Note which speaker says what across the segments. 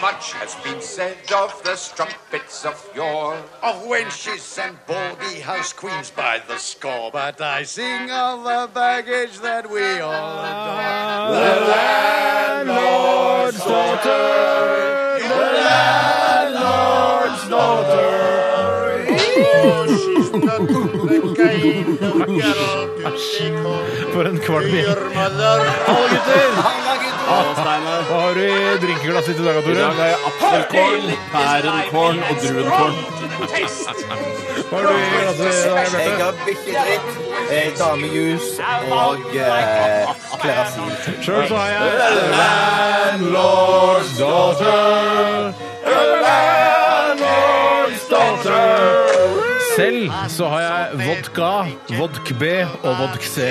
Speaker 1: much has been said of the strumpets of yore,
Speaker 2: Of wenches and baldy house queens by the score. But I sing of the baggage that we all adore. The landlord's daughter. The landlord's daughter. Oh, she's not the kind of girl to take home
Speaker 3: For en kvalm
Speaker 2: to
Speaker 3: gjeng.
Speaker 2: your mother.
Speaker 3: Hallo, gutter! Hva har du i drinkeglasset ditt i dag, Tore?
Speaker 4: Korn, pærenkorn og druenkorn.
Speaker 3: Hva har du i glasset i dag,
Speaker 5: Jeg
Speaker 3: Bjarte?
Speaker 5: har bikkjedritt, eh, damejus og eh, klerasil.
Speaker 3: Sjøl så har jeg Selv så har jeg vodka, vodk B og vodk C.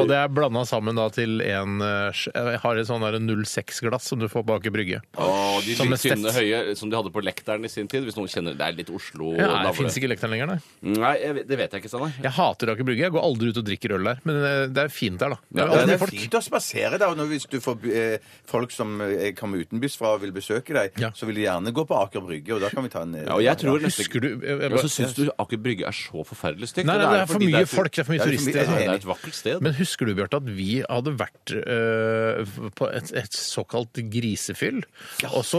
Speaker 3: Og det er blanda sammen da til en eh, sj- Jeg har et sånn der 06-glass som du får bak i brygge.
Speaker 4: Og de
Speaker 3: Som
Speaker 4: litt
Speaker 3: estet.
Speaker 4: tynne høye eh, som de hadde på lekteren i sin tid. Hvis noen kjenner Det er litt Oslo
Speaker 3: Ja,
Speaker 4: navle.
Speaker 3: det fins ikke lekteren lenger, nei.
Speaker 4: Nei, jeg vet- det vet jeg ikke, Steinar.
Speaker 3: Jeg hater Aker Brygge. Jeg går aldri ut og drikker øl der. Men eh, det er fint der, da. Det er
Speaker 4: Ja,
Speaker 3: alltid
Speaker 5: Det er
Speaker 3: folk.
Speaker 5: fint å spasere der. og når- Hvis du får eh, folk som eh, kommer utenbys fra og vil besøke deg,
Speaker 3: Ja.
Speaker 5: så vil de gjerne gå på Aker Brygge, og da kan vi ta en eh,
Speaker 4: Ja, eh, og jeg tror neste
Speaker 3: Husker du jeg, jeg,
Speaker 4: Og så
Speaker 3: bare-
Speaker 4: syns du Aker Brygge er så forferdelig stygt.
Speaker 3: Nei,
Speaker 4: og
Speaker 3: nei, det er
Speaker 4: fordi
Speaker 3: for mye
Speaker 4: tu-
Speaker 3: folk, det er for mye
Speaker 5: det er for mye-
Speaker 3: turister.
Speaker 4: Nei, Det er et vakkert sted.
Speaker 3: Men husker du, Bjarte, at vi hadde vært eh, på et, et såkalt grisefyll? og så,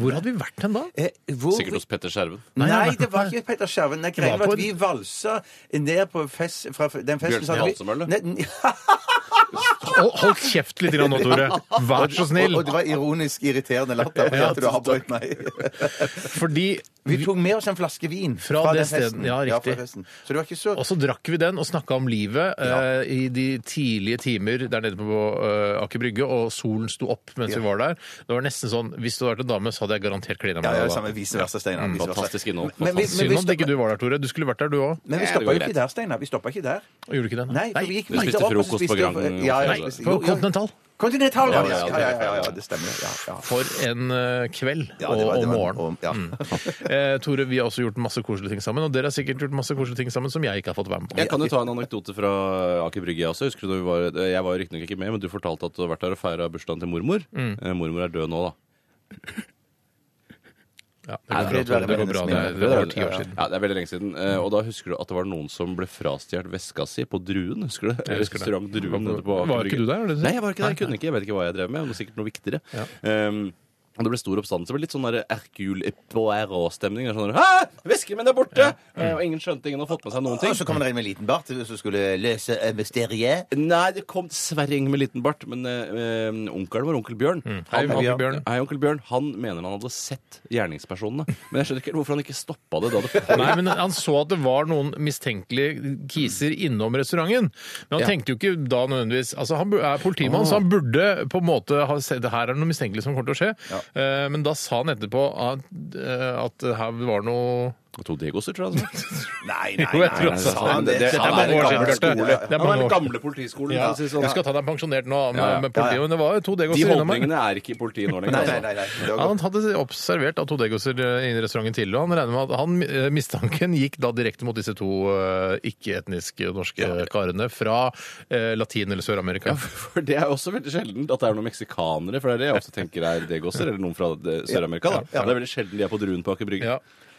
Speaker 3: hvor hadde vi vært hen da?
Speaker 5: Eh, hvor
Speaker 4: Sikkert hos Petter Skjerven.
Speaker 5: Nei, det var ikke Petter Skjerven. Nei, greien
Speaker 3: var
Speaker 5: var
Speaker 3: på
Speaker 5: at vi valsa ned på fest, fra den festen
Speaker 4: Bjørnsen
Speaker 5: så hadde vi-
Speaker 4: Hansen, var det?
Speaker 5: Nei, n-
Speaker 3: Hold, hold kjeft litt grann nå, Tore. Vær så snill.
Speaker 5: Og, og det var ironisk irriterende latter. fordi at du avbrøt meg.
Speaker 3: Fordi
Speaker 5: Vi tok med oss en flaske vin
Speaker 3: Fra det
Speaker 5: den
Speaker 3: stedet,
Speaker 5: festen.
Speaker 3: ja,
Speaker 5: fra
Speaker 3: riktig.
Speaker 5: festen. så det var ikke så
Speaker 3: Og så drakk vi den og snakka om livet eh, i de tidlige timer der nede på eh, Aker Brygge, og solen sto opp mens vi var der. Det var nesten sånn Hvis du hadde vært en dame, så hadde jeg garantert
Speaker 5: Ja,
Speaker 3: klina med
Speaker 5: ja,
Speaker 3: deg.
Speaker 5: samme
Speaker 3: da.
Speaker 5: vice versa, Steinar.
Speaker 4: Mm,
Speaker 5: vice versa.
Speaker 4: Fantastisk innhold.
Speaker 5: Men- men-
Speaker 4: Fantastisk.
Speaker 3: Synd
Speaker 5: vi
Speaker 3: at ikke
Speaker 5: stopper-
Speaker 3: du var der, Tore. Du skulle vært der, du
Speaker 5: Men
Speaker 3: òg.
Speaker 5: vi
Speaker 4: Ja, det
Speaker 5: stoppa
Speaker 4: går
Speaker 5: jo ikke
Speaker 4: greit.
Speaker 5: der, Steinar. Vi stoppa ikke der.
Speaker 3: Gjorde du ikke det?
Speaker 5: Nei, for vi gikk
Speaker 4: Vi spiste
Speaker 5: videre opp, og så
Speaker 4: frokost på
Speaker 5: spiste vi-
Speaker 4: Grand-
Speaker 5: Ja, ja,
Speaker 4: Nei,
Speaker 5: spiste-
Speaker 3: på
Speaker 5: jo, ja.
Speaker 3: Continental.
Speaker 5: Kontinental, ja.
Speaker 4: Ja,
Speaker 5: Ja,
Speaker 4: ja,
Speaker 5: ja, ja, ja, ja, det stemmer. Ja, ja.
Speaker 3: For en eh, kveld
Speaker 5: Ja,
Speaker 3: og,
Speaker 5: det var- det
Speaker 3: og
Speaker 5: var-
Speaker 3: morgen.
Speaker 5: og- ja.
Speaker 3: Eh, Tore, vi har også gjort masse koselige ting sammen, og dere har sikkert gjort masse koselige ting sammen som jeg ikke har fått være med på.
Speaker 4: Jeg kan jo ta en anekdote fra Aker Brygge. jeg også. Husker du da vi var, jeg var riktignok ikke med, men du fortalte at du har vært der og feira bursdagen til mormor.
Speaker 3: Mm.
Speaker 4: Eh, Mormor er død nå, da.
Speaker 3: Ja, det, går bra, Tore. det går bra, det, er- det var ti år siden.
Speaker 4: Ja, det er veldig lenge siden. Eh, Og da husker du at det var noen som ble frastjålet veska si på Druen. Husker du det?
Speaker 3: Jeg husker det.
Speaker 4: Restaurant Druen. nede på Aker
Speaker 3: Var ikke
Speaker 4: Brygge.
Speaker 3: du der, er det det?
Speaker 4: Nei, jeg var ikke der. Jeg
Speaker 3: Nei,
Speaker 4: kunne ikke. Jeg vet ikke hva jeg drev med. Det var sikkert noe viktigere. Um, og det ble stor oppstandelse. Det ble Litt sånn der Hercule Poirot-stemning. Det er Sånn der, Hæ! Vesken min er borte! Eh, Og ingen skjønte, ingen har fått med seg noen ting.
Speaker 5: Og så kom det en med liten bart som skulle løse eh, mysteriet.
Speaker 4: Nei, det kom dessverre ingen med liten bart, men eh, eh, onkelen var onkel Bjørn.
Speaker 3: Mm. Hei,
Speaker 4: Han-
Speaker 3: onkel Bjørn.
Speaker 4: Hei, onkel Bjørn. Han mener han hadde sett gjerningspersonene. Men jeg skjønner ikke helt hvorfor han ikke stoppa det da det pågikk.
Speaker 3: Nei, men Han så at det var noen mistenkelige kiser innom restauranten. Men han
Speaker 4: Ja.
Speaker 3: tenkte jo ikke da nødvendigvis altså Han bu- er politimann, så han burde på en måte ha sett det her er noe mistenkelig som kommer til å skje. Eh, Men da sa han etterpå at, eh, at det her var noe
Speaker 4: To degoser, tror jeg. Altså.
Speaker 5: Nei, nei,
Speaker 3: Jo, jeg tror
Speaker 5: nei,
Speaker 3: også
Speaker 5: sa
Speaker 3: han
Speaker 5: han det.
Speaker 3: Dette er mange år siden, Bjarte. Det er
Speaker 4: Han var
Speaker 3: mange
Speaker 4: den
Speaker 3: år siden.
Speaker 4: gamle politiskolen.
Speaker 3: Ja.
Speaker 4: for å si det sånn.
Speaker 3: Jeg skal ta deg pensjonert nå med,
Speaker 4: Ja, ja.
Speaker 3: med politiet,
Speaker 5: Ja, ja.
Speaker 3: men det var jo to
Speaker 4: De
Speaker 3: degoser innom her.
Speaker 4: holdningene er ikke i politiet nå lenger.
Speaker 5: Nei,
Speaker 4: altså.
Speaker 5: nei, nei, nei. Det var
Speaker 3: Ja,
Speaker 5: godt.
Speaker 3: han hadde observert at Todegoser i restauranten tidligere, og han regner med at han, eh, mistanken gikk da direkte mot disse to eh, ikke-etniske norske karene fra eh, Latin- eller Sør-Amerika.
Speaker 4: For det er også veldig sjeldent at det er noen meksikanere, for det er det jeg ofte tenker er degoser, eller noen fra det- Sør-Amerika. da. Det er veldig sjelden de er på druen på Aker Brygge.
Speaker 3: Ja.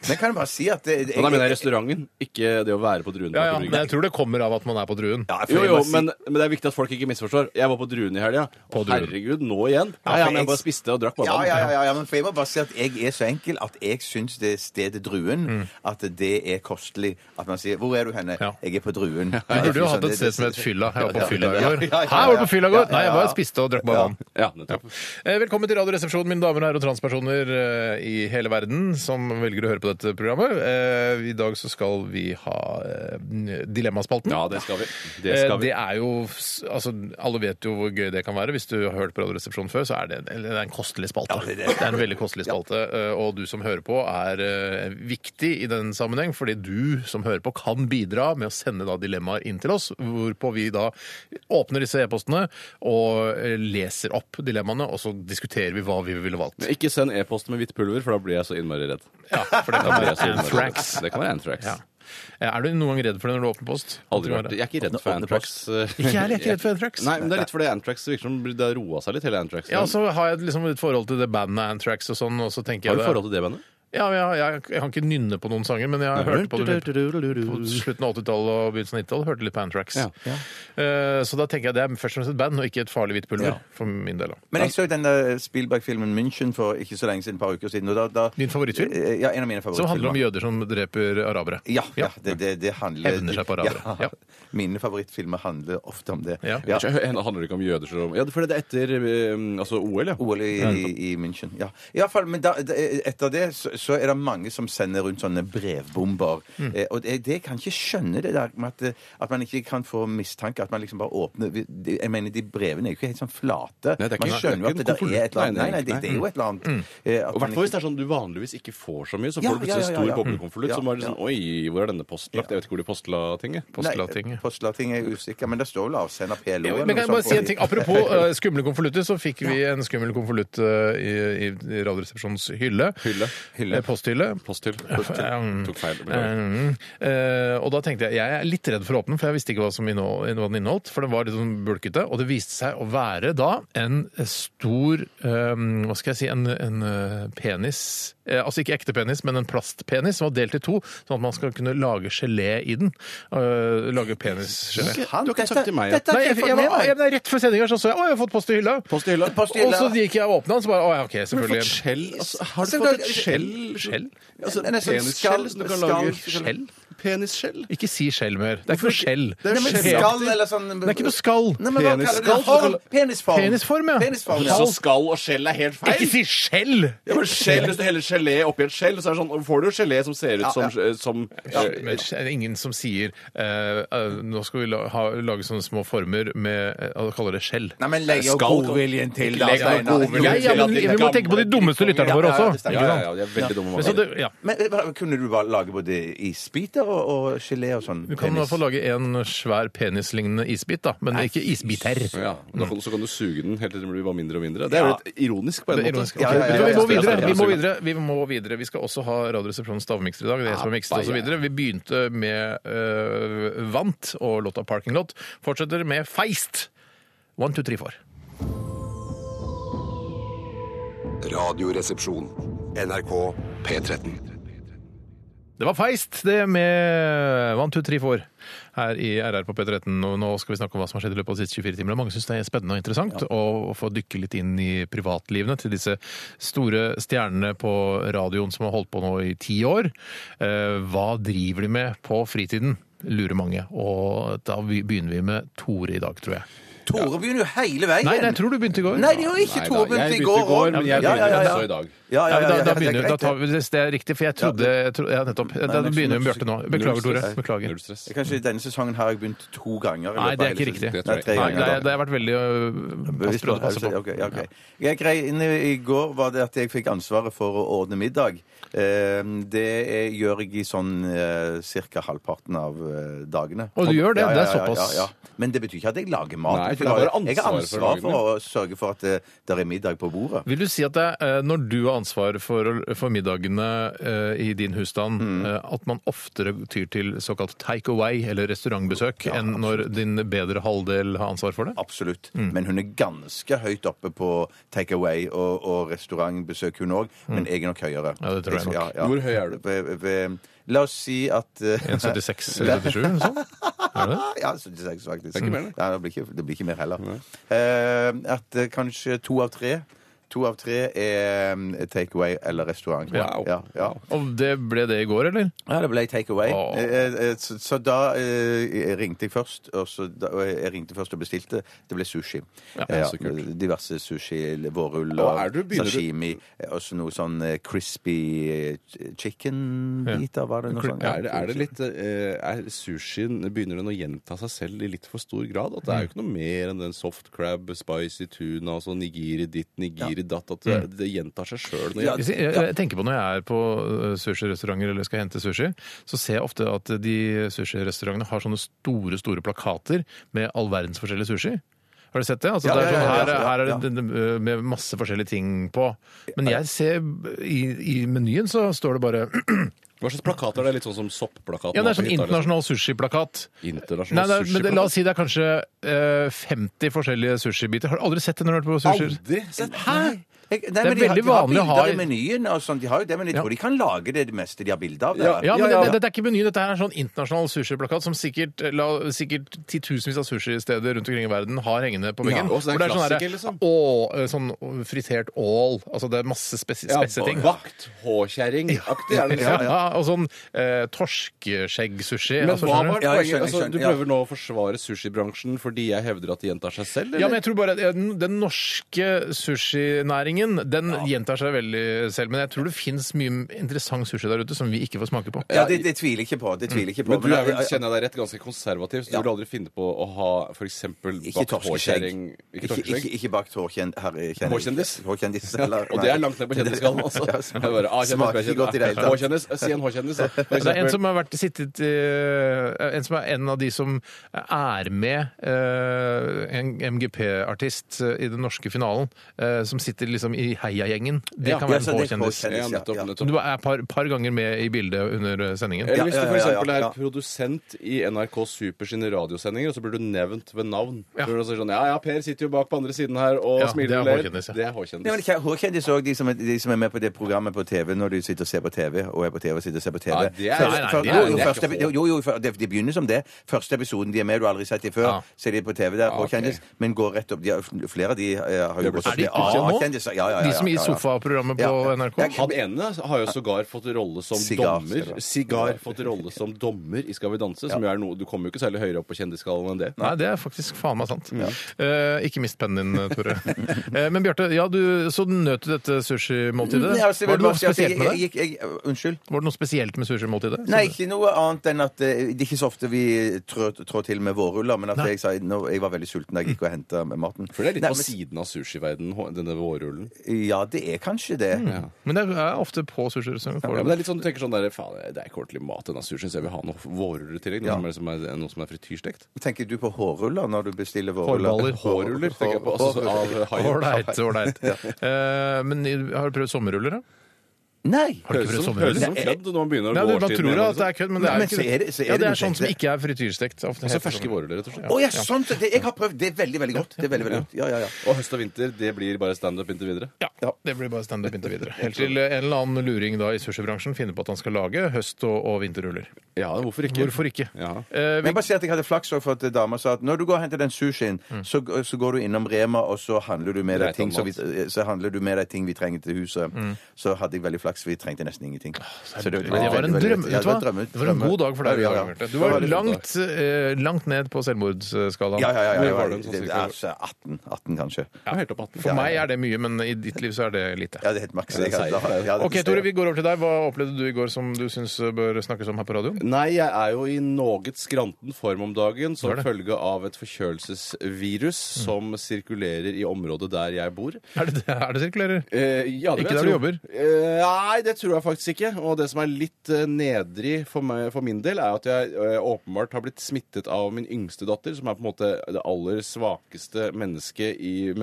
Speaker 5: Men kan jeg bare si at det,
Speaker 4: Og da mener jeg restauranten, ikke det å være på druen på
Speaker 3: Ja, ja,
Speaker 4: Aker
Speaker 3: men
Speaker 4: Brygge.
Speaker 3: jeg tror det kommer av at man er på druen.
Speaker 5: Ja, for
Speaker 4: Jo,
Speaker 5: jeg
Speaker 4: jo,
Speaker 5: må si-
Speaker 4: men, men det er viktig at folk ikke misforstår. Jeg var på Druen i helga.
Speaker 3: På
Speaker 4: Å,
Speaker 3: Druen.
Speaker 4: Herregud, nå igjen? Ja, ja, men jeg bare spiste og drakk bare
Speaker 5: Ja,
Speaker 4: vann.
Speaker 5: ja, ja, ja, men for jeg må bare si at jeg er så enkel at jeg syns det stedet Druen at det er kostelig. At man sier 'Hvor er du henne?'
Speaker 3: Mm. Ja.
Speaker 5: 'Jeg er på Druen'.
Speaker 3: Du burde jo hatt et sted som het Fylla. Jeg var på Fylla i går.
Speaker 5: Ja, ja, ja, ja.
Speaker 3: Hæ, var du på Fylla i går? Nei, jeg bare spiste og drakk bare vann.
Speaker 4: Ja, nettopp.
Speaker 3: Eh, Velkommen til Radioresepsjonen, mine damer og herrer og transpersoner eh, i hele verden som velger å høre på dette programmet. Eh, I dag så skal vi ha eh, Dilemmaspalten.
Speaker 4: Ja, det skal vi. Det
Speaker 3: Eh,
Speaker 4: skal vi.
Speaker 3: Det er jo, altså, Alle vet jo hvor gøy det kan være. Hvis du har hørt på Radioresepsjonen før, så er det, en- det er en kostelig spalte.
Speaker 5: det er
Speaker 3: det,
Speaker 5: det.
Speaker 3: er. en veldig kostelig spalte, eh, og du som hører på er eh, viktig i den sammenheng, fordi du som hører på kan bidra med å sende da dilemmaer inn til oss, hvorpå vi da åpner disse e-postene og eh, leser opp dilemmaene, og så diskuterer vi hva vi ville valgt.
Speaker 4: Men Ikke send e-post med hvitt pulver, for da blir jeg så innmari redd.
Speaker 3: Ja, for det
Speaker 4: Da
Speaker 3: kan
Speaker 4: blir
Speaker 3: være
Speaker 4: jeg så innmari redd.
Speaker 3: anthrax.
Speaker 4: Det kan være anthrax.
Speaker 3: Ja. Eh, Er du noen gang redd for det når du åpner post?
Speaker 4: Aldri
Speaker 3: Jeg tror
Speaker 4: vært. Jeg er ikke redd
Speaker 5: Åpne-
Speaker 4: for
Speaker 5: åpne
Speaker 4: Antrax. eh,
Speaker 3: Ikke jeg heller, jeg er ikke redd for Anthrax.
Speaker 4: Nei, men det er litt fordi Antrax virker som det har roa seg litt, hele Antrax.
Speaker 3: Ja, så har jeg liksom et forhold til det bandet Anthrax og sånn, og så tenker
Speaker 4: har du
Speaker 3: jeg
Speaker 4: forhold til det bandet?
Speaker 3: Ja, men jeg, jeg, jeg kan ikke nynne på noen sanger, men jeg hørte på det litt på slutten av 80-tallet og begynnelsen av 90-tallet. Hørte litt på Anthrax.
Speaker 4: Ja.
Speaker 3: Eh, så da tenker jeg det er først og fremst et band, og ikke et farlig hvitt pulver. For min del. da.
Speaker 5: Men jeg så den der Spielberg-filmen München for ikke så lenge siden, et par uker siden. Og da, da,
Speaker 3: Din favorittfilm?
Speaker 5: Eh, Ja, en av mine
Speaker 3: Som handler om
Speaker 5: favorittfilmer.
Speaker 3: jøder som dreper arabere.
Speaker 5: Ja, ja, det, det, det handler
Speaker 3: Hevner seg på arabere. Ja.
Speaker 5: Mine favorittfilmer handler ofte om det.
Speaker 3: Ja.
Speaker 4: Ikke- Handler det ikke om jøder som Ja, for det er etter eh, altså OL, ja.
Speaker 5: OL i, i, i München. Ja. I alle fall, men da, da- etter det så, så er det mange som sender rundt sånne brevbomber. Eh, og det, det kan ikke skjønne det der med at, at man ikke kan få mistanke. At man liksom bare åpner vi- de- Jeg mener, de brevene er jo ikke helt sånn flate.
Speaker 4: Nei, det er ikke-
Speaker 5: man skjønner jo
Speaker 4: det er
Speaker 5: at det
Speaker 4: ikke
Speaker 5: der er et eller
Speaker 4: konvolutt.
Speaker 5: annet. Nei,
Speaker 4: Nei, det er
Speaker 5: nei,
Speaker 4: ikke-
Speaker 5: det, det er jo et eller annet. eh, at man
Speaker 4: Og hvert fall hvis
Speaker 5: ikke-
Speaker 4: det er sånn du vanligvis ikke får så mye, så
Speaker 5: Ja,
Speaker 4: får du plutselig
Speaker 5: ja, ja,
Speaker 4: stor
Speaker 5: ja, ja.
Speaker 4: boblekonvolutt
Speaker 5: Ja,
Speaker 4: som bare
Speaker 5: ja.
Speaker 4: sånn Oi, hvor er denne postlagt? Jeg vet ikke hvor de postla ting, jeg.
Speaker 5: Nei,
Speaker 3: Postlatinget.
Speaker 5: Postlating er usikker, men det står vel avsender PLO. eller
Speaker 3: Men kan
Speaker 5: noe
Speaker 3: jeg bare
Speaker 5: sånt
Speaker 3: si
Speaker 5: på
Speaker 3: en ting?
Speaker 5: de-
Speaker 3: Apropos eh, skumle konvolutter, så fikk vi en skummel konvolutt eh, i, i Radioresepsjonens hylle.
Speaker 4: Hylle.
Speaker 5: Hylle.
Speaker 3: Eh, Posthylle.
Speaker 4: Posthyll.
Speaker 3: Mm.
Speaker 4: Tok feil. beklager.
Speaker 3: Mm. Eh, og da tenkte jeg jeg er litt redd for å åpne den, for jeg visste ikke hva, som innehold, hva den inneholdt. For den var litt sånn bulkete, og det viste seg å være da en stor eh, Hva skal jeg si En, en eh, penis. Eh, altså ikke ekte penis, men en plastpenis som var delt i to, sånn at man skal kunne lage gelé i den. Eh, lage penisgelé.
Speaker 5: Han,
Speaker 4: Du har ikke sagt
Speaker 5: dette-
Speaker 4: til meg, ja.
Speaker 5: Dette har
Speaker 3: Nei,
Speaker 5: ikke
Speaker 3: jeg,
Speaker 5: jeg
Speaker 3: jeg,
Speaker 5: fått med
Speaker 3: var- jeg,
Speaker 5: meg.
Speaker 3: nei, rett før sendinga så jeg å, jeg har fått post i hylla.
Speaker 4: Post i hylla.
Speaker 5: Post i hylla.
Speaker 3: Og så gikk jeg og åpna den, så bare å ja, OK,
Speaker 4: Har du fått
Speaker 3: selvfølgelig.
Speaker 4: skjell? Altså, har du
Speaker 5: Så
Speaker 4: fått
Speaker 5: da-
Speaker 4: et skjell?
Speaker 3: Skjell?
Speaker 4: Altså,
Speaker 5: Nei, nei, sånn
Speaker 4: Penisskjell
Speaker 5: skall-
Speaker 4: som du kan
Speaker 5: skall-
Speaker 4: lage?
Speaker 5: skjell?
Speaker 4: Penisskjell?
Speaker 3: Ikke si skjell mer. Det er ikke noe skjell.
Speaker 4: Det er
Speaker 5: Nei, men
Speaker 4: skjell.
Speaker 5: skall eller sånn
Speaker 3: Det er ikke noe skall.
Speaker 5: Nei, men hva
Speaker 4: Penis.
Speaker 5: kaller du det? Horn? Penisform.
Speaker 3: Penisform, ja.
Speaker 5: Penisform, ja.
Speaker 4: Så skall og skjell er helt feil?
Speaker 3: Ikke si skjell!
Speaker 4: Ja, men skjell, Hvis du heller gelé oppi et skjell, så er det sånn, får du jo gelé som ser ut som, eh, som
Speaker 3: Ja, men det er ingen som sier eh, eh, nå skal vi la, ha, lage sånne små former med eh, og kaller det skjell.
Speaker 5: Nei, men legg jo
Speaker 4: Skal-
Speaker 5: godviljen til, da.
Speaker 4: Legg jo
Speaker 5: Steinar.
Speaker 3: Ja,
Speaker 4: godviljen vil
Speaker 3: ja,
Speaker 4: til at
Speaker 3: men
Speaker 4: de
Speaker 3: vi må
Speaker 4: gamle
Speaker 3: tenke på de dummeste lytterne
Speaker 5: Ja,
Speaker 3: våre
Speaker 5: ja, ja,
Speaker 3: også.
Speaker 5: det stemmer.
Speaker 4: Ja, ja, ja, de er veldig dumme.
Speaker 3: Men så det, ja.
Speaker 5: Men hva- Kunne du bare lage både isbiter og, og gelé og sånn?
Speaker 3: Du kan i hvert fall lage en svær penislignende isbit, da, men ikke isbiter.
Speaker 4: Ja, da kan, Så kan du suge den helt til den blir bare mindre og mindre. Det er jo
Speaker 5: Ja.
Speaker 4: litt ironisk på en
Speaker 3: Det er
Speaker 4: måte.
Speaker 3: ironisk.
Speaker 4: Ok,
Speaker 5: Ja, ja, ja,
Speaker 3: Vet du hva, Vi må
Speaker 5: ja, ja,
Speaker 3: videre.
Speaker 5: ja, ja.
Speaker 3: Vi må videre. Vi må videre. Vi skal også ha Radioresepsjonens stavmikser i dag. Det er jeg som har mikset og så videre. Vi begynte med øh, Vant og låta Parking Lot. Fortsetter med Feist. One, two, three, four.
Speaker 4: sånn.
Speaker 2: Radioresepsjon. NRK P13.
Speaker 3: Det var feist, det med One, two, three, four her i RR på P13. Og nå skal vi snakke om hva som har skjedd i løpet av de siste 24 timer. Og mange syns det er spennende og interessant å, å få dykke litt inn i privatlivene til disse store stjernene på radioen som har holdt på nå i ti år. Eh, hva driver de med på fritiden? lurer mange, og da vi- begynner vi med Tore i dag, tror jeg.
Speaker 5: Tore begynner jo hele veien.
Speaker 3: Nei, nei, jeg tror du begynte i går.
Speaker 5: Nei, det gjorde ikke
Speaker 4: Nei da,
Speaker 5: Tore
Speaker 4: jeg
Speaker 5: begynte i
Speaker 4: begynte
Speaker 5: går.
Speaker 4: i går,
Speaker 5: også.
Speaker 4: men jeg
Speaker 5: Ja, ja, ja, ja.
Speaker 4: begynner også i dag.
Speaker 5: Ja, ja,
Speaker 3: Nei,
Speaker 5: ja,
Speaker 3: men
Speaker 5: ja,
Speaker 3: da,
Speaker 5: det
Speaker 3: da
Speaker 5: er
Speaker 3: begynner da
Speaker 5: greit,
Speaker 3: tar
Speaker 5: det.
Speaker 3: vi, Det er riktig, for jeg trodde jeg tro- Ja, nettopp. Da
Speaker 5: men-
Speaker 3: begynner vi med Bjarte nå. Beklager, Tore. Beklager.
Speaker 4: Null stress.
Speaker 5: Kanskje i denne sesongen har jeg begynt to ganger. i
Speaker 3: Nei,
Speaker 5: løpet
Speaker 3: det er
Speaker 5: av
Speaker 3: ikke
Speaker 5: hele sesongen.
Speaker 3: riktig.
Speaker 4: Det tror
Speaker 5: Nei,
Speaker 4: jeg
Speaker 5: tre
Speaker 3: Nei,
Speaker 5: ganger,
Speaker 3: det,
Speaker 5: da.
Speaker 3: er- det har vært veldig øh, pass
Speaker 5: Bevisst
Speaker 3: på,
Speaker 5: på det.
Speaker 3: passe på.
Speaker 5: Ok, ok, ok. Jeg greier, inne I går var det at jeg fikk ansvaret for å ordne middag. Eh, Det er, gjør jeg i sånn ca. halvparten av eh, dagene.
Speaker 3: Å, du gjør det? Det er såpass.
Speaker 5: Men det betyr ikke at jeg lager mat.
Speaker 4: Nei, for
Speaker 5: jeg,
Speaker 4: du har
Speaker 5: har,
Speaker 4: bare
Speaker 5: jeg har
Speaker 4: ansvar for å
Speaker 5: ansvar
Speaker 4: lage
Speaker 5: for å sørge for at det der er middag på bordet.
Speaker 3: Vil du si at det er, eh, når du har ansvar for, å- for middagene eh, i din husstand, eh, at man oftere tyr til såkalt take away eller restaurantbesøk enn når din bedre halvdel har ansvar for det?
Speaker 5: Absolutt. Men hun er ganske høyt oppe på take away og, og restaurantbesøk, hun òg. Men jeg er nok høyere.
Speaker 3: Ja, det tror jeg nok.
Speaker 5: Ja, ja.
Speaker 4: Hvor høy er du?
Speaker 5: Ved, ved, la oss si at eh,
Speaker 3: 1,76 eller 77 eller noe sånt? Er det det?
Speaker 5: Ah, Ja, 76 faktisk.
Speaker 4: ikke mer, det.
Speaker 5: Ja, det, blir ikke, det blir ikke mer heller. Eh, at eh, kanskje to av tre To av tre er eh, take away eller restaurant.
Speaker 3: Wow.
Speaker 5: Ja, ja.
Speaker 3: Og det ble det i går, eller?
Speaker 5: ja, det ble take away.
Speaker 3: Åh.
Speaker 5: Eh, eh, så, så da eh, ringte jeg først, og så da, og jeg ringte først og bestilte. Det ble sushi. Eh,
Speaker 4: så kult.
Speaker 5: Diverse sushi, vårrull
Speaker 4: Og er
Speaker 5: og
Speaker 4: du- begynner du-
Speaker 5: sashimi. eh, Og så noe sånn eh, crispy eh, chicken-biter, var det noe sånn? sånt?
Speaker 4: Er det, er det litt eh, Er sushien Begynner den å gjenta seg selv i litt for stor grad? At det
Speaker 3: Mm.
Speaker 4: er jo ikke noe mer enn den soft crab, spicy tuna, altså nigiri ditt, nigiri datt At det,
Speaker 3: Mm.
Speaker 4: det gjentar seg sjøl.
Speaker 5: Ja,
Speaker 3: Jeg, jeg, jeg tenker på Når jeg er på øh, sushirestauranter eller skal hente sushi, så ser jeg ofte at de sushirestaurantene har sånne store store plakater med all verdens forskjellig sushi. Har du sett det? Altså,
Speaker 5: Ja,
Speaker 3: det
Speaker 5: ja,
Speaker 3: er sånn,
Speaker 5: ja, ja,
Speaker 3: her,
Speaker 5: ja,
Speaker 3: her er
Speaker 5: ja.
Speaker 3: det øh, med masse forskjellige ting på. Men jeg ser i, i menyen så står det bare
Speaker 4: Hva slags plakat er det? Litt sånn som soppplakaten?
Speaker 3: Ja, det er
Speaker 4: på
Speaker 3: sånn
Speaker 4: hytta, liksom.
Speaker 3: internasjonal sushiplakat. Nei,
Speaker 4: Internasjonal
Speaker 3: det er, men det, la oss
Speaker 4: sushiplakat?
Speaker 3: si det er kanskje eh, 50 forskjellige sushibiter. Har du aldri sett det når du har vært på sushi?
Speaker 4: Aldri sett
Speaker 5: Jeg, nei,
Speaker 3: er
Speaker 5: men de har-
Speaker 3: veldig vanlig å
Speaker 5: De har
Speaker 3: ha
Speaker 5: bilder i
Speaker 3: i-
Speaker 5: menyen og sånn, de har jo det, men jeg
Speaker 3: Ja.
Speaker 5: tror de kan lage det, det meste de har bilde av. der.
Speaker 3: Ja, men
Speaker 4: Ja, ja, ja.
Speaker 3: Dette, dette er ikke menyen, dette her er en sånn internasjonal sushiplakat som sikkert, la, sikkert titusenvis av sushisteder rundt omkring i verden har hengende på veggen.
Speaker 4: Ja, og så er det
Speaker 3: Hvor sånn
Speaker 4: klassiker,
Speaker 3: der,
Speaker 4: liksom.
Speaker 3: å, eh, sånn fritert ål, altså det er masse spes spesse ting.
Speaker 4: Vakt, håkjerring-aktig. er det
Speaker 3: Ja,
Speaker 4: liksom.
Speaker 3: ja, og sånn eh, torskeskjeggsushi.
Speaker 4: Men
Speaker 3: altså,
Speaker 4: hva
Speaker 3: skjønner du?
Speaker 4: var
Speaker 5: Ja, jeg
Speaker 4: poenget?
Speaker 5: skjønner,
Speaker 4: Altså,
Speaker 5: jeg
Speaker 4: du
Speaker 5: skjønner, ja.
Speaker 4: prøver nå å forsvare sushibransjen fordi jeg hevder at de gjentar seg selv?
Speaker 3: Ja,
Speaker 4: Eller?
Speaker 3: men jeg tror bare at den, den norske sushinæringen den gjentar seg veldig selv. Men jeg tror det fins mye interessant sushi der ute som vi ikke får smake på.
Speaker 5: Ja, det, det tviler jeg ikke på. Det tviler jeg ikke på.
Speaker 4: men du
Speaker 5: Men-
Speaker 4: er vel, kjenner jeg deg rett, ganske konservativ, så du
Speaker 5: Ja.
Speaker 4: vil aldri finne på å ha f.eks.
Speaker 5: Ikke
Speaker 4: bakt
Speaker 5: torskeskjegg.
Speaker 4: håkjerring?
Speaker 5: Ikke,
Speaker 4: Ikke
Speaker 5: ikke,
Speaker 4: torskeskjegg?
Speaker 5: ikke bakt hårkjend- herre- kjendis.
Speaker 4: Hårkjendis?
Speaker 5: Hårkjendis, eller-
Speaker 4: Og det er langt ned på kjendisgallen, altså. Jeg bare, ah, kjendis,
Speaker 5: Smaker
Speaker 4: kjendis,
Speaker 5: ikke godt i det hele
Speaker 4: ah,
Speaker 5: tatt.
Speaker 4: Håkjendis, si en håkjendis, da. For
Speaker 3: Det er en
Speaker 4: eksempel.
Speaker 3: som har vært sittet eh, En som er en av de som er med eh, en MGP-artist eh, i den norske finalen, eh, som sitter liksom i heiagjengen. Det
Speaker 4: Ja,
Speaker 3: kan
Speaker 5: ja,
Speaker 3: være
Speaker 5: så
Speaker 3: en
Speaker 5: det er
Speaker 3: H-kjendis.
Speaker 5: H-kjendis,
Speaker 4: Ja, nettopp,
Speaker 5: ja.
Speaker 4: nettopp.
Speaker 3: Som du er et par, par ganger med i bildet under eh, sendingen.
Speaker 4: Eller hvis du
Speaker 5: Ja, ja,
Speaker 4: for
Speaker 5: ja, ja,
Speaker 4: eksempel er
Speaker 5: ja.
Speaker 4: produsent i NRK Super sine radiosendinger, og så blir du nevnt ved navn.
Speaker 3: Ja.
Speaker 4: Ja. Du sier sånn, ja, ja, Per sitter jo bak på andre siden her og
Speaker 3: Ja, det
Speaker 4: smiler
Speaker 3: er
Speaker 4: og ler.
Speaker 3: hårkjendis, ja.
Speaker 4: Det er
Speaker 5: Ja, men
Speaker 4: hårkjendis.
Speaker 5: ikke hårkjendis òg, de, som er- de som er med på det programmet på TV når du sitter og ser på TV, og er på TV og sitter og ser på TV.
Speaker 4: Nei, det er-
Speaker 5: Først-
Speaker 3: nei, nei,
Speaker 5: først-
Speaker 3: det er-
Speaker 5: jo, jo,
Speaker 4: det er
Speaker 5: første-
Speaker 4: ikke hår.
Speaker 5: Jo, jo, for- det- de begynner som det. Første episoden de er med, du har aldri sett de før,
Speaker 3: Ja.
Speaker 5: så er de på TV der,
Speaker 4: Ah,
Speaker 5: hårkjendis, men går rett opp. De har, flere av de eh, har jo
Speaker 4: ble
Speaker 5: gått opp
Speaker 4: så
Speaker 3: Er de
Speaker 5: til
Speaker 3: ikke nå?
Speaker 5: A-kjendiser. Ja, ja, ja,
Speaker 3: De som i
Speaker 5: ja, ja.
Speaker 3: sofaprogrammet på
Speaker 5: Ja, ja.
Speaker 3: NRK?
Speaker 5: Jeg-
Speaker 4: Han ene har jo sågar fått rolle som
Speaker 5: Sigar.
Speaker 4: dommer. Sigar fått rolle som dommer i Skal vi danse, som jo er noe Du kommer jo ikke særlig høyere opp på kjendisskalaen enn det.
Speaker 3: Nei, det er faktisk faen meg sant. Eh, ikke mist pennen din, Tore. Eh, men Bjarte, ja, du, så nøt du dette sushimåltidet?
Speaker 5: Mm, Ja, altså, så jeg vil
Speaker 3: Var det
Speaker 5: bare
Speaker 3: noe
Speaker 5: si at jeg-
Speaker 3: spesielt med det?
Speaker 5: jeg- jeg- jeg- Unnskyld?
Speaker 3: Var det noe spesielt med sushimåltidet?
Speaker 5: Nei, ikke noe annet enn at eh, det er ikke så ofte vi trår, trår til med vårruller, men at jeg, sa, nå, jeg var veldig sulten da jeg gikk og henta maten.
Speaker 4: For det er litt
Speaker 5: Nei,
Speaker 4: på siden av sushiverdenen, hå- denne vårrullen.
Speaker 5: men- Ja, det er kanskje det.
Speaker 3: Men det er ofte på sushirestauranten.
Speaker 4: Ja,
Speaker 3: får
Speaker 4: men
Speaker 3: du-
Speaker 4: det er litt sånn, du tenker sånn der, faen, det er ikke ordentlig mat i denne sushien, så jeg vil ha noe vårruller i tillegg. Noe,
Speaker 5: Ja.
Speaker 4: som er, som er, noe som er frityrstekt.
Speaker 5: Tenker du på hårruller når du bestiller vårruller?
Speaker 3: Hårballer.
Speaker 4: Hårruller, tenker jeg på. Altså, av haien.
Speaker 3: Ålreit, ålreit. Eh, Men har du prøvd sommerruller, da?
Speaker 5: Nei!
Speaker 3: Har du ikke
Speaker 4: Høres
Speaker 3: prøvd
Speaker 4: som,
Speaker 3: sommerruller?
Speaker 4: høres som kødd når man begynner
Speaker 3: Nei,
Speaker 4: å gå altså.
Speaker 3: du, man tror da at det er kødd, men det er
Speaker 5: Nei,
Speaker 3: jo
Speaker 5: men
Speaker 3: ikke
Speaker 5: så er det- så er
Speaker 3: Ja,
Speaker 5: det
Speaker 3: det er sånn som
Speaker 5: det-
Speaker 3: ikke er frityrstekt. Ofte
Speaker 4: Altså
Speaker 3: heter det
Speaker 4: ferske
Speaker 3: sånn.
Speaker 4: vårruller, rett og slett.
Speaker 5: Å ja, sånn! Det, jeg har prøvd. Det er veldig, veldig godt. Det er veldig, veldig godt. Ja, ja, ja.
Speaker 4: Og høst og vinter, det blir bare standup inntil videre.
Speaker 3: Ja, Det blir bare standup inntil videre. Helt til en eller annen luring da i sushibransjen finner på at han skal lage høst- og, og vinterruller.
Speaker 4: Ja, hvorfor ikke?
Speaker 3: Hvorfor ikke?
Speaker 4: Ja.
Speaker 3: Eh,
Speaker 5: Men jeg bare sier at jeg hadde flaks også for at dama sa at når du går og henter den sushien,
Speaker 3: Mm.
Speaker 5: så, så går du innom Rema, og så handler du med deg
Speaker 4: Greit,
Speaker 5: ting, som vi, eh,
Speaker 4: Thomas.
Speaker 5: så handler du med deg ting vi trenger til huset.
Speaker 3: Mm.
Speaker 5: Så hadde jeg veldig flaks. Vi trengte nesten ingenting. Så
Speaker 3: Det var en
Speaker 5: veldig-
Speaker 3: drøm.
Speaker 5: veldig-
Speaker 3: Vet du
Speaker 5: ja,
Speaker 3: hva?
Speaker 5: drømme-
Speaker 3: Det var en god dag for deg. i
Speaker 5: Ja, ja,
Speaker 3: dag,
Speaker 5: ja.
Speaker 3: Bjarte. Du
Speaker 5: Det
Speaker 3: var
Speaker 5: en god dag.
Speaker 3: langt, eh, langt ned på selvmordsskalaen.
Speaker 5: Ja, ja, ja. ja,
Speaker 4: Hvor
Speaker 5: ja.
Speaker 4: var den
Speaker 5: Det-
Speaker 4: sånn
Speaker 5: det
Speaker 4: cirka?
Speaker 5: er altså 18, 18 kanskje.
Speaker 4: Ja, helt opp 18.
Speaker 3: For meg er det mye, men i ditt liv så er det lite.
Speaker 5: Ja, det er helt maks.
Speaker 4: det er seier.
Speaker 3: OK, Tore, vi går over til deg. Hva opplevde du i går som du syns bør snakkes om her på radioen?
Speaker 4: Nei, jeg er jo i noe skranten form om dagen som
Speaker 3: Du er det. Mm.
Speaker 4: følge av et forkjølelsesvirus som sirkulerer i området der jeg bor.
Speaker 3: Er det, er det sirkulerer?
Speaker 4: Eh, ja, det
Speaker 3: Ikke
Speaker 4: vil jeg
Speaker 3: der
Speaker 4: tro.
Speaker 3: du jobber?
Speaker 4: Eh, nei, det tror jeg faktisk ikke. Og det som er litt eh, nedrig for, meg, for min del, er at jeg eh, åpenbart har blitt smittet av min yngste datter, som er på en måte det aller svakeste mennesket i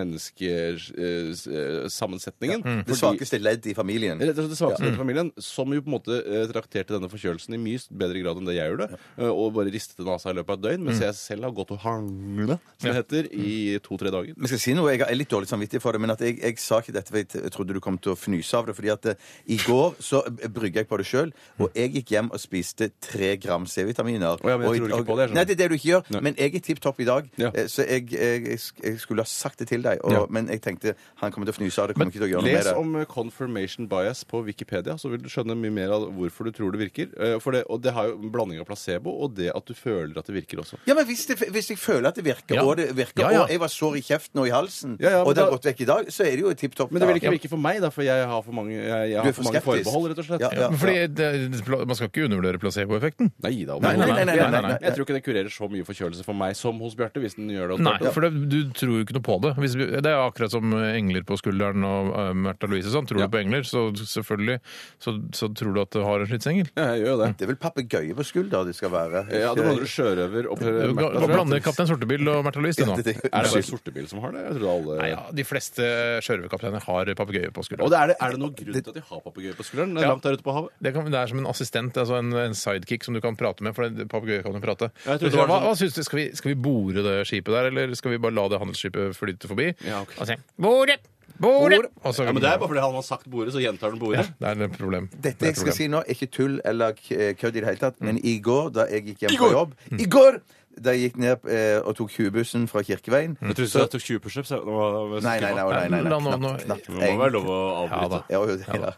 Speaker 4: eh, menneskesammensetningen.
Speaker 3: mm.
Speaker 5: Det svakeste ledd i familien.
Speaker 4: Rett og slett det svakeste i familien, som jo på en måte eh, trakterte denne forkjølelsen i mye bedre grad enn det jeg gjorde, eh, og bare ristet den av seg i løpet av et døgn,
Speaker 3: Mm.
Speaker 4: mens jeg selv har gått og hangla, som det heter, i to-tre dager.
Speaker 5: Men jeg skal si noe, jeg er litt dårlig samvittig for det, men at jeg, jeg sa ikke dette, for jeg t- jeg trodde du kom til å fnyse av det. fordi at eh, i går så b- brygget jeg på det sjøl, og jeg gikk hjem og spiste tre gram C-vitaminer.
Speaker 4: Mm. ja, men jeg
Speaker 5: Og i-
Speaker 4: tror ikke
Speaker 5: og-
Speaker 4: på det, jeg skjønner.
Speaker 5: Nei, det er det du ikke gjør.
Speaker 4: Nei.
Speaker 5: Men jeg er tipp topp i dag,
Speaker 4: Ja.
Speaker 5: eh, så jeg, jeg, jeg sk- jeg skulle ha sagt det til deg. Og, Men jeg tenkte han kommer til å fnyse av det, kommer ikke til å gjøre noe med
Speaker 4: Les
Speaker 5: det.
Speaker 4: om eh, confirmation bias på Wikipedia, så vil du skjønne mye mer av hvorfor du tror det virker. Eh, For det, og det har jo en blanding av placebo og det at du føler at det virker også.
Speaker 5: Ja, men hvis, det, hvis jeg føler at det virker,
Speaker 3: Ja.
Speaker 5: og det virker,
Speaker 3: Ja, ja.
Speaker 5: og jeg var sår i kjeften og i halsen,
Speaker 4: Ja, ja, men
Speaker 5: og det har
Speaker 4: da-
Speaker 5: gått vekk i dag, så er det jo tipp topp.
Speaker 4: Men det vil ikke virke for meg, da, for jeg har for mange jeg, jeg har
Speaker 5: Du er for
Speaker 4: mange
Speaker 5: skeptisk.
Speaker 4: forbehold, rett og slett.
Speaker 5: Ja, ja,
Speaker 3: Fordi det, det, Man skal ikke undervurdere placeboeffekten.
Speaker 4: Nei da.
Speaker 5: Nei, nei, nei, nei, nei, nei.
Speaker 4: Jeg tror ikke det kurerer så mye forkjølelse for meg som hos Bjarte, hvis den gjør det. hos
Speaker 3: Nei,
Speaker 4: Bjarte.
Speaker 3: for det, du tror jo ikke noe på det. Hvis, vi- det er akkurat som engler på skulderen og eh, Märtha Louise. og Sånn. Tror
Speaker 4: Ja.
Speaker 3: du på engler, så selvfølgelig så, så tror du at du har en slittsengel.
Speaker 4: Ja, jeg gjør jo det.
Speaker 5: Det er vel papegøye på skulder det skal være.
Speaker 4: Ja, det blander du sjørøver og
Speaker 3: Du
Speaker 4: Märtha, tror jeg.
Speaker 3: blander Kaptein Sortebil og Märtha Louise du, nå.
Speaker 5: det- det-
Speaker 4: Er det bare sortebil som har det? Jeg trodde alle
Speaker 3: Nei, ja, de fleste sjørøverkapteiner har papegøye på
Speaker 4: Og
Speaker 3: skulderen.
Speaker 4: det er, det, er det noen grunn til at de har papegøye på skulderen?
Speaker 3: Ja.
Speaker 4: Langt der ute på havet?
Speaker 3: Det, kan, det er som en assistent, altså en, en sidekick som du kan prate med. For en papegøye kan jo prate.
Speaker 4: Ja, jeg
Speaker 3: Du
Speaker 4: trodde det
Speaker 3: sier,
Speaker 4: var
Speaker 3: hva,
Speaker 4: sånn-
Speaker 3: hva synes du, skal vi, skal vi bore det skipet der, eller skal vi bare la det handelsskipet flyte forbi?
Speaker 4: Ja, ok.
Speaker 3: Og så sier jeg, bore! Bore! Og så,
Speaker 4: Ja, men Det er bare fordi han har sagt bordet, så gjentar han
Speaker 3: Ja,
Speaker 4: bordet.
Speaker 3: det er et problem.
Speaker 5: Dette
Speaker 3: Det er et
Speaker 5: jeg skal
Speaker 3: problem.
Speaker 5: si nå, er ikke tull eller k- eh, kødd i det hele tatt, men i går, da jeg gikk hjem
Speaker 4: I går! Mm.
Speaker 5: fra jobb I går! Da jeg gikk ned eh, og tok 20-bussen fra Kirkeveien
Speaker 4: Jeg trodde du sa at du tok 20 pushups. jeg- nå var-
Speaker 5: Nei, nei, nei. nei, nei,
Speaker 3: La nå-
Speaker 5: nei.
Speaker 3: nå-
Speaker 5: Knapt,
Speaker 4: Det må være lov å
Speaker 3: Ja da.
Speaker 4: avbryte.
Speaker 5: Ja, jo, det- ja.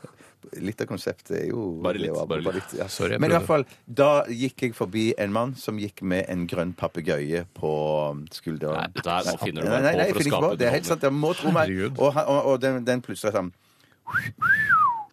Speaker 5: Litt av konseptet er jo
Speaker 4: Bare litt,
Speaker 5: det var-
Speaker 4: bare litt.
Speaker 5: ja.
Speaker 3: Sorry, jeg
Speaker 5: Men i
Speaker 3: prøvde.
Speaker 5: hvert fall, da gikk jeg forbi en mann som gikk med en grønn papegøye på um, skulderen.
Speaker 4: Nei, der nå finner du
Speaker 5: Nei,
Speaker 4: bare
Speaker 5: nei, nei,
Speaker 4: på
Speaker 5: jeg
Speaker 4: for å
Speaker 5: finner ikke på.
Speaker 4: skape
Speaker 5: Det er helt sant. Jeg må tro meg.
Speaker 3: Herregud.
Speaker 5: Og, han- og, og den, den plutselig sånn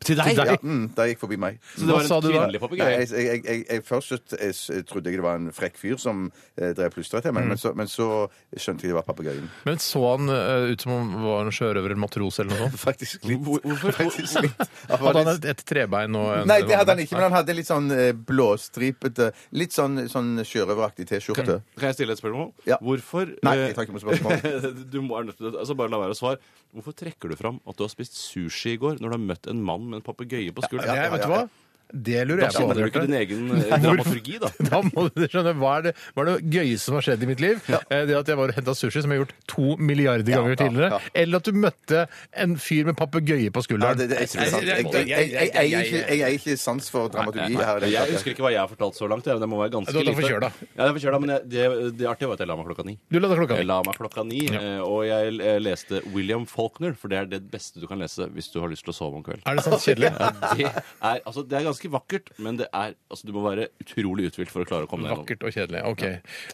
Speaker 4: Til deg?
Speaker 5: ja, mm, Da gikk forbi meg.
Speaker 4: Så det var
Speaker 3: Hva sa
Speaker 4: en
Speaker 3: du da?
Speaker 4: kvinnelig
Speaker 5: Nei,
Speaker 4: papegøye?
Speaker 5: jeg, jeg, jeg, jeg, jeg først så t- jeg, s- trodde jeg det var en frekk fyr som eh, drev plystret til meg, men, så, men så skjønte jeg det var papegøyen.
Speaker 3: Men så han eh, ut som om han var en sjørøver eller matros eller noe sånt?
Speaker 5: Faktisk litt.
Speaker 4: Hvor- hvorfor-
Speaker 5: Faktisk litt. Han var
Speaker 3: Hadde han
Speaker 5: litt-
Speaker 3: et, et trebein og en
Speaker 5: Nei, det hadde han ikke, men han hadde litt sånn eh, blåstripete, litt sånn, sånn sjørøveraktig T-skjorte.
Speaker 4: Kan jeg stille et spørsmål?
Speaker 5: Ja.
Speaker 4: Hvorfor
Speaker 5: Nei,
Speaker 4: eh,
Speaker 5: jeg tar ikke noe spørsmål.
Speaker 4: du må, er nødt til, altså bare la være å svare. Hvorfor trekker du fram at du har spist sushi i går, når du har møtt en mann med en papegøye på skulderen?
Speaker 3: Ja, ja, vet du hva? Det lurer
Speaker 4: Da
Speaker 3: jeg på.
Speaker 4: kjenner du ikke
Speaker 3: Bjarte.
Speaker 4: din egen eh, dramaturgi, da.
Speaker 3: Da må du skjønne, Hva er det, hva er det gøyeste som har skjedd i mitt liv? Eh, Det at jeg var og henta sushi, som jeg har gjort to milliarder ganger
Speaker 5: ja,
Speaker 3: tidligere.
Speaker 5: ja.
Speaker 3: Eller at du møtte en fyr med papegøye på
Speaker 5: Ja,
Speaker 3: skulderen.
Speaker 5: det, det, jeg, tror det er sant. jeg, jeg, jeg, jeg, jeg, er ikke- jeg er ikke sans for dramaturgi her.
Speaker 4: Jeg husker ikke hva jeg har fortalt så langt. jeg, men Det må være ganske
Speaker 3: Du er da
Speaker 4: lite.
Speaker 3: forkjøla.
Speaker 4: Ja, jeg er forkjøla, men jeg, det, det artige var at jeg la meg klokka ni.
Speaker 3: Du la deg klokka
Speaker 4: Jeg
Speaker 3: ned.
Speaker 4: la meg klokka ni, eh, og jeg eh, leste William Faulkner, for det er det beste du kan lese hvis du har lyst til å sove om kvelden.
Speaker 3: Er det sant? Kjedelig?
Speaker 4: Ja, det, er, altså, det er ganske vakkert, men det er, altså, du må være utrolig uthvilt for å klare å komme deg gjennom.
Speaker 3: Vakkert og kjedelig. Ok.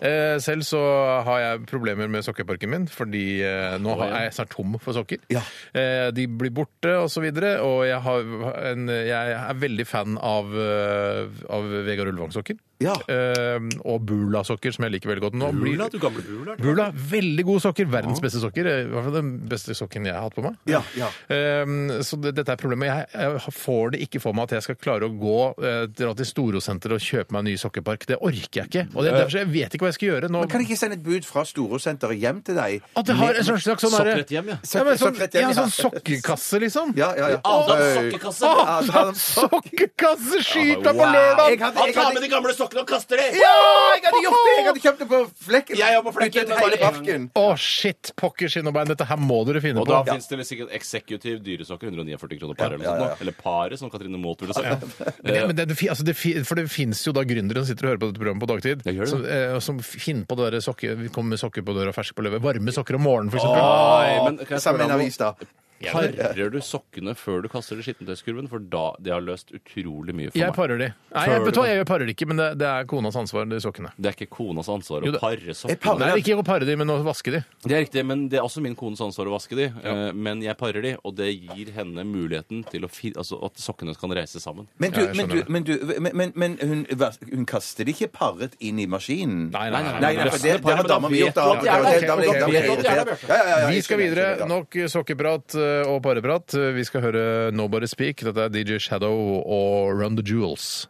Speaker 3: Eh, Selv så har jeg problemer med sokkeparken min, fordi eh, nå har- er jeg snart tom for sokker. Eh, De blir borte, og så videre. Og jeg, har en, jeg er veldig fan av, eh, av Vegard Ulvang-sokker.
Speaker 5: Ja.
Speaker 3: Eh, Og Bula-sokker, som jeg liker veldig godt. Nå blir-
Speaker 4: Bula, du gamle bula.
Speaker 3: Bula, veldig gode sokker. Verdens beste sokker. Eh, I hvert fall den beste sokken jeg har hatt på meg.
Speaker 5: Ja, ja.
Speaker 3: Ehm, så det, dette er problemet. Jeg, jeg får det ikke for meg at jeg skal klare å gå eh, dra til Storosenteret og kjøpe meg en ny sokkepark. Det orker jeg ikke. Og det, derfor så jeg vet ikke hva jeg skal gjøre nå.
Speaker 5: Eh. Men kan jeg ikke sende et bud fra Storosenteret hjem til deg?
Speaker 3: At jeg har en slags, slags sånn derre-
Speaker 4: Sokkerett hjem, ja.
Speaker 3: Ja, men sånn,
Speaker 5: Sokkerett hjem,
Speaker 3: ja,
Speaker 5: ja.
Speaker 3: sånn sokkekasse, liksom.
Speaker 5: Ja, ja, ja.
Speaker 4: sokkekasse!
Speaker 5: Ja, ta dem-
Speaker 3: Sokkekasse! Skyt meg på
Speaker 4: Wow.
Speaker 5: Jeg
Speaker 3: lørdag!
Speaker 5: hadde, jeg, hadde,
Speaker 4: de gamle sokkene og kaster dem!
Speaker 5: ja, jeg hadde gjort det! Jeg hadde kjøpt det på flekken.
Speaker 4: Jeg er på flekken,
Speaker 5: Byttet
Speaker 4: men bare
Speaker 5: hele
Speaker 4: en-
Speaker 5: parken.
Speaker 3: Å, shit! Pokker skinn og bein. Dette her må dere finne
Speaker 4: Og da
Speaker 3: på.
Speaker 4: finnes det sikkert eksekutiv dyresokker, 149 kroner par eller noe sånt. Eller paret, som Katrine Moth ville sagt.
Speaker 3: Men,
Speaker 5: Eh,
Speaker 3: det, men det, det fi- altså det, fi- for det fins jo da gründere som sitter og hører på dette programmet på dagtid,
Speaker 4: Ja, gjør det.
Speaker 3: som, eh, som finner på det der sokke, vi kommer med sokker på døra, fersk på løvet, varme sokker om morgenen, for eksempel.
Speaker 5: Ah,
Speaker 4: Nei, men kan jeg
Speaker 5: Sammen med
Speaker 4: spørre
Speaker 5: en
Speaker 4: om
Speaker 5: avis, da.
Speaker 4: noe? Parer du sokkene før du kaster det i skittentøyskurven? For da det har løst utrolig mye for
Speaker 3: Jeg
Speaker 4: meg.
Speaker 3: parer de. Nei, jeg, vet du hva, jeg parer de ikke, men det, det er konas ansvar, de sokkene.
Speaker 4: Det er ikke konas ansvar
Speaker 3: Jo,
Speaker 4: å
Speaker 3: det-
Speaker 4: pare
Speaker 5: Jeg parer.
Speaker 4: sokkene.
Speaker 3: Nei, ikke å pare de, men å vaske de.
Speaker 4: Det er riktig, men det er også min kones ansvar å vaske de. eh, Men jeg parer de, og det gir henne muligheten til å fi, altså, at sokkene kan reise sammen.
Speaker 5: Men du,
Speaker 3: Ja, jeg
Speaker 5: men,
Speaker 3: skjønner
Speaker 5: du, men, du men, men, men hun, hun kaster det ikke paret inn i maskinen?
Speaker 3: Nei, nei, nei.
Speaker 5: Nei, nei, for det, det har dama mi gjort. da.
Speaker 4: Ja, ja,
Speaker 5: Det- det-
Speaker 3: ok,
Speaker 5: det- det-
Speaker 3: ok,
Speaker 5: det-
Speaker 3: ok.
Speaker 5: det- det- ja, ja, ja,
Speaker 3: Vi
Speaker 5: jeg
Speaker 3: skal
Speaker 5: skjønner, jeg
Speaker 3: videre.
Speaker 5: skjønner, ja.
Speaker 3: Nok sokkeprat eh, og pareprat. Vi skal høre Nobody Speak. Dette er DJ Shadow og Run the Jewels.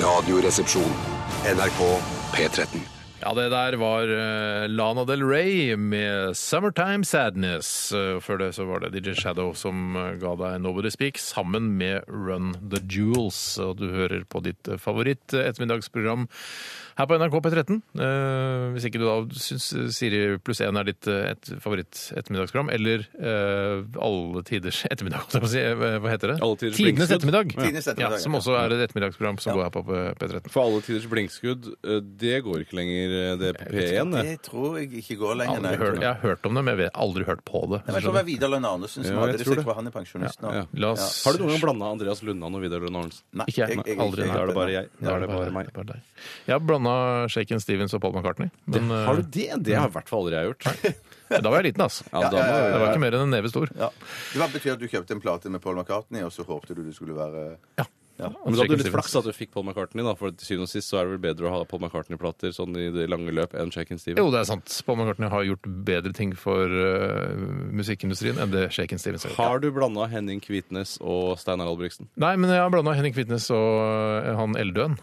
Speaker 2: Radioresepsjon. NRK P13.
Speaker 3: Ja, det der var eh, Lana Del Rey med 'Summertime Sadness'. Eh, før det så var det DJ Shadow som eh, ga deg 'Nobody Speak' sammen med 'Run The Jewels'. Og du hører på ditt eh, favoritt eh, ettermiddagsprogram her på NRK P13. Eh, hvis ikke du da syns eh, Siri pluss 1 er ditt eh, et favoritt ettermiddagsprogram, eller eh, alle tiders ettermiddag, holdt jeg på å si. Eh, Hva heter det?
Speaker 4: Alle tiders
Speaker 3: Tidenes
Speaker 4: blinkskudd.
Speaker 3: ettermiddag.
Speaker 5: Tidenes ettermiddag,
Speaker 3: Ja, som
Speaker 5: ja.
Speaker 3: også er et ettermiddagsprogram som går her på eh, P13.
Speaker 4: For alle tiders blinkskudd, eh, det går ikke lenger, eh, det på P1. det.
Speaker 5: Det tror jeg ikke går lenger,
Speaker 3: Aldri hørt, jeg har hørt om det, men jeg vet aldri hørt på
Speaker 5: Nei,
Speaker 3: det.
Speaker 5: men jeg tror det var Vidar Lønn Arnesen som
Speaker 4: Ja,
Speaker 5: hadde
Speaker 4: jeg
Speaker 5: det.
Speaker 4: tror
Speaker 5: Sikkert
Speaker 4: det.
Speaker 5: var han er pensjonist nå.
Speaker 4: Ja.
Speaker 3: La oss
Speaker 4: Har du noen gang blanda Andreas Lundan og Vidar Lund Arnsen?
Speaker 5: Nei,
Speaker 3: Ikke jeg.
Speaker 5: ikke.
Speaker 3: Aldri.
Speaker 4: Da er det bare jeg. Da er det bare meg.
Speaker 3: bare deg. Jeg har blanda Shaken Stevens og Paul McCartney. Men eh,
Speaker 4: Har du det? Det har i hvert fall aldri jeg gjort.
Speaker 3: da var jeg liten, altså.
Speaker 4: Ja, da må
Speaker 3: Jeg var ikke mer enn en neve stor.
Speaker 5: Ja. Det var- betyr at du kjøpte en plate med Paul McCartney, og så håpte du det skulle være
Speaker 3: Ja.
Speaker 4: Men da hadde du litt flaks at du fikk Paul McCartney, da, for til syvende og sist så er det vel bedre å ha Paul McCartney-plater sånn i det lange løp enn Shaken
Speaker 3: Jo,
Speaker 4: Steven.
Speaker 3: det er sant. Paul McCartney har gjort bedre ting for eh, musikkindustrien enn det Shaken Stevens har gjort.
Speaker 4: Har du blanda Henning Kvitnes og Steinar Albrigtsen?
Speaker 3: Nei, men jeg har blanda Henning Kvitnes og eh, han Eldøen.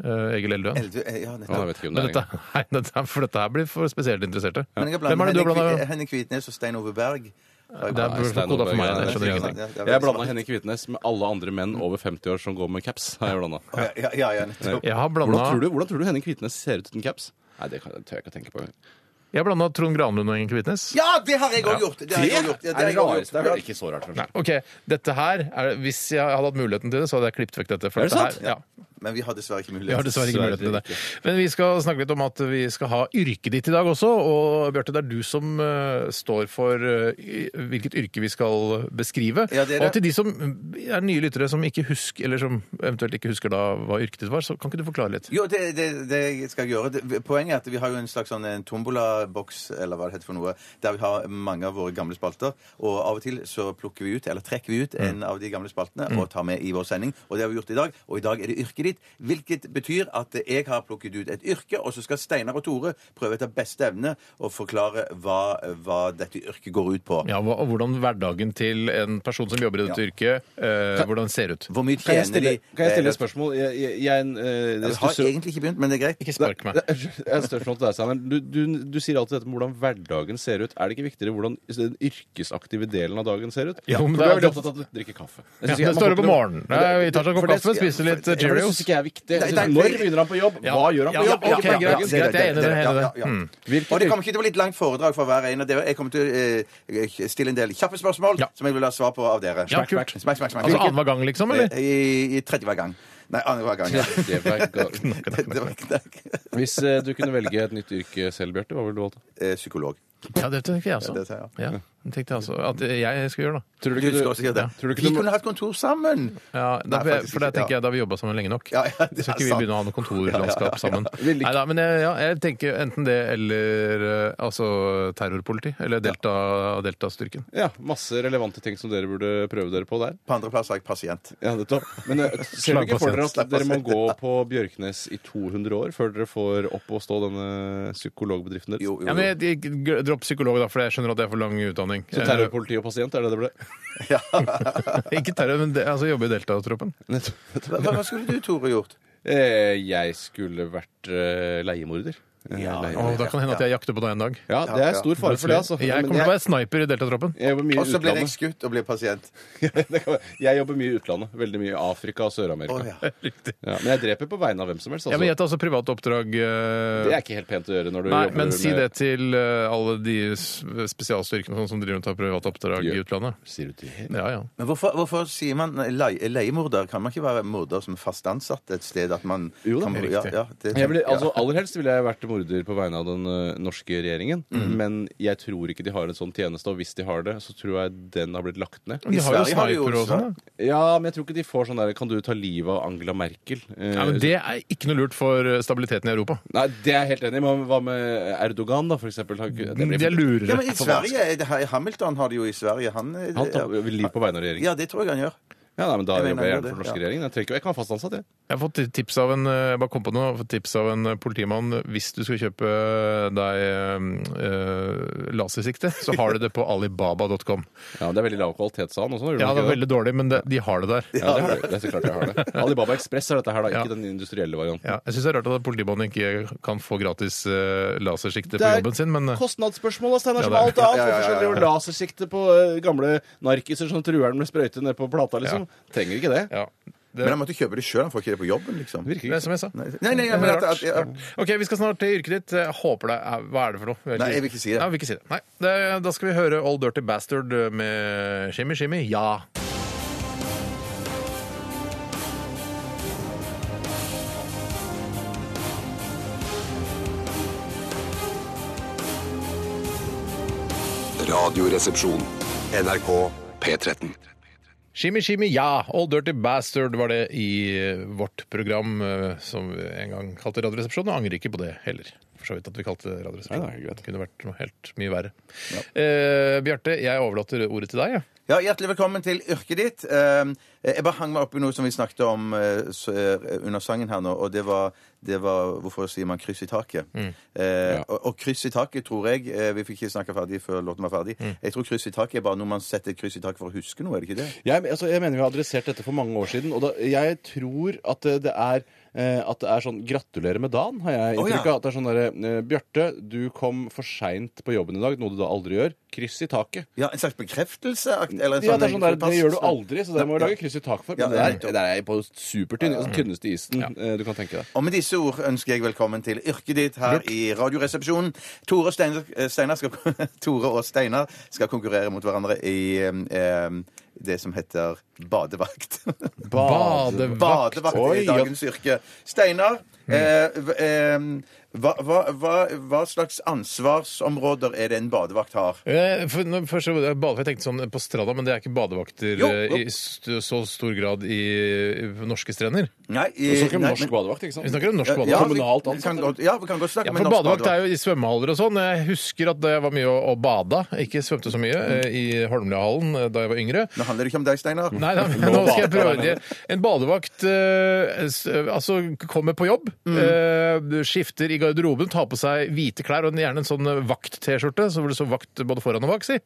Speaker 3: Eh, Egil Eldøen.
Speaker 5: Eldre- eh, Ja,
Speaker 4: Ja, jeg
Speaker 5: nettopp.
Speaker 4: vet ikke om det
Speaker 3: Men
Speaker 4: er
Speaker 3: dette,
Speaker 4: engang.
Speaker 3: nei, dette, for dette her blir for spesielt interesserte.
Speaker 5: Men jeg har
Speaker 3: Hvem er det du har
Speaker 5: blandet Henning
Speaker 3: blanda?
Speaker 5: Kvit- Henning Kvitnes og Stein Ove Berg.
Speaker 3: Det er
Speaker 4: Nei, Stein
Speaker 3: koda for meg.
Speaker 4: Olberg,
Speaker 3: Jeg
Speaker 4: ja,
Speaker 3: skjønner
Speaker 4: det er
Speaker 3: ingenting.
Speaker 5: sant, ja.
Speaker 4: Jeg blanda Henning Kvitnes med alle andre menn over 50 år som går med caps. Har jeg blandet.
Speaker 5: Ja, ja, ja, ja, nettopp.
Speaker 3: Jeg har
Speaker 4: Hvordan, tror
Speaker 3: blanda
Speaker 4: du, hvordan tror du Henning Kvitnes ser ut uten caps? Nei, det kan, det tør jeg ikke tenke på.
Speaker 3: Jeg blanda Trond Granlund og Henning Kvitnes.
Speaker 5: Ja, det har jeg òg gjort! Det har jeg også gjort. Ja, har jeg også gjort.
Speaker 4: Det er vel ikke så rart, kanskje.
Speaker 3: Nei, ok, dette her er, Hvis jeg hadde hatt muligheten til det, så hadde jeg klippet vekk dette. For
Speaker 4: Er det
Speaker 3: dette
Speaker 4: sant?
Speaker 3: Her, ja.
Speaker 5: Men vi har dessverre ikke mulighet.
Speaker 3: Vi har dessverre ikke muligheten til det. Men vi skal snakke litt om at vi skal ha yrket ditt i dag også. Og Bjarte, det er du som eh, står for eh, i- hvilket yrke vi skal beskrive.
Speaker 5: Ja, det er det.
Speaker 3: Og til de som eh, er nye lyttere som ikke husker, eller som eventuelt ikke husker da hva yrket ditt var, så kan ikke du forklare litt?
Speaker 5: Jo, det, det, det skal jeg gjøre. Det- Poenget er at vi har jo en slags sånn en tombolaboks, eller hva det heter for noe, der vi har mange av våre gamle spalter. Og av og til så plukker vi ut, eller trekker vi ut,
Speaker 4: Mm.
Speaker 5: en av de gamle spaltene og tar med i vår sending. Og det har vi gjort i dag. Og i dag er det yrket ditt, hvilket betyr at jeg har plukket ut et yrke, og så skal Steinar og Tore prøve etter beste evne å forklare hva, hva dette yrket går ut på.
Speaker 3: Ja, hva- og Hvordan hverdagen til en person som jobber i dette yrket, eh, hvordan ser ut?
Speaker 5: Hvor mye
Speaker 4: Kan jeg
Speaker 5: tjener
Speaker 4: stille,
Speaker 5: de?
Speaker 4: kan jeg stille
Speaker 5: Eh,
Speaker 4: et spørsmål? Jeg, jeg, jeg, eh, det
Speaker 5: Jeg har
Speaker 4: stusser-
Speaker 5: egentlig ikke begynt, men det er greit.
Speaker 3: Ikke spark meg.
Speaker 4: Det er- det er et spørsmål til deg, Steinar. Du, du, du sier alltid dette med hvordan hverdagen ser ut. Er det ikke viktigere hvordan den yrkesaktive delen av dagen ser ut?
Speaker 3: Jo,
Speaker 4: For
Speaker 3: men
Speaker 4: du
Speaker 3: det
Speaker 4: er
Speaker 3: er-
Speaker 4: veldig opptatt av at du drikker kaffe. Jeg
Speaker 3: Ja,
Speaker 4: synes ikke-
Speaker 3: det
Speaker 4: man
Speaker 3: står
Speaker 4: får
Speaker 3: opp om
Speaker 4: ikke noe-
Speaker 3: morgenen. Nei, Vi tar seg en
Speaker 4: For
Speaker 3: kopp
Speaker 4: det-
Speaker 3: kaffe, spiser litt eh,
Speaker 4: Ja, for Det
Speaker 3: Cheerios.
Speaker 4: syns ikke jeg er viktig. Jeg
Speaker 5: Nei,
Speaker 4: synes,
Speaker 5: nei,
Speaker 4: når
Speaker 5: det-
Speaker 4: begynner han på jobb? Hva gjør han på jobb?
Speaker 3: ja, ok, greit,
Speaker 4: Ikke hverdagen.
Speaker 3: greit, jeg er enig i
Speaker 5: Ja,
Speaker 3: det, Hene.
Speaker 5: ja, ja.
Speaker 3: Mm.
Speaker 4: Hvilket-
Speaker 5: Og det kommer ikke til å bli et langt foredrag for hver ene. av dere. Jeg kommer til å eh, stille en del kjappe spørsmål
Speaker 3: Ja.
Speaker 5: som jeg vil ha svar på av dere.
Speaker 3: Ja, kult.
Speaker 5: Smack, smack, smack.
Speaker 3: Altså
Speaker 5: Hvilket-
Speaker 3: annenhver gang, liksom? eller?
Speaker 5: Eh, I, i tredje hver gang. Nei, annenhver gang. Ja.
Speaker 4: Det var godt.
Speaker 5: Det var knekk.
Speaker 4: Hvis eh, du kunne velge et nytt yrke selv, Bjarte, hva ville du valgt?
Speaker 5: Eh, Psykolog.
Speaker 3: Ja, det tenker jeg
Speaker 5: Ja,
Speaker 3: også.
Speaker 5: det tenker
Speaker 3: Ja, det tenkte jeg også. At jeg skal gjøre, da.
Speaker 4: Tror
Speaker 5: Du skal også gjøre det.
Speaker 4: Tror du ikke
Speaker 5: Vi
Speaker 4: du må-
Speaker 5: kunne hatt kontor sammen!
Speaker 3: Ja,
Speaker 5: Nei,
Speaker 3: for,
Speaker 5: faktisk
Speaker 3: for det
Speaker 5: ikke,
Speaker 3: tenker
Speaker 5: ja.
Speaker 3: jeg da vi jobba sammen lenge nok.
Speaker 5: Ja, ja, det er
Speaker 3: så skal ikke vi
Speaker 5: sant.
Speaker 3: begynne å ha noe kontorlandskap sammen.
Speaker 4: Vil ikke-
Speaker 3: Neida, men jeg, ja, jeg tenker enten det eller eh, altså terrorpoliti. Eller delta, deltastyrken.
Speaker 4: Ja, masse relevante ting som dere burde prøve dere på der.
Speaker 5: På andreplass har jeg pasient.
Speaker 4: Ja, nettopp. Men eh, ser du ikke for dere at
Speaker 5: Slagpasient.
Speaker 4: dere må gå på Bjørknes i 200 år før dere får opp og stå denne psykologbedriften deres?
Speaker 5: Jo, jo,
Speaker 3: Ja, men jeg, jeg, g- Dropp psykolog, da, for jeg skjønner at det er for lang utdanning.
Speaker 4: Så terrorpoliti og pasient, er det det ble?
Speaker 3: Eh, ikke terror, men de, altså, jobbe i deltatroppen.
Speaker 4: Nettopp.
Speaker 5: Hva, hva skulle du, Tore, gjort?
Speaker 4: Eh, Jeg skulle vært eh, leiemorder. Eh,
Speaker 5: Ja,
Speaker 4: leiemorder.
Speaker 3: Og da kan det hende at jeg jakter på deg en dag.
Speaker 4: ja, det er stor fare for det, altså.
Speaker 3: Jeg
Speaker 4: Men
Speaker 3: kommer til å være sniper i deltatroppen.
Speaker 4: jeg jobber mye
Speaker 5: Og
Speaker 4: i
Speaker 5: så blir jeg
Speaker 4: utlandet.
Speaker 5: skutt og blir pasient.
Speaker 4: Det kan være- Jeg jobber mye i utlandet. Veldig mye i Afrika og
Speaker 5: Å,
Speaker 4: Sør-Amerika.
Speaker 5: ja.
Speaker 4: Ja, men jeg dreper på vegne av hvem som helst.
Speaker 3: Ja, men
Speaker 4: Altså.
Speaker 3: jeg tar altså privat oppdrag. eh,
Speaker 4: Det er ikke helt pent å gjøre når du
Speaker 3: Nei,
Speaker 4: jobber
Speaker 3: men si
Speaker 4: med-
Speaker 3: det til eh, alle de s- spesialstyrkene sånn som driver og tar privat oppdrag i
Speaker 4: Gjør-
Speaker 3: utlandet.
Speaker 4: Sier du til
Speaker 3: Ja, ja.
Speaker 5: Men hvorfor, hvorfor sier man leie, leiemorder? Kan man ikke være morder som er fast ansatt et sted? At man
Speaker 4: Jo da,
Speaker 5: kan,
Speaker 3: det er
Speaker 5: ja,
Speaker 3: riktig.
Speaker 5: ja, det,
Speaker 4: Jeg ville,
Speaker 5: ja.
Speaker 4: altså, aller helst ville jeg vært morder på vegne av den ø, norske regjeringen.
Speaker 3: Mhm.
Speaker 4: Men jeg tror ikke de har en sånn tjeneste, og hvis de har det, så tror jeg den har blitt lagt ned.
Speaker 3: De har jo
Speaker 5: Sverige har de jo
Speaker 3: sniper og
Speaker 5: også.
Speaker 3: sånn. da.
Speaker 4: Ja, men jeg tror ikke de får sånn der Kan du ta livet av Angela Merkel? Eh,
Speaker 3: Ja, men Det er ikke noe lurt for eh, stabiliteten i Europa.
Speaker 4: Nei, det er jeg helt enig i. Men hva med Erdogan, da, for eksempel? Han- Det
Speaker 3: De er
Speaker 5: Ja,
Speaker 3: lurere.
Speaker 5: men i Sverige, er det her- Hamilton har det jo i Sverige. Han, eh,
Speaker 4: Han tar liv på vegne av regjeringen.
Speaker 5: Ja, det tror jeg han gjør.
Speaker 4: Ja, nei, men Da
Speaker 5: Jeg mener
Speaker 4: jobber jeg gjerne
Speaker 5: det,
Speaker 4: for den norske
Speaker 5: ja.
Speaker 4: regjeringen. Jeg, trenger ikke- jeg kan være fast ansatt, jeg.
Speaker 3: Jeg har fått tips av en eh, jeg bare kom på noe, jeg har fått tips av en eh, politimann. Hvis du skal kjøpe deg eh, lasersikte, så har du det på alibaba.com.
Speaker 4: Ja, men det er veldig lav kvalitet, sa han også. gjorde
Speaker 3: Ja,
Speaker 4: han
Speaker 3: det
Speaker 4: ikke
Speaker 3: er veldig dårlig, men det, de har det der.
Speaker 4: Ja, det har du. Det er så klart jeg har det. Alibaba Ekspress er dette her, da.
Speaker 3: Ja.
Speaker 4: Ikke den industrielle varianten.
Speaker 3: Ja, jeg syns det er rart at politimannen ikke kan få gratis eh, lasersikte på
Speaker 4: Det er
Speaker 3: jobben sin, men eh,
Speaker 4: kostnadsspørsmål, da,
Speaker 3: Ja,
Speaker 4: Steinar,
Speaker 3: det
Speaker 4: som
Speaker 3: er-
Speaker 4: alt annet.
Speaker 5: Ja, ja, ja, ja, ja.
Speaker 4: Hvorfor skal du drive lasersikte på eh, gamle narkiser som truer den med sprøyte ned på plata, liksom? Trenger ikke det.
Speaker 3: ja.
Speaker 5: Men han måtte kjøpe det sjøl, han får ikke det på jobben, liksom.
Speaker 4: Virker
Speaker 3: Det
Speaker 4: ikke.
Speaker 3: er som jeg sa.
Speaker 5: Nei, nei, nei, men at, at, at,
Speaker 3: Ok, vi skal snart til yrket ditt. Jeg håper det er, Hva er det for noe?
Speaker 5: Nei, jeg vil ikke si det.
Speaker 3: Nei, jeg vil ikke si det. Nei, det, da skal vi høre Old Dirty Bastard eh, med Shimmy Shimmy. Ja.
Speaker 2: Radioresepsjon. NRK P13.
Speaker 3: Shimmy Shimmy Ja! Old Dirty Bastard var det i eh, vårt program eh, som vi en gang kalte Radioresepsjonen. Og angrer ikke på det heller. For så vidt at vi kalte det
Speaker 4: Nei, det er
Speaker 3: Radioresepsjonen.
Speaker 4: greit.
Speaker 3: Det kunne vært noe helt mye verre. Eh, Bjarte, jeg overlater ordet til deg. Ja.
Speaker 5: Ja, Hjertelig velkommen til yrket ditt. Eh, Jeg bare hang meg opp i noe som vi snakket om eh, s- eh, under sangen her nå, og det var, det var Hvorfor sier man 'kryss i taket'?
Speaker 4: Mm.
Speaker 5: Eh, og, og 'kryss i taket' tror jeg eh, Vi fikk ikke snakka ferdig før låten var ferdig.
Speaker 4: Mm.
Speaker 5: Jeg tror 'kryss i taket' er bare noe man setter et kryss i taket for å huske noe, er det ikke det?
Speaker 4: Jeg, altså, jeg mener vi har adressert dette for mange år siden, og da, jeg tror at eh, det er eh, at det er sånn 'gratulerer med dagen', har jeg
Speaker 5: Å, ja.
Speaker 4: inntrykk av. At det er sånn derre eh, 'Bjarte, du kom for seint på jobben i dag', noe du da aldri gjør. Kryss i taket.
Speaker 5: Ja, En slags bekreftelse? Eller en
Speaker 4: Ja, det er sånn der, det
Speaker 5: forpasselse.
Speaker 4: gjør du aldri, så det må vi
Speaker 5: Ja.
Speaker 4: lage kryss i taket for.
Speaker 5: Ja,
Speaker 4: Men det
Speaker 5: ja,
Speaker 4: er, det er på supertynn, altså tynneste isen eh, du kan tenke deg.
Speaker 5: Og med disse ord ønsker jeg velkommen til yrket ditt her i Radioresepsjonen. Tore, og Steinar, eh, Steinar skal, Tore og Steinar skal konkurrere mot hverandre i eh, det som heter badevakt.
Speaker 3: Badevakt.
Speaker 5: Badevakt
Speaker 4: Oi,
Speaker 5: er
Speaker 4: ja. Mm.
Speaker 5: dagens yrke. Steinar, eh, v- eh, hva, hva, hva, hva slags ansvarsområder er det en badevakt har?
Speaker 3: Eh, for, når- først, så- eh, bade- jeg tenkte sånn på stranda, men det er ikke badevakter
Speaker 5: Jo,
Speaker 3: eh,
Speaker 5: jo.
Speaker 3: i st så stor grad i, i norske strender.
Speaker 5: Nei, i,
Speaker 4: Du snakker om
Speaker 5: nei,
Speaker 4: norsk
Speaker 5: men- eh,
Speaker 4: badevakt, ikke sant?
Speaker 3: Vi snakker om norsk badevakt.
Speaker 5: Ja, vi-
Speaker 4: Kommunalt
Speaker 5: vi kan
Speaker 4: ansatte.
Speaker 5: godt- Ja, vi kan godt snakke
Speaker 3: Ja,
Speaker 5: med
Speaker 3: for
Speaker 5: norsk
Speaker 3: badevakt er jo i svømmehaller og sånn. Jeg husker at jeg var mye og, og bada, ikke svømte så mye,
Speaker 5: Mm.
Speaker 3: eh, i Holmlia-hallen eh, da jeg var yngre.
Speaker 5: Nå handler det ikke om deg, Steinar.
Speaker 3: Nei, da, men nå skal jeg prøve det. En badevakt eh, s- altså kommer på jobb,
Speaker 4: Mm.
Speaker 3: eh, skifter i garderoben, tar på seg hvite klær og en- gjerne en sånn vakt-T-skjorte, så vil det stå vakt både foran og bak, si.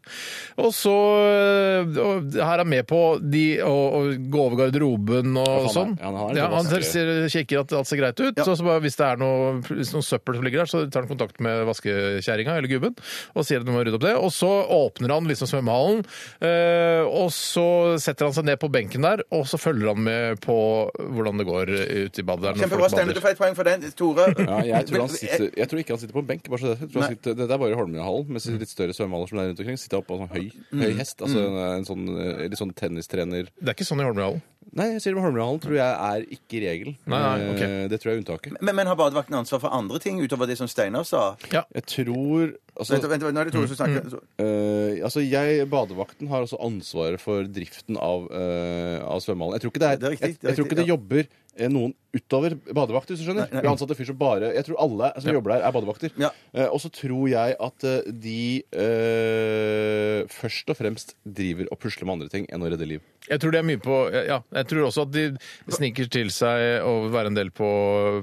Speaker 3: Og så eh, og her er han med på de, å, å gå over garderoben og
Speaker 4: Ja, han
Speaker 3: sånn.
Speaker 4: er- ja, han er litt
Speaker 3: Ja, han
Speaker 4: vaskere.
Speaker 3: ser- kikker at alt ser greit ut,
Speaker 5: Ja.
Speaker 3: så, så bare, hvis det er noe, hvis noe søppel som ligger der, så tar han kontakt med vaskekjerringa eller gubben og sier at de må rydde opp det. Og så åpner han liksom svømmehallen, eh, og så setter han seg ned på benken der, og så følger han med på hvordan det går ut i badet der når
Speaker 5: Kjempebra,
Speaker 3: folk
Speaker 5: Steinar. Du
Speaker 3: bader.
Speaker 5: får et poeng for den. Tore?
Speaker 4: Ja, jeg, tror han sitter, jeg tror ikke han sitter på en benk. Bare så det. Jeg tror han
Speaker 5: Nei.
Speaker 4: sitter, det er bare i Holmlia-hallen med sine litt større svømmehaller som det er rundt omkring. Sitter oppe på en sånn høy, høy hest. Altså en, en sånn, eh, litt sånn tennistrener
Speaker 3: Det er ikke sånn i Holmlia-hallen.
Speaker 4: Nei, jeg sier det med Holmlia-hallen tror jeg er ikke regelen.
Speaker 3: Nei, nei, ok.
Speaker 4: Eh, Det tror jeg er unntaket.
Speaker 5: Men, men har badevakten ansvar for andre ting utover det som Steinar sa? Mm.
Speaker 4: Jeg tror altså,
Speaker 5: Vent, vent, vent, nå er det Tore som snakker. Så-
Speaker 4: Eh, altså jeg, Badevakten har også ansvaret for driften av, eh, av svømmehallen. Jeg tror ikke det, er,
Speaker 5: Det er riktig,
Speaker 4: jeg,
Speaker 5: det er
Speaker 4: jeg tror ikke det
Speaker 5: riktig,
Speaker 4: jobber eh, noen utover badevakt, hvis du skjønner. Vi har ansatte fyr som bare Jeg tror alle som jobber der, er badevakter.
Speaker 5: Ja.
Speaker 4: Eh, og så tror jeg at eh, de eh, først og fremst driver og pusler med andre ting enn å redde liv.
Speaker 3: Jeg tror det er mye på Ja, jeg tror også at de sniker til seg å være en del på,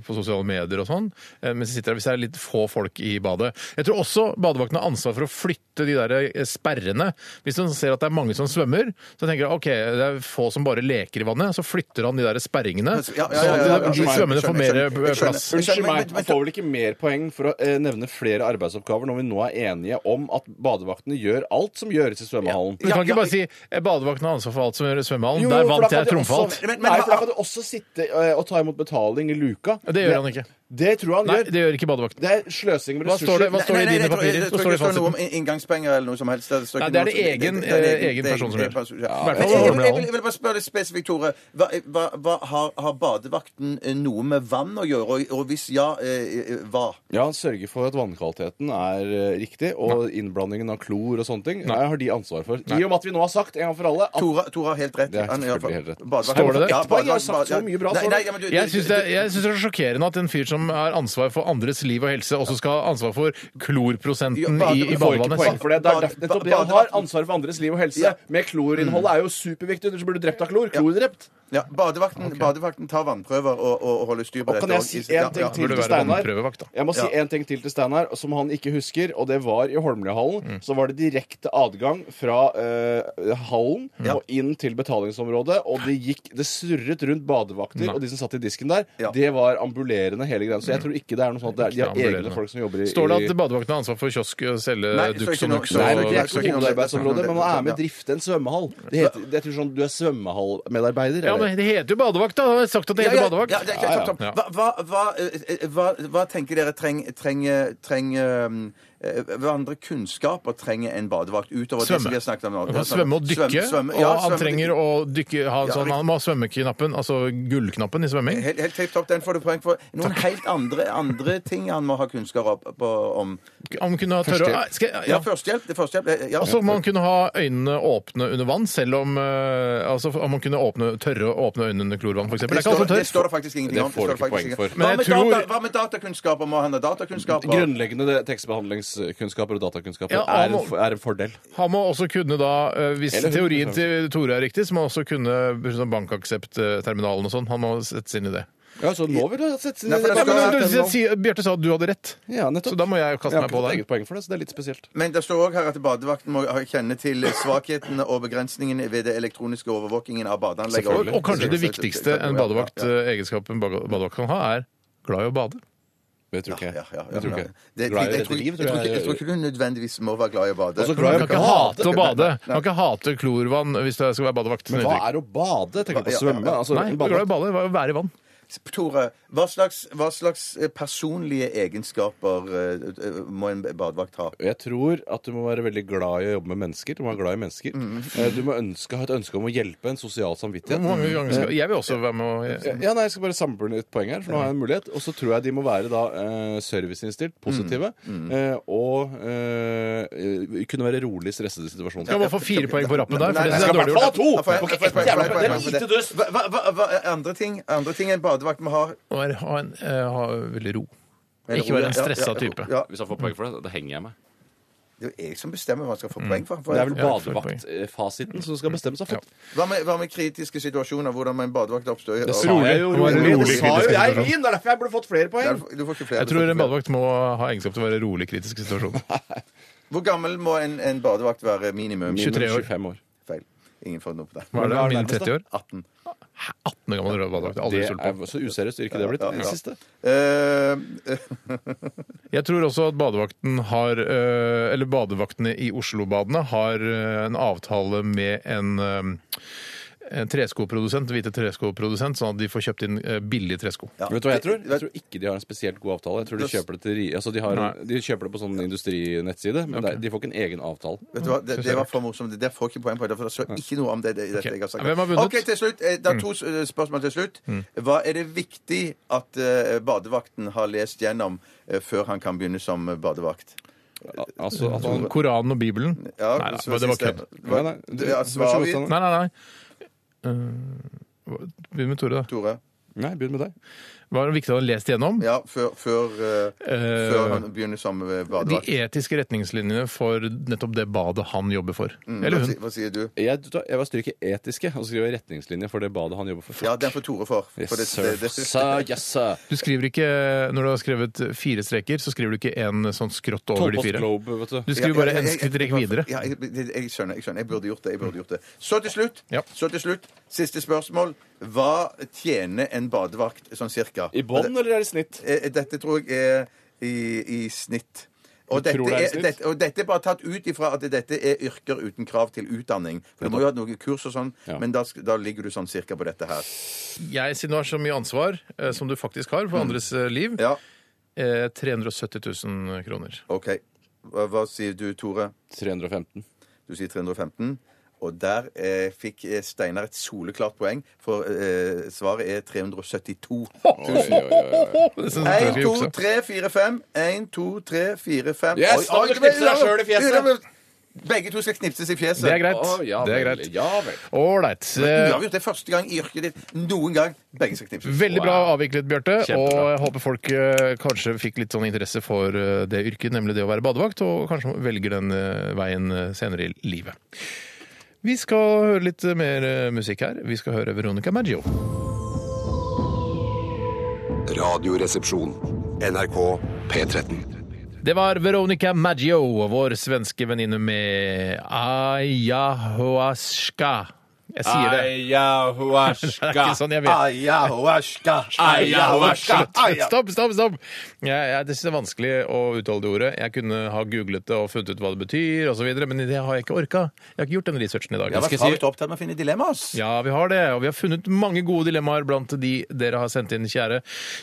Speaker 3: på sosiale medier og sånn, eh, mens de sitter der hvis det er litt få folk i badet. Jeg tror også badevakten har ansvar for å flytte de der eh, sperrene. Hvis han ser at det er mange som svømmer, så tenker han OK, det er få som bare leker i vannet, så flytter han de der sperringene,
Speaker 5: Ja, ja, ja, ja,
Speaker 3: sånn
Speaker 5: ja, ja,
Speaker 3: at de- de
Speaker 5: skjønner,
Speaker 3: svømmende får
Speaker 5: skjønner,
Speaker 3: mer
Speaker 5: skjønner,
Speaker 3: eh,
Speaker 5: skjønner.
Speaker 3: plass.
Speaker 4: Unnskyld
Speaker 5: Men- men-
Speaker 4: meg,
Speaker 5: men-
Speaker 4: han får vel ikke mer poeng for å eh, nevne flere arbeidsoppgaver når vi nå er enige om at badevaktene gjør alt som gjøres i svømmehallen?
Speaker 3: Du kan
Speaker 5: Ja, ja,
Speaker 3: ikke bare si eh, badevakten har ansvar for alt som gjør i svømmehallen.
Speaker 4: Jo,
Speaker 3: Der
Speaker 4: jo, for da
Speaker 3: vant
Speaker 4: kan
Speaker 3: jeg
Speaker 4: de
Speaker 3: trumfa alt.
Speaker 4: også-
Speaker 5: Men- men-
Speaker 4: Nei, for da kan du også sitte ø, og ta imot betaling i luka.
Speaker 3: Det gjør han ikke.
Speaker 4: Det tror jeg han
Speaker 3: Nei,
Speaker 4: gjør.
Speaker 3: det gjør ikke badevakten.
Speaker 4: Det er sløsing med
Speaker 3: Hva
Speaker 4: ressurser.
Speaker 3: står det- hva
Speaker 5: Nei,
Speaker 3: står det
Speaker 5: nei, nei,
Speaker 3: i dine
Speaker 5: jeg tror- jeg-
Speaker 3: papirer?
Speaker 5: Jeg
Speaker 3: Så
Speaker 5: tror ikke
Speaker 3: står det
Speaker 5: det står noe
Speaker 3: fasiten.
Speaker 5: om in- inngangspenger eller noe som helst. står
Speaker 3: Nei,
Speaker 5: ikke
Speaker 3: det er
Speaker 5: noe
Speaker 3: det
Speaker 5: som-
Speaker 3: egen,
Speaker 5: det- det- det-
Speaker 3: eh, egen
Speaker 5: det-
Speaker 3: person som
Speaker 5: det-
Speaker 3: gjør.
Speaker 5: person- ja.
Speaker 3: I
Speaker 5: Jeg
Speaker 3: hvert fall
Speaker 5: jeg-
Speaker 3: Holmlia.
Speaker 5: jeg vil jeg vil bare spørre litt spesifikt, Tore. Hva, hva, hva, har, har badevakten eh, noe med vann å gjøre? Og, og hvis ja, eh, eh, hva?
Speaker 4: Ja, han sørger for at vannkvaliteten er ø, riktig, og innblandingen av klor og sånne ting Nei. har de ansvar for. I og med at vi nå har sagt en gang for alle at
Speaker 5: Tore, Tore har helt rett.
Speaker 4: Det er
Speaker 5: Han- ja,
Speaker 4: selvfølgelig helt rett.
Speaker 5: badevakten-
Speaker 3: Står det det?
Speaker 5: Ja,
Speaker 4: Ett poeng, jeg har
Speaker 5: badevakten-
Speaker 4: sagt så mye bra,
Speaker 5: Nei,
Speaker 4: så-
Speaker 5: nei, ja, men du-
Speaker 3: Jeg
Speaker 5: du-
Speaker 3: syns det, jeg synes det er sjokkerende at en fyr som har ansvar for andres liv og helse, også skal ha ansvar for klorprosenten
Speaker 5: Ja,
Speaker 3: i,
Speaker 5: bade-
Speaker 3: i
Speaker 4: får ikke poeng
Speaker 3: badevannet. Sånn
Speaker 4: for det. Det er
Speaker 5: Bade-
Speaker 4: derfor- nettopp det han har
Speaker 5: badevakten-
Speaker 4: ansvaret for andres liv og helse.
Speaker 5: Ja.
Speaker 4: Med klorinnholdet er jo superviktig, ellers blir du drept av klor. Klor drept.
Speaker 5: Ja, badevakten, badevakten tar vannprøver og, og, og holder styr på
Speaker 4: Og
Speaker 5: dette.
Speaker 4: kan jeg si
Speaker 5: ja,
Speaker 4: en ting
Speaker 5: ja.
Speaker 4: til
Speaker 3: Burde være
Speaker 4: til Steinar?
Speaker 3: vannprøvevakt, da.
Speaker 4: Jeg må si
Speaker 5: Ja.
Speaker 4: en ting til til Steinar, som han ikke husker. Og det var i Holmlia-hallen. Så var det direkte adgang fra eh, hallen og inn til betalingsområdet. Og det gikk Det surret rundt badevakter og de som satt i disken der.
Speaker 5: Ja.
Speaker 4: Det var ambulerende hele greia. Så jeg tror ikke det er noe sånt. at Det er, de har egne
Speaker 3: ambulerende.
Speaker 4: folk som jobber i
Speaker 3: Står det at badevakten har ansvar for kiosk og selge
Speaker 5: Nei, det står
Speaker 3: duks
Speaker 5: ikke
Speaker 3: og
Speaker 5: noe-
Speaker 3: nuks?
Speaker 4: Nei, men
Speaker 3: og-
Speaker 4: det er ikke
Speaker 5: Nei,
Speaker 4: hovedområdet, men man er med
Speaker 5: Ja.
Speaker 4: å drifte en svømmehall. Det heter, jeg tror sånn, Du er svømmehallmedarbeider.
Speaker 3: Ja,
Speaker 4: eller?
Speaker 3: men Det heter jo badevakt, da! Jeg har sagt at det
Speaker 5: Ja,
Speaker 3: heter
Speaker 5: ja,
Speaker 3: badevakt.
Speaker 5: ja, det er ikke-
Speaker 4: Ja, ja.
Speaker 5: topp, topp. Hva, hva, hva, eh, eh, hva, hva tenker dere trenger treng, treng, eh, eh, hverandre kunnskaper trenger en badevakt utover det
Speaker 3: Svømme.
Speaker 5: som vi har snakket om nå.
Speaker 3: Han kan svømme og dykke,
Speaker 5: Svømme- svømme-
Speaker 3: og
Speaker 5: ja,
Speaker 3: han
Speaker 5: svømme-
Speaker 3: trenger å dykke ha,
Speaker 5: Ja,
Speaker 3: så han må ha svømmeknappen, altså gullknappen i svømming.
Speaker 5: Helt, helt tipp topp, den får du poeng for. Noen helt andre, andre ting han må ha kunnskap opp på, om.
Speaker 3: Han kunne ha tørre Nei, skal jeg-
Speaker 5: Ja,
Speaker 3: ja.
Speaker 5: førstehjelp. det er førstehjelp. Ja.
Speaker 3: Og så må han Altså, kunne ha øynene åpne under vann, selv om eh, altså om han kunne åpne, tørre å åpne øynene under klorvann, f.eks. Det er
Speaker 5: det,
Speaker 3: ikke
Speaker 5: står,
Speaker 3: alle som
Speaker 5: det
Speaker 3: tør.
Speaker 5: står det faktisk ingenting
Speaker 6: Det
Speaker 5: om.
Speaker 6: får du
Speaker 5: står
Speaker 6: ikke
Speaker 5: faktisk
Speaker 6: poeng
Speaker 5: ingenting
Speaker 6: for.
Speaker 5: om.
Speaker 3: Men
Speaker 5: Hva
Speaker 3: jeg
Speaker 5: med,
Speaker 3: tror-
Speaker 5: data, hva med datakunnskaper? Må han ha datakunnskaper?
Speaker 4: Grunnleggende tekstbehandlingskunnskaper og datakunnskaper
Speaker 3: Ja, og
Speaker 4: er, en,
Speaker 3: må-
Speaker 4: er en fordel.
Speaker 3: Han må også kunne da, eh, hvis
Speaker 4: Eller hun-
Speaker 3: teorien til Tore er riktig, så må han også kunne sånn bankakseptterminalen og sånn. Han må settes inn i det.
Speaker 4: Ja, så nå vil du sette
Speaker 5: Nei, for det
Speaker 3: Ja, men,
Speaker 5: skal-
Speaker 3: du, sier- sier- Bjarte sa at du hadde rett,
Speaker 4: Ja, nettopp.
Speaker 3: så da må jeg kaste
Speaker 4: Jeg har
Speaker 3: meg på
Speaker 4: ikke et
Speaker 3: deg.
Speaker 4: eget poeng for det, så det er litt spesielt.
Speaker 5: Men det står òg her at badevakten må ha- kjenne til svakhetene og begrensningene ved det elektroniske overvåkingen av badeanlegget.
Speaker 3: Og, og kanskje det viktigste en badevakt, eh, egenskap en bade- badevakt kan ha, er glad i å bade.
Speaker 4: Det tror ikke
Speaker 5: Ja,
Speaker 4: jeg.
Speaker 5: ja, ja,
Speaker 4: Det tror
Speaker 5: ja.
Speaker 4: ikke jeg.
Speaker 5: Det- det-
Speaker 4: Glad i å
Speaker 5: jeg
Speaker 4: redde
Speaker 5: tror-
Speaker 4: liv,
Speaker 5: jeg tror
Speaker 4: tror
Speaker 5: ikke- Jeg tror
Speaker 4: jeg.
Speaker 5: ikke du nødvendigvis må være glad i å bade.
Speaker 4: så glad
Speaker 3: Man
Speaker 4: i
Speaker 3: kan ikke hate å bade. Man kan ikke hate klorvann hvis du skal være badevakt.
Speaker 4: Men hva er å bade? Tenker du på
Speaker 5: Ja,
Speaker 4: å
Speaker 5: ja, ja.
Speaker 4: svømme? Altså,
Speaker 3: Nei,
Speaker 4: en
Speaker 3: du er glad i
Speaker 4: badevakt.
Speaker 3: å bade. hva- Være i vann.
Speaker 5: Tore, hva slags, hva slags eh, personlige egenskaper eh, eh, må en badevakt ha?
Speaker 4: jeg tror at du må være veldig glad i å jobbe med mennesker. Du må være glad i mennesker. Eh, Du må ønske, ha et ønske om å hjelpe, en sosial samvittighet.
Speaker 3: Hvor mange ganger skal Jeg vil også være med og
Speaker 4: Ja, nei, Jeg skal bare samle litt poeng her, for nå har jeg en mulighet. Og så tror jeg de må være da eh, serviceinnstilt, positive, eh, og eh, eh, kunne være rolig i stressede
Speaker 3: Skal
Speaker 4: situasjoner.
Speaker 3: man få fire poeng på rappen der?
Speaker 5: Nei,
Speaker 3: For
Speaker 5: nei,
Speaker 3: det er
Speaker 5: jeg
Speaker 3: dårlig gjort.
Speaker 5: Ja, for jeg- for jeg- for jeg- for jeg- for jeg- for jeg- Hva, hva, hva- hva, andre, ting, andre ting en badevakt må ha
Speaker 3: Å være- Ha, en, eh, ha veldig ro.
Speaker 5: Eller-
Speaker 3: Ikke være en
Speaker 5: Ja, ja,
Speaker 3: stressa
Speaker 5: ja,
Speaker 3: type.
Speaker 5: Ja,
Speaker 6: Hvis han får poeng for det, da henger jeg meg.
Speaker 5: Det er jeg som bestemmer hva han skal få poeng for.
Speaker 4: Mm. Det er vel
Speaker 3: Ja, full poeng.
Speaker 4: badevaktfasiten som skal bestemme seg for.
Speaker 5: Hva med, hva med kritiske situasjoner? Hvordan må en badevakt oppstå? i-
Speaker 4: Sa jeg jo,
Speaker 3: Rolig.
Speaker 4: rolig.
Speaker 3: Rolig
Speaker 4: Det sa jo
Speaker 3: kritisk
Speaker 4: jeg
Speaker 3: situasjon.
Speaker 4: i min! Det er derfor jeg burde fått flere
Speaker 5: Der-
Speaker 4: poeng.
Speaker 5: Du får ikke flere.
Speaker 3: Jeg tror en badevakt må ha egenskap til å være rolig i kritiske situasjoner.
Speaker 5: Hvor gammel må en, en badevakt være minimum?
Speaker 3: 23 år.
Speaker 4: 25 år.
Speaker 5: Feil. Ingen får noe på det.
Speaker 3: Hva er det?
Speaker 4: Hva er
Speaker 3: Min
Speaker 4: nærmest, da?
Speaker 3: 30 år?
Speaker 5: 18.
Speaker 3: 18 år gammel rød badevakt. Jeg har Aldri
Speaker 4: Det
Speaker 3: stolt på.
Speaker 4: er så useriøst yrke det er blitt.
Speaker 5: Ja, ja,
Speaker 4: Det
Speaker 5: ja.
Speaker 4: siste.
Speaker 5: Eh,
Speaker 3: Jeg tror også at badevakten har eh, Eller badevaktene i Oslobadene har eh, en avtale med en eh, en treskoprodusent, hvite treskoprodusent, sånn at de får kjøpt inn eh, billige tresko.
Speaker 5: ja.
Speaker 4: Vet du hva jeg tror? Jeg tror ikke de har en spesielt god avtale. Jeg tror De kjøper det, til, ri- altså de har,
Speaker 3: Nei.
Speaker 4: de kjøper det på sånn industrinettside, men det er- de får ikke en egen avtale.
Speaker 5: Vet du hva, det, det var for morsomt. Det der får ikke poeng på. Derfor står ikke noe om det, det, i dette
Speaker 3: Ok.
Speaker 5: jeg har sagt.
Speaker 3: Hvem har vunnet? Mm.
Speaker 5: Ok, til slutt. eh, Det er to s- eh, spørsmål til slutt. Hva er det viktig at eh, badevakten har lest gjennom eh, før han kan begynne som eh, badevakt?
Speaker 4: Al- Altså, at man-
Speaker 3: Koranen og Bibelen?
Speaker 5: Ja,
Speaker 3: nei,
Speaker 5: så
Speaker 3: da, det var
Speaker 5: siste-
Speaker 3: kødd.
Speaker 4: Nei, nei, du-
Speaker 5: Ja,
Speaker 4: vær så
Speaker 5: svarer
Speaker 4: god,
Speaker 5: vi,
Speaker 4: Stanley.
Speaker 3: Nei, nei, nei. Eh, Begynn med Tore, da.
Speaker 5: Tore.
Speaker 4: Nei, begynn med deg.
Speaker 3: Hva er det viktig å ha lest igjennom?
Speaker 5: Ja, før, før, eh,
Speaker 3: Eh,
Speaker 5: før han begynner som eh,
Speaker 3: De
Speaker 5: badevakt.
Speaker 3: etiske retningslinjene for nettopp det badet han jobber for. Eller
Speaker 5: Hva
Speaker 3: hun.
Speaker 5: si- Hva sier du?
Speaker 4: Jeg, vet du hva, jeg var stryket etiske og skriver retningslinjer for det badet han jobber for.
Speaker 5: Ja, den får Tore for. for
Speaker 4: Yes,
Speaker 5: det-
Speaker 4: sir.
Speaker 5: det- det-
Speaker 4: Sir, yes, sir.
Speaker 3: Du skriver ikke, Når du har skrevet fire streker, så skriver du ikke en sånn skrått over de
Speaker 4: Tolvpost
Speaker 3: fire.
Speaker 4: Globe, vet du.
Speaker 3: Du skriver bare en skrittrek
Speaker 5: jeg-
Speaker 3: videre.
Speaker 5: Ja, jeg, jeg, jeg skjønner. Jeg skjønner. Jeg burde gjort det. jeg burde gjort det. Så til slutt,
Speaker 3: Ja.
Speaker 5: så til slutt siste spørsmål. Hva tjener en badevakt sånn cirka?
Speaker 4: I bånn, eller er det snitt?
Speaker 5: Eh, Dette tror jeg er i, i snitt. Og
Speaker 4: Du
Speaker 5: dette,
Speaker 4: tror det er i
Speaker 5: er,
Speaker 4: snitt?
Speaker 5: dette, og dette er bare tatt ut ifra at dette er yrker uten krav til utdanning. For Du må jo ha noen kurs og sånn,
Speaker 4: Ja.
Speaker 5: men da, sk- da ligger du sånn cirka på dette her.
Speaker 3: Jeg, siden du har så mye ansvar eh, som du faktisk har for andres eh, liv,
Speaker 5: Mm. Ja,
Speaker 3: eh, 370 000 kroner.
Speaker 5: OK. Hva, hva sier du, Tore?
Speaker 4: 315.
Speaker 5: Du sier 315. Og der eh, fikk eh, Steinar et soleklart poeng, for eh, svaret er 372.
Speaker 3: Det synes jeg
Speaker 5: 1, 2,
Speaker 3: skal jukse.
Speaker 5: 3, 4, 5. 1, 2, 3, 4, 5.
Speaker 6: Yes, da må du knipse deg selv i fjeset.
Speaker 5: Begge to skal knipses i fjeset.
Speaker 3: Det er greit.
Speaker 6: Å, ja
Speaker 3: det er
Speaker 6: vel,
Speaker 3: greit.
Speaker 6: Ja vel.
Speaker 3: Ålreit. Eh,
Speaker 5: Uavgjort. Det er første gang i yrket ditt noen gang begge skal knipses.
Speaker 3: Veldig bra
Speaker 6: Wow.
Speaker 3: avviklet, Bjarte. Og
Speaker 6: Kjempebra.
Speaker 3: jeg håper folk eh, kanskje fikk litt sånn interesse for eh, det yrket, nemlig det å være badevakt, og kanskje velger den eh, veien eh, senere i livet. Vi skal høre litt eh, mer eh, musikk her. Vi skal høre Veronica Maggio.
Speaker 2: Radioresepsjon. NRK P13.
Speaker 3: Det var Veronica Maggio, vår svenske venninne med ayahuasca. Jeg sier det. Det er ikke sånn jeg vet.
Speaker 5: Ayahuasca,
Speaker 3: Slutt. Stopp, stopp, stopp! Jeg, jeg, det synes jeg er vanskelig å uttale det ordet. Jeg kunne ha googlet det og funnet ut hva det betyr osv., men det har jeg ikke orka. Jeg har ikke gjort den researchen i dag.
Speaker 5: Jeg var
Speaker 3: Skal jeg si-
Speaker 5: travelt opptatt med å finne dilemmaer. ass.
Speaker 3: Ja, vi har det, og vi har funnet mange gode dilemmaer blant de dere har sendt inn, kjære,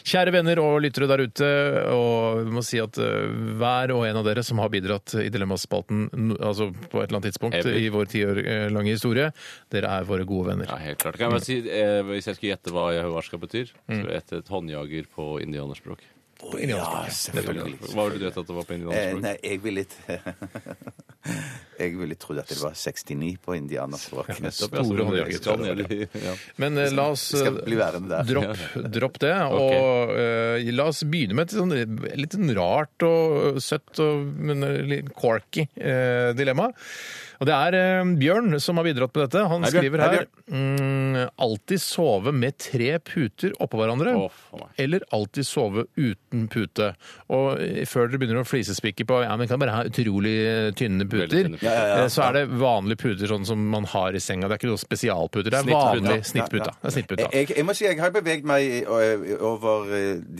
Speaker 3: kjære venner og lyttere der ute. Og vi må si at eh, hver og en av dere som har bidratt i Dilemmaspalten n- altså på et eller annet tidspunkt
Speaker 4: Ever.
Speaker 3: i vår tiår eh, lange historie, dere er våre gode venner.
Speaker 4: Ja, helt klart. Kan jeg bare si, eh, hvis jeg skulle gjette hva ayahuasca betyr, så skulle jeg gjette et håndjager på indianerspråk.
Speaker 3: På indianerspråket.
Speaker 4: Hva ville du gjette at det var på
Speaker 5: Eh,
Speaker 4: indianerspråk?
Speaker 5: nei, jeg ville Jeg ville trodd at det var 69 på indianerspråk.
Speaker 4: Ja, så
Speaker 3: store
Speaker 4: det
Speaker 3: håndjager.
Speaker 4: skal ned i- ja.
Speaker 3: Men eh, la oss eh,
Speaker 5: Vi skal bli værende der.
Speaker 3: Dropp, dropp det. Og eh, la oss begynne med et sånn litt sånn rart og søtt og men litt corky eh, dilemma. Og det er eh, Bjørn som har bidratt på dette. Han
Speaker 4: Hei, Bjørn.
Speaker 3: skriver
Speaker 4: Hei,
Speaker 3: her mm, Alltid sove med tre puter oppå hverandre.
Speaker 4: Å, for meg.
Speaker 3: eller alltid sove uten pute. Og eh, før dere begynner å flisespikke på ja, men vi kan bare ha utrolig eh, tynne
Speaker 4: Veldig
Speaker 3: puter,
Speaker 4: tynne puter. Ja,
Speaker 3: eh, så er det vanlige puter sånn som man har i senga. Det er ikke noe spesialputer. Det er
Speaker 4: Snittputa.
Speaker 3: vanlig
Speaker 5: Ja,
Speaker 3: snittputa.
Speaker 5: ja.
Speaker 3: Det er snittputa.
Speaker 5: Jeg, jeg må si, jeg har beveget meg i- ø- over ø,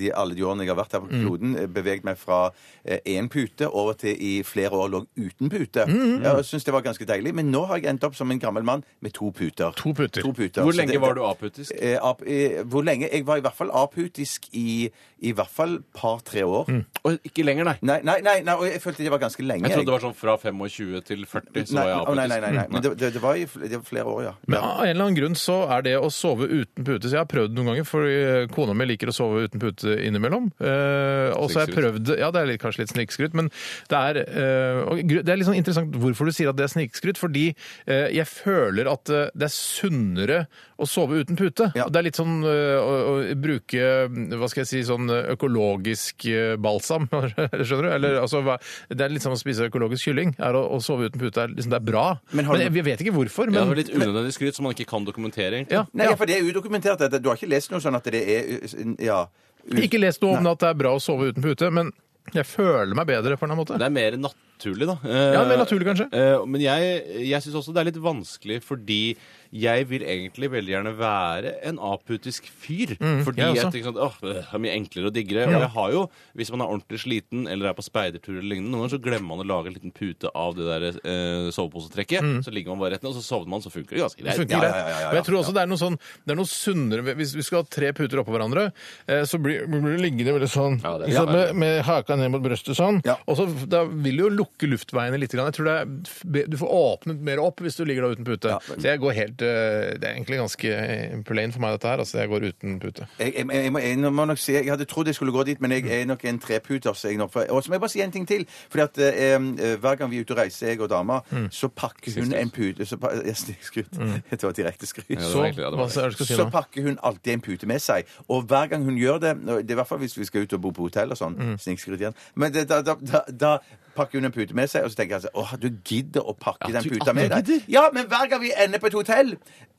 Speaker 5: de, alle de årene jeg har vært her på
Speaker 4: Mm.
Speaker 5: kloden, eh, beveget meg fra eh, én pute over til i flere år lå uten pute.
Speaker 4: Mm,
Speaker 5: Ja, Jeg synes det var ganske deilig, men nå har jeg endt opp som en gammel mann med to puter.
Speaker 3: To puter.
Speaker 4: Hvor lenge var du aputisk?
Speaker 5: Eh, Hvor lenge? Jeg var i hvert fall aputisk i i hvert fall par-tre år.
Speaker 4: Å, ikke lenger, nei.
Speaker 5: Nei, nei, nei, nei, og jeg følte det var ganske lenge.
Speaker 4: Mm. Jeg trodde det var sånn fra 25 til 40,
Speaker 5: nei,
Speaker 4: så var jeg
Speaker 5: å,
Speaker 4: aputisk.
Speaker 5: nei, nei, nei, nei. Men det, det, det var i fl- det var flere år, ja.
Speaker 3: Men av en eller annen grunn så er det å sove uten pute Så jeg har prøvd noen ganger, for eh, kona mi liker å sove uten pute innimellom. Eh, og så har jeg
Speaker 4: Snikskryt.
Speaker 3: prøvd Ja, det er litt, kanskje litt snikskryt, men det er, eh, og gru- det er litt sånn interessant hvorfor du sier at det er snikskryt. Fordi eh, jeg føler at eh, det er sunnere å sove uten pute.
Speaker 5: Ja.
Speaker 3: Og Det er litt sånn eh, å, å bruke Hva skal jeg si Sånn økologisk eh, balsam, skjønner du? Eller altså hva- Det er litt som å spise økologisk kylling. Er å, å sove uten pute er, liksom, det er bra.
Speaker 5: Men
Speaker 3: Men,
Speaker 5: har du-
Speaker 3: jeg, jeg vet ikke hvorfor.
Speaker 4: Ja,
Speaker 3: Men
Speaker 4: det var litt unødvendig skryt som man ikke kan dokumentere, egentlig.
Speaker 3: Ja,
Speaker 5: Nei,
Speaker 3: ja.
Speaker 5: ja, for det er udokumentert. dette. Du har ikke lest noe sånn at det er uh, Ja. ut-
Speaker 3: Ikke lest noe om at det er bra å sove uten pute, men jeg føler meg bedre på en eller annen måte.
Speaker 4: Det er mer naturlig, da.
Speaker 3: Ja, mer naturlig, kanskje.
Speaker 4: Eh, Men jeg, jeg syns også det er litt vanskelig, fordi jeg vil egentlig veldig gjerne være en aputisk fyr. fordi
Speaker 3: Mm, jeg
Speaker 4: jeg,
Speaker 3: også.
Speaker 4: tenker sånn åh, det er mye enklere og diggere. Og jeg har jo, hvis man er ordentlig sliten eller er på speidertur eller lignende, noen ganger så glemmer man å lage en liten pute av det der eh, soveposetrekket. Så ligger man bare rett ned, og så sovner man, så funker det ganske
Speaker 3: Mm. Det
Speaker 4: greit.
Speaker 3: funker
Speaker 5: Ja, ja,
Speaker 3: greit.
Speaker 5: ja, ja, ja.
Speaker 3: Og jeg tror også det er noe sånn Det er noe sunnere ved- Hvis vi skal ha tre puter oppå hverandre, eh, så blir, blir du liggende veldig sånn
Speaker 4: Ja, det er-
Speaker 3: ikke sant, med, med haka ned mot brøstet sånn.
Speaker 5: Ja.
Speaker 3: Og så da vil du jo lukke luftveiene litt. Grann. Jeg tror det er, du får åpnet mer opp hvis du ligger da uten pute. Så jeg går helt eh, Det er egentlig ganske eh, plain for meg, dette her. Altså, jeg går uten pute.
Speaker 5: Jeg, jeg, jeg, må, jeg må nok si, jeg hadde trodd jeg skulle gå dit, men jeg er nok en treputer. Så jeg nok, for, og så må jeg bare si en ting til. Fordi at eh, eh, Hver gang vi er ute og reiser, jeg og dama, så pakker hun en pute så, pa- ja, snikskryt. Det var direkte skryt.
Speaker 4: det
Speaker 3: Så
Speaker 4: var
Speaker 3: hva
Speaker 4: egentlig- ja, det var det.
Speaker 3: er det du skal si
Speaker 5: Så
Speaker 3: nå?
Speaker 5: pakker hun alltid en pute med seg. Og hver gang hun gjør det og Det er i hvert fall hvis vi skal ut og bo på hotell og sånn.
Speaker 3: Mm.
Speaker 5: Snikskryt igjen. Men det, da, da, da, da pakker hun en pute med seg, og så tenker jeg altså Åh, du gidder å pakke den
Speaker 4: du-
Speaker 5: puta
Speaker 4: at
Speaker 5: med
Speaker 4: du
Speaker 5: deg. Ja, men hver gang vi ender på et hotell,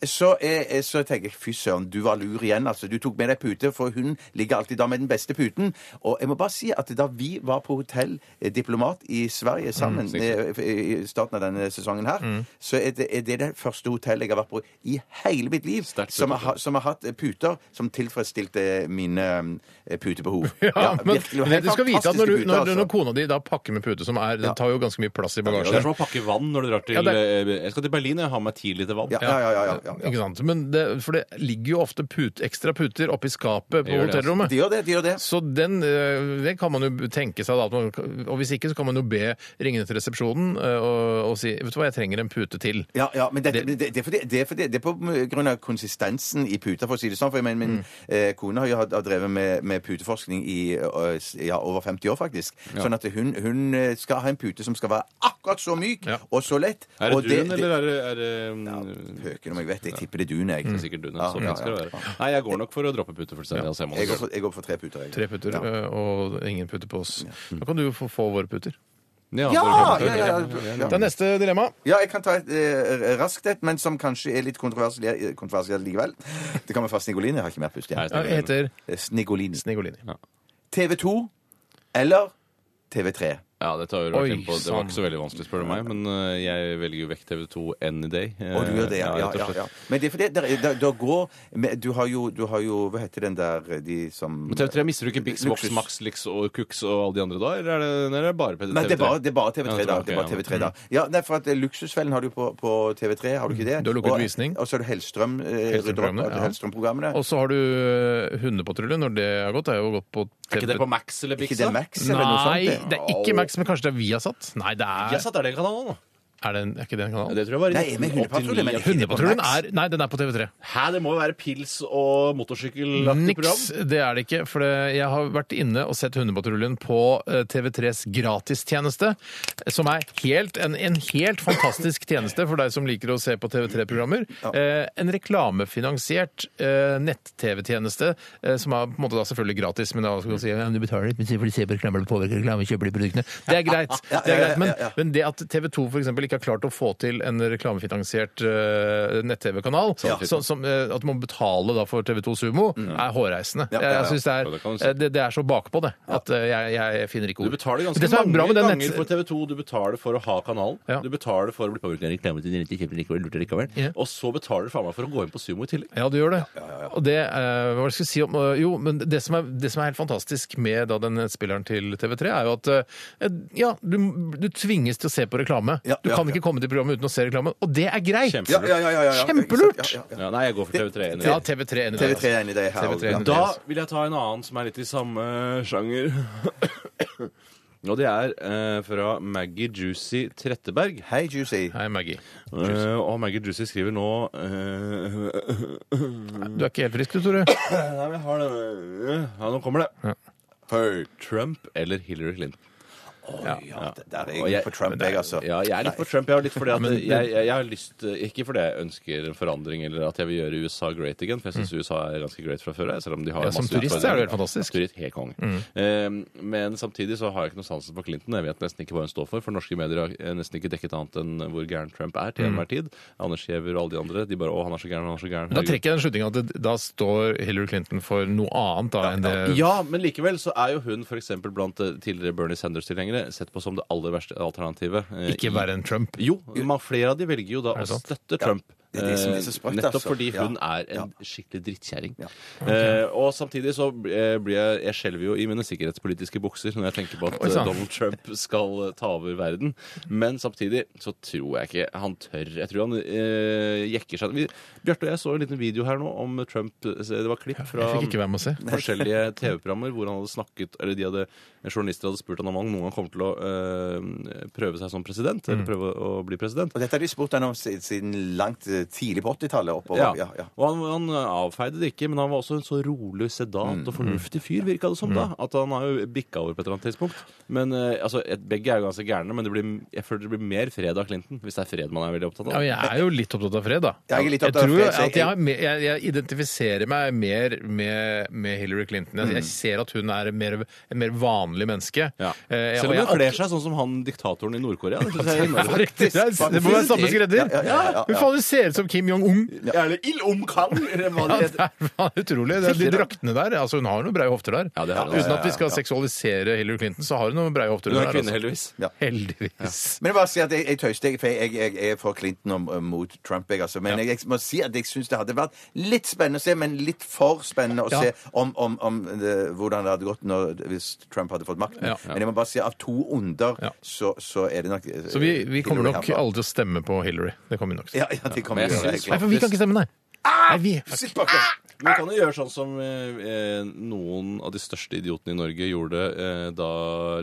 Speaker 5: så, er, er- så tenker jeg fy søren, du var lur igjen, altså. Du tok med deg pute, for hun ligger alltid da med den beste puten. Og jeg må bare si at da vi var på hotell eh, diplomat i
Speaker 3: Mm,
Speaker 5: Sverige sammen eh, i i starten av denne sesongen her, så er det, er det det første hotellet jeg har vært på i hele mitt liv
Speaker 4: Sterkt
Speaker 5: som
Speaker 4: hotell.
Speaker 5: har, som har hatt eh, puter som tilfredsstilte mine eh, putebehov.
Speaker 3: Ja, men,
Speaker 5: virkelig,
Speaker 3: men
Speaker 5: helt
Speaker 3: du skal vite at når, du,
Speaker 5: fantastiske
Speaker 3: når,
Speaker 5: puter,
Speaker 3: når
Speaker 5: altså.
Speaker 3: kona di da pakker med pute, som er, den tar jo ganske mye plass i
Speaker 4: Ja,
Speaker 3: bagasjen
Speaker 4: det er som å pakke vann når du drar til
Speaker 3: Ja, det
Speaker 4: eh, Jeg skal til Berlin, jeg har med meg ti liter vann.
Speaker 5: ja, ja, ja, ja, ja, ja.
Speaker 3: Ikke sant? Men det, for det ligger jo ofte put, ekstra puter oppi skapet på
Speaker 4: gjør det,
Speaker 3: hotellrommet.
Speaker 5: De gjør det, de gjør det.
Speaker 3: Så den, eh, det kan man jo tenke seg, da. at man- Og hvis ikke, så kan man jo be ringe til resepsjonen eh, og, og si Vet du hva, jeg trenger en pute til.
Speaker 5: Ja, ja, men dette,
Speaker 3: Det-
Speaker 5: det, det, er fordi, det, er fordi, det er på grunn av konsistensen i puta, for å si det sånn. For jeg mener,
Speaker 4: Mm.
Speaker 5: min eh, kone har jo hatt- har drevet med, med puteforskning i ø, s- ja, over 50 år, faktisk. Sånn at hun, hun eh, skal ha en pute som skal være akkurat så myk
Speaker 3: Ja.
Speaker 5: og så lett.
Speaker 4: Er det
Speaker 5: og
Speaker 4: dun, eller er det, er det mm,
Speaker 5: Pøken om jeg vet. Jeg tipper det er dun, jeg.
Speaker 4: Sikkert dun, ja.
Speaker 5: Ja,
Speaker 4: Sånn
Speaker 5: ja,
Speaker 4: skal det
Speaker 5: ja.
Speaker 4: være. Nei, jeg går nok for å droppe putefølelse. Ja.
Speaker 5: Jeg går, for, jeg går for tre puter, jeg.
Speaker 3: Tre puter
Speaker 5: Ja.
Speaker 3: eh, og ingen pute på oss.
Speaker 4: Mm.
Speaker 3: Da kan du jo få, få våre puter.
Speaker 4: Ja,
Speaker 5: Ja,
Speaker 4: det
Speaker 5: ja,
Speaker 4: er
Speaker 5: ja,
Speaker 4: klart.
Speaker 5: ja,
Speaker 3: Det er neste dilemma.
Speaker 5: Ja, jeg kan ta et eh, raskt et, men som kanskje er litt kontroversielt kontroversiell likevel. Det kommer fra Snigolini. Jeg har ikke mer pust
Speaker 4: Nei,
Speaker 5: igjen.
Speaker 3: Det heter
Speaker 5: Eh, Snigolini.
Speaker 3: Snigolini.
Speaker 5: TV2 eller TV3?
Speaker 4: Ja, dette har vi vært
Speaker 3: Oi,
Speaker 4: inne på. Det var ikke så veldig vanskelig, spør du meg. Men eh, jeg velger jo vekk TV2 any day. eh,
Speaker 5: Og du gjør det, ja. ja,
Speaker 4: rett og
Speaker 5: ja,
Speaker 4: slett.
Speaker 5: ja. Men det er fordi der, der, der går men du, har jo, du har jo Hva heter den der eh, de som
Speaker 4: Men TV3 mister du ikke Bix, Vox,
Speaker 5: Luksus.
Speaker 4: Max, Lix og Cooks og alle de andre da? Eller er det, nei, det er bare TV3?
Speaker 5: Nei, det er bare, det er bare TV3,
Speaker 4: Ja, det er
Speaker 5: da.
Speaker 4: bare-
Speaker 5: Det er bare
Speaker 4: ok, ja.
Speaker 5: TV3 da. Ja, nei, for at eh, Luksusfellen har du på, på TV3, har du ikke det?
Speaker 3: Du har lukket
Speaker 5: Og-
Speaker 3: visning.
Speaker 5: Og så har du Hellstrøm. eh, rydder opp
Speaker 3: Hellstrøm-programmene,
Speaker 5: etter
Speaker 3: ja.
Speaker 5: Hellstrøm-programmene.
Speaker 3: Og så har du eh, hundepatrulje når det har gått. Det har jo gått på
Speaker 4: Er ikke det på Max eller Bix?
Speaker 5: Ikke det Max eller noe sånt?
Speaker 3: Nei,
Speaker 5: det?
Speaker 3: det er ikke Max, men kanskje det er Viasat? Nei, det er,
Speaker 4: Jeg satt der den kanalen, da.
Speaker 3: er, det en, er ikke det en kanal?
Speaker 4: Det tror jeg var i
Speaker 5: Nei, men
Speaker 4: 1989.
Speaker 5: hundepatrulje, men ikke det på
Speaker 3: Hundepatruljen
Speaker 5: Max?
Speaker 3: er Nei, den er på TV3.
Speaker 4: Hæ, det må jo være pils og motorsykkelaktig program?
Speaker 3: Niks, det er det ikke. For det- jeg har vært inne og sett Hundepatruljen på eh, TV3s gratistjeneste, som er helt, en, en helt fantastisk tjeneste for deg som liker å se på TV3-programmer. Eh, en reklamefinansiert eh, nett-TV-tjeneste, eh, som er på en måte da selvfølgelig gratis, men da skal du si ja, du betaler litt, men så får du se på reklamer, det påvirker reklame, kjøper de produktene. Det er greit.
Speaker 5: Ja,
Speaker 3: Det er
Speaker 5: ja,
Speaker 3: greit
Speaker 5: ja,
Speaker 3: men,
Speaker 5: ja, ja.
Speaker 3: men det at TV2 for eksempel ikke har klart å få til en reklamefinansiert eh, nett-TV-kanal,
Speaker 4: Sånn
Speaker 3: så- som, eh, at du må betale da for TV2 Sumo, er hårreisende.
Speaker 5: Ja, ja,
Speaker 3: Jeg-
Speaker 5: ja.
Speaker 3: Jeg synes det,
Speaker 4: Mm. Ja, det
Speaker 3: er,
Speaker 4: kan du si.
Speaker 3: eh, det, det er så bakpå, det, at eh, jeg, jeg finner ikke
Speaker 4: Du
Speaker 3: ord.
Speaker 4: betaler ganske
Speaker 3: Det som er
Speaker 4: mange
Speaker 3: bra med den
Speaker 4: ganger
Speaker 3: nett-
Speaker 4: for TV2. Du betaler for å ha kanalen.
Speaker 3: Ja.
Speaker 4: Du betaler for å bli påvirket av reklame til direkte kjøper likevel, lurte likevel.
Speaker 3: Ja.
Speaker 4: Og så betaler du faen meg for å gå inn på Sumo i tillegg.
Speaker 3: Ja, du gjør det. Og det, eh, hva skal jeg si om, eh, jo, men det som, er, det som er helt fantastisk med da, den spilleren til TV3, er jo at eh, ja, du, du tvinges til å se på reklame.
Speaker 5: Ja,
Speaker 3: du
Speaker 5: ja,
Speaker 3: kan
Speaker 5: ja.
Speaker 3: ikke komme til programmet uten å se reklame, og det er greit!
Speaker 4: Kjempe-
Speaker 5: Ja, ja, ja, ja, ja, ja.
Speaker 3: Kjempelurt!
Speaker 5: Ja, ja, ja.
Speaker 4: Ja, nei, jeg går for TV3. enig.
Speaker 3: Ja, TV3 enig i det,
Speaker 5: TV3 er enig i det her.
Speaker 3: TV3 er enig i det.
Speaker 4: Da vil jeg ta en annen som er litt i samme sjanger. Og det er eh, fra Maggie Juicy Tretteberg.
Speaker 5: Hei, Juicy.
Speaker 3: Hei, Maggie.
Speaker 4: Eh, og Maggie Juicy skriver nå eh,
Speaker 3: Du er ikke helt frisk, du, Tore.
Speaker 4: Nei, men jeg har den eh, Ja, nå kommer det. Hey, Trump eller Hillary Clinton?
Speaker 5: Ja, der er
Speaker 4: Og
Speaker 5: jeg
Speaker 4: jeg-
Speaker 5: på Trump, jeg, altså.
Speaker 4: Ja, jeg er litt for Trump. Jeg er litt fordi at jeg, jeg, jeg har lyst Ikke fordi jeg ønsker en forandring eller at jeg vil gjøre USA great again, for jeg syns USA er ganske great fra før. jeg, Selv om de har
Speaker 3: Mm. Ja, som
Speaker 4: masse
Speaker 3: turist er det
Speaker 4: utfordringer.
Speaker 3: helt fantastisk. Mm.
Speaker 4: Turist, helt konge. Eh, men samtidig så har jeg ikke noe sansen for Clinton. Jeg vet nesten ikke hva hun står for, for norske medier har eh, nesten ikke dekket annet enn hvor gæren Trump
Speaker 3: Mm.
Speaker 4: er til enhver tid. Anders Giæver og alle de andre, de bare 'Å, han er så gæren, han er så gæren'.
Speaker 3: Da
Speaker 4: herregud».
Speaker 3: trekker jeg den slutningen at det, da står Hillary Clinton for noe annet da, enn det
Speaker 4: Ja, men likevel så er jo hun f.eks. blant eh, tidligere Bernie Sanders-tilhengere sett på som det aller verste alternativet. eh,
Speaker 3: Ikke
Speaker 4: i-
Speaker 3: verre enn Trump.
Speaker 4: Jo, man, flere av de velger jo da å
Speaker 3: det sant?
Speaker 4: støtte Trump.
Speaker 5: det er det som er så sprøtt,
Speaker 4: Eh, Nettopp
Speaker 5: altså.
Speaker 4: fordi
Speaker 5: Ja.
Speaker 4: hun er en skikkelig drittkjerring.
Speaker 5: Ja.
Speaker 4: Eh, og samtidig så eh, blir jeg Jeg skjelver jo i mine sikkerhetspolitiske bukser når jeg tenker på at
Speaker 3: Oi, sånn.
Speaker 4: eh,
Speaker 3: sann.
Speaker 4: Donald Trump skal eh, ta over verden. Men samtidig så tror jeg ikke han tør. Jeg tror han eh, jekker seg Vi- Bjarte og jeg så en liten video her nå om Trump Det var klipp fra
Speaker 3: Jeg fikk ikke være med å se.
Speaker 4: forskjellige TV-programmer hvor han hadde snakket Eller de hadde, journalister hadde spurt han om han noen gang kommer til å eh, prøve seg som president. Eller prøve å bli president.
Speaker 5: Og dette har de spurt henne om si- siden langt eh, tidlig på 80-tallet oppover.
Speaker 4: Ja.
Speaker 5: Ja, ja.
Speaker 4: Og han, han avfeide det ikke, men han var også en så rolig, sedat og fornuftig fyr, virka det som da. At han har jo bikka over på et eller annet tidspunkt. Men eh, altså, et, Begge er jo ganske gærne, men det blir, jeg føler det blir mer fred av Clinton. Hvis det er fred man er veldig opptatt
Speaker 3: Ja,
Speaker 4: av.
Speaker 3: men jeg er jo litt opptatt av fred, da.
Speaker 5: Jeg er litt opptatt av
Speaker 3: tror
Speaker 5: fred, så jeg-
Speaker 3: at jeg, har mer- jeg, jeg identifiserer meg mer med, med Hillary Clinton. Altså, Jeg, jeg ser at hun er en mer, en mer vanlig menneske.
Speaker 4: Mm. Ja.
Speaker 3: Eh,
Speaker 4: Selv
Speaker 3: og
Speaker 4: om
Speaker 3: jeg-
Speaker 4: hun kler seg sånn som han diktatoren i Nord-Korea. Det synes jeg er innmari-
Speaker 3: Faktisk, det, er, det må være samme skredder!
Speaker 5: Ja, ja, ja, ja, ja.
Speaker 3: Hun faen, hun ser ut som Kim Jong-un!
Speaker 4: Ja, Eller Il Om Kang! eller hva det
Speaker 3: Ja, det
Speaker 4: heter.
Speaker 3: er faen utrolig. Det er de draktene der. Altså, hun har noen breie hofter der.
Speaker 4: Ja, det har hun.
Speaker 3: Uten at vi skal seksualisere Hillary Clinton, så har hun noen breie hofter
Speaker 4: Hun
Speaker 3: der.
Speaker 4: er kvinne,
Speaker 3: altså.
Speaker 4: heldigvis.
Speaker 3: Heldigvis.
Speaker 5: Men jeg bare sier at jeg, jeg tøyste, jeg- for jeg, jeg, jeg er for Clinton og og mot Trump. Jeg, altså. Men jeg, jeg må si at jeg syns det hadde vært litt spennende å se, men litt for spennende å
Speaker 3: Ja.
Speaker 5: se om, om, om det, hvordan det hadde gått når, hvis Trump hadde fått makten.
Speaker 3: Ja.
Speaker 5: Men jeg må bare si at av to onder,
Speaker 3: Ja.
Speaker 5: så, så er det nok eh,
Speaker 3: Så vi, vi kommer
Speaker 5: Hillary
Speaker 3: nok
Speaker 5: Clinton.
Speaker 3: alle til å stemme på Hillary. Det kommer vi nok til.
Speaker 5: Ja, ja, det kommer
Speaker 4: Men
Speaker 5: vi
Speaker 4: jeg
Speaker 5: til å
Speaker 4: synes
Speaker 5: gjøre.
Speaker 3: Nei, for vi kan ikke stemme, nei. nei vi,
Speaker 5: Sitt bak der.
Speaker 4: Men vi kan jo gjøre sånn som eh, eh, noen av de største idiotene i Norge gjorde eh, da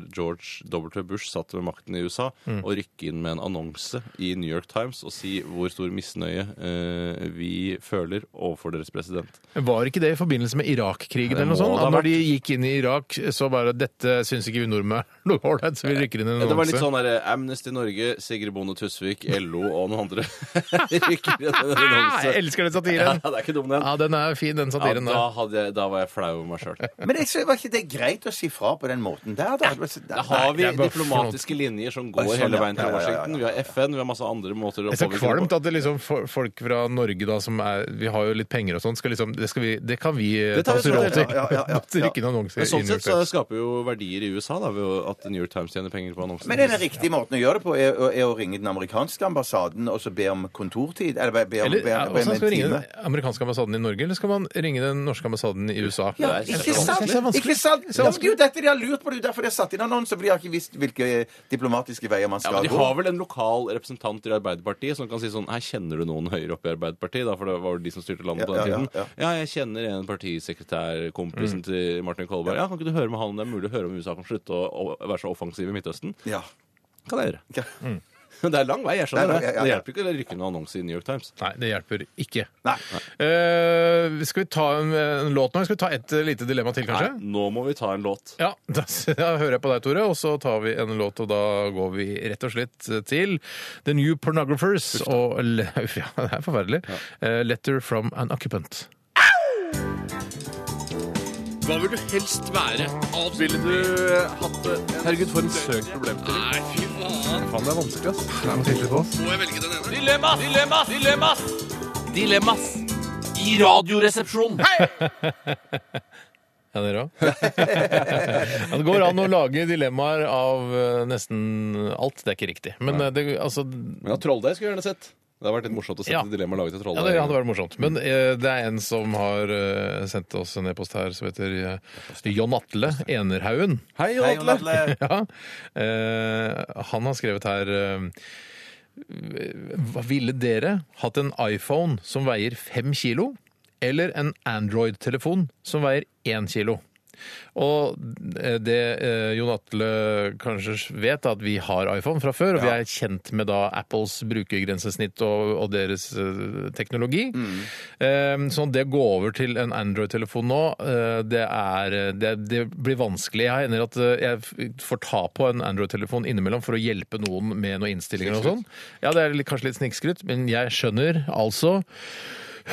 Speaker 4: George W. Bush satt ved makten i USA,
Speaker 3: Mm.
Speaker 4: og rykke inn med en annonse i New York Times og si hvor stor misnøye eh, vi føler overfor deres president.
Speaker 3: Var ikke det i forbindelse med Irak-krigen
Speaker 4: Det
Speaker 3: eller noe
Speaker 4: må
Speaker 3: sånt?
Speaker 4: det ha
Speaker 3: At når de gikk inn i Irak, så bare dette syns ikke vi nordmenn er noe ålreit, så vi rykker inn i en
Speaker 4: Det var litt
Speaker 3: annonse.
Speaker 4: sånn der, eh, Amnesty Norge, Sigrid Bonde Tusvik, LO og noen andre rykker inn i en
Speaker 3: Ah, jeg
Speaker 4: annonse.
Speaker 3: elsker den
Speaker 4: Ja,
Speaker 3: satiren!
Speaker 4: det er ikke dum, den.
Speaker 3: Ja, den er fin, den
Speaker 4: Ja,
Speaker 3: satiren
Speaker 4: da,
Speaker 3: der.
Speaker 4: hadde jeg, da var jeg flau over meg sjøl.
Speaker 3: Ah!
Speaker 5: Men jeg, synes- var ikke det greit å si fra på den måten der, da? Altså,
Speaker 4: Da har vi
Speaker 3: det er bare
Speaker 4: diplomatiske linjer som går
Speaker 5: Sånn,
Speaker 4: hele
Speaker 5: ja.
Speaker 4: veien til
Speaker 5: Ja, ja, ja, ja,
Speaker 4: Washington. Vi har FN, vi har masse andre måter å
Speaker 3: Det er så
Speaker 4: påvirke det
Speaker 3: kvalmt
Speaker 4: på.
Speaker 3: at det liksom for- folk fra Norge da, som er Vi har jo litt penger og sånn, skal liksom Det, skal vi, det kan vi eh, ta
Speaker 4: tar vi
Speaker 3: oss
Speaker 4: som
Speaker 3: råd
Speaker 4: del,
Speaker 3: til.
Speaker 5: ja, ja, ja, ja.
Speaker 3: Trykke inn annonser.
Speaker 4: Men
Speaker 3: i
Speaker 4: sånn
Speaker 3: New York
Speaker 4: sett så
Speaker 3: Times.
Speaker 4: skaper jo verdier i USA da, ved å- at New York Times tjener penger på annonsene.
Speaker 5: Men er den riktige måten å gjøre det på er, er å ringe den amerikanske ambassaden og så be om kontortid? Eller be, be om,
Speaker 3: Eller
Speaker 5: be,
Speaker 3: ja, altså,
Speaker 5: om- be, om en
Speaker 3: hvordan skal vi ringe
Speaker 5: time?
Speaker 3: den amerikanske ambassaden i Norge, eller skal man ringe den norske ambassaden i USA?
Speaker 5: Ja,
Speaker 4: Det er
Speaker 5: ikke
Speaker 4: kjempevanskelig.
Speaker 5: sant?
Speaker 3: Det er vanskelig.
Speaker 5: Ikke sant? Ja, men
Speaker 3: Det er
Speaker 5: det er
Speaker 3: vanskelig.
Speaker 5: jo dette de har lurt på, det er jo derfor de har satt inn annonser. For de har ikke visst hvilke diplomatiske veier man
Speaker 4: Ja,
Speaker 5: skal
Speaker 4: men De
Speaker 5: gå.
Speaker 4: har vel en lokal representant i Arbeiderpartiet som kan si sånn Her kjenner du noen høyere oppe i Arbeiderpartiet, da, for det var jo de som styrte landet på
Speaker 5: Ja,
Speaker 4: den
Speaker 5: ja,
Speaker 4: tiden.
Speaker 5: ja,
Speaker 4: Ja, jeg kjenner en partisekretær, kompisen til Martin Kolberg. Ja, kan ikke du høre med han om det er mulig å høre om USA kan slutte å, å være så offensiv i Midtøsten?
Speaker 5: Ja.
Speaker 4: Kan jeg gjøre.
Speaker 5: Ja.
Speaker 3: Mm.
Speaker 4: Det er lang vei, jeg skjønner
Speaker 5: Nei,
Speaker 4: det.
Speaker 5: nei, ja, ja,
Speaker 4: Det
Speaker 5: ja.
Speaker 4: hjelper ikke å rykke en annonse i New York Times.
Speaker 3: Nei, det hjelper ikke.
Speaker 5: Nei.
Speaker 3: Eh, skal vi ta en, en låt nå? Skal vi ta et eh, lite dilemma til, kanskje?
Speaker 4: Nei, nå må vi ta en låt.
Speaker 3: Ja, da, da hører jeg på deg, Tore, og så tar vi en låt, og da går vi rett og slett til The New Pornographers og le- Uff, ja, det er forferdelig. Eh, letter from an occupant. Ja, dere òg? ja, det går an å lage dilemmaer av eh, nesten alt. Det er ikke riktig. Men eh, det, altså,
Speaker 4: Men ja, Trolldeig skulle jeg gjerne sett. Det hadde vært litt morsomt å sette
Speaker 3: Ja.
Speaker 4: dilemma laget til
Speaker 3: ja,
Speaker 4: Trolldeig.
Speaker 3: det hadde vært morsomt. Men eh, det er en som har eh, sendt oss en e-post her som heter eh, John Atle Enerhaugen.
Speaker 4: Hei,
Speaker 5: Hei,
Speaker 4: Jon
Speaker 5: Jon
Speaker 4: Atle!
Speaker 5: Atle.
Speaker 3: Ja. Eh, han har skrevet her eh, hva Ville dere hatt en iPhone som veier fem kilo, eller en Android-telefon som veier én kilo? Og eh, det eh, Jon Atle kanskje vet, er at vi har iPhone fra før, og vi er kjent med da Apples brukergrensesnitt og, og deres eh, teknologi. Eh, sånn det å gå over til en Android-telefon nå, eh, det, er, eh, det, det blir vanskelig. Jeg hender at eh, jeg f- får ta på en Android-telefon innimellom for å hjelpe noen med noen innstillinger og sånn. Ja, det er litt, kanskje litt snikskrytt, men jeg skjønner altså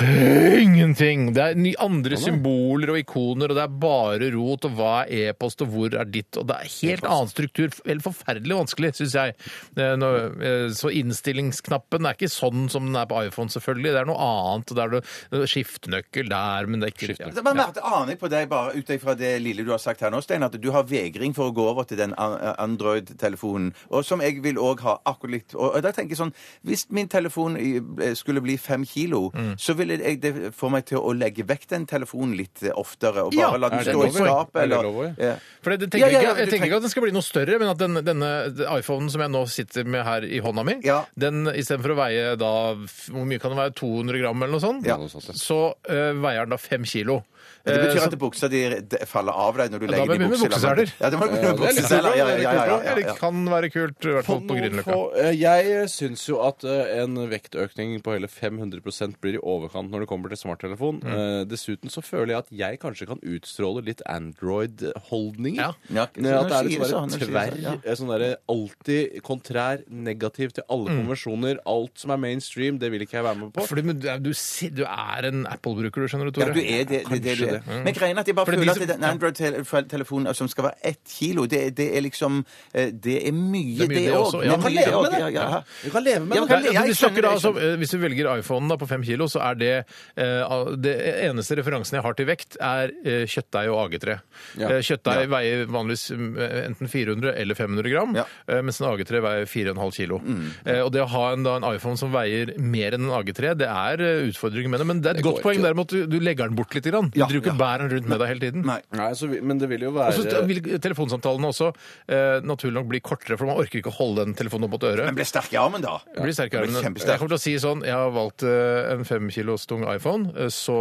Speaker 3: Ingenting! Det er ny- andre symboler og ikoner, og det er bare rot, og hva er e-post, og hvor er ditt, og det er helt annen struktur. Helt forferdelig vanskelig, syns jeg. Eh, nå, eh, Så innstillingsknappen er ikke sånn som den er på iPhone, selvfølgelig. Det er noe annet. og Det er noe- skiftenøkkel der, men det er ikke
Speaker 5: Det var mer at jeg aner på deg bare ut ifra det lille du har sagt her nå, Stein, at du har vegring for å gå over til den an- Android-telefonen, og som jeg vil òg ha akkurat litt. Og og da tenker jeg sånn Hvis min telefon i- eh, skulle bli fem kilo,
Speaker 3: Mm.
Speaker 5: så ville jeg det få meg til å legge vekk den telefonen litt eh, oftere, og
Speaker 3: Ja,
Speaker 5: bare la den
Speaker 3: er det
Speaker 5: stå i
Speaker 3: lov, ja?
Speaker 5: skapet,
Speaker 4: Er det
Speaker 5: eller
Speaker 4: lov,
Speaker 5: ja.
Speaker 3: For det, det
Speaker 5: Ja,
Speaker 3: tenker
Speaker 5: ja, ja,
Speaker 3: ikke, jeg
Speaker 5: du
Speaker 3: tenker
Speaker 5: tenker-
Speaker 3: ikke at den skal bli noe større, men at den, denne iPhonen som jeg nå sitter med her i hånda mi,
Speaker 5: Ja.
Speaker 3: den istedenfor å veie da f- Hvor mye kan den veie? 200 gram eller noe sånt?
Speaker 5: Ja.
Speaker 3: Så eh, veier den da 5 kilo.
Speaker 5: Det
Speaker 3: Eh,
Speaker 5: betyr
Speaker 3: så-
Speaker 5: at buksa di de- faller av deg når du legger
Speaker 3: må jeg
Speaker 5: den i
Speaker 3: begynne med
Speaker 5: bukselammen.
Speaker 3: bukseseler.
Speaker 5: Ja, det må du begynne med
Speaker 4: det er litt
Speaker 5: bukseseler. Ja, ja, ja, ja, ja,
Speaker 3: Det
Speaker 5: ja.
Speaker 3: kan være kult, i hvert fall på Grünerløkka.
Speaker 4: På- eh, Jeg syns jo at eh, en vektøkning på hele 500 blir i overkant når det kommer til smarttelefon.
Speaker 3: Mm.
Speaker 4: Eh, Dessuten så føler jeg at jeg kanskje kan utstråle litt Android-holdninger.
Speaker 3: Ja.
Speaker 5: Ja,
Speaker 4: Nei, at det
Speaker 5: når
Speaker 4: er
Speaker 5: du sier
Speaker 4: litt sånn
Speaker 5: sånn,
Speaker 4: der
Speaker 5: når du sier
Speaker 4: tverr,
Speaker 5: sånn, ja.
Speaker 4: eh, sånn der, alltid kontrær, negativ til alle konvensjoner. Alt som er mainstream, det vil ikke jeg være med på.
Speaker 3: Mm. Fordi men du, er- du, si- du er en Apple-bruker, du skjønner du,
Speaker 5: Ja,
Speaker 3: Tore.
Speaker 5: du er det. det, det, du
Speaker 4: Kanskje
Speaker 5: er.
Speaker 4: det.
Speaker 5: Men greien er at jeg bare
Speaker 3: For det
Speaker 5: føler
Speaker 3: blir
Speaker 5: at
Speaker 3: så-
Speaker 5: den Android-telefonen som skal være ett kilo, det, det er liksom eh, Det er mye,
Speaker 3: Det er mye
Speaker 5: det
Speaker 3: det
Speaker 5: òg.
Speaker 3: også, ja.
Speaker 5: Man kan leve med det.
Speaker 4: Ja,
Speaker 5: Ja, ja.
Speaker 4: Du kan leve med
Speaker 5: Ja,
Speaker 4: det.
Speaker 5: men kan
Speaker 3: Nei,
Speaker 5: jeg liksom-
Speaker 3: altså,
Speaker 5: skjønner
Speaker 3: du snakker da,
Speaker 5: det, jeg
Speaker 3: altså, eh, hvis du velger iPhonen da, på fem kilo, så er det eh, al- Det eneste referansen jeg har til vekt, er eh, kjøttdeig og AG3.
Speaker 4: Ja.
Speaker 3: Eh, kjøttdeig veier vanligvis mm, eh, enten 400 eller 500 gram,
Speaker 5: Ja.
Speaker 3: eh, mens en AG3 veier 4,5 kilo. Eh, og det å ha en, da, en iPhone som veier mer enn en AG3, det er eh, utfordringer med det. Men det er et godt poeng derimot, du, du legger den bort litt. Grann.
Speaker 5: Ja,
Speaker 3: du driver ikke
Speaker 5: ja.
Speaker 3: og bærer den rundt med deg hele tiden.
Speaker 5: Nei.
Speaker 4: Nei, så, vi- men det vil jo
Speaker 3: Og så
Speaker 4: være
Speaker 3: vil telefonsamtalene også eh, naturlig nok bli kortere, for man orker ikke å holde den telefonen opp mot øret.
Speaker 5: Men ble sterk i armen, da.
Speaker 3: Jeg blir sterk i
Speaker 5: Jeg
Speaker 3: armen.
Speaker 5: blir
Speaker 3: Jeg
Speaker 5: kjempesterk.
Speaker 3: kommer til å si sånn Jeg har valgt eh, en fem kilos tung iPhone, eh, så,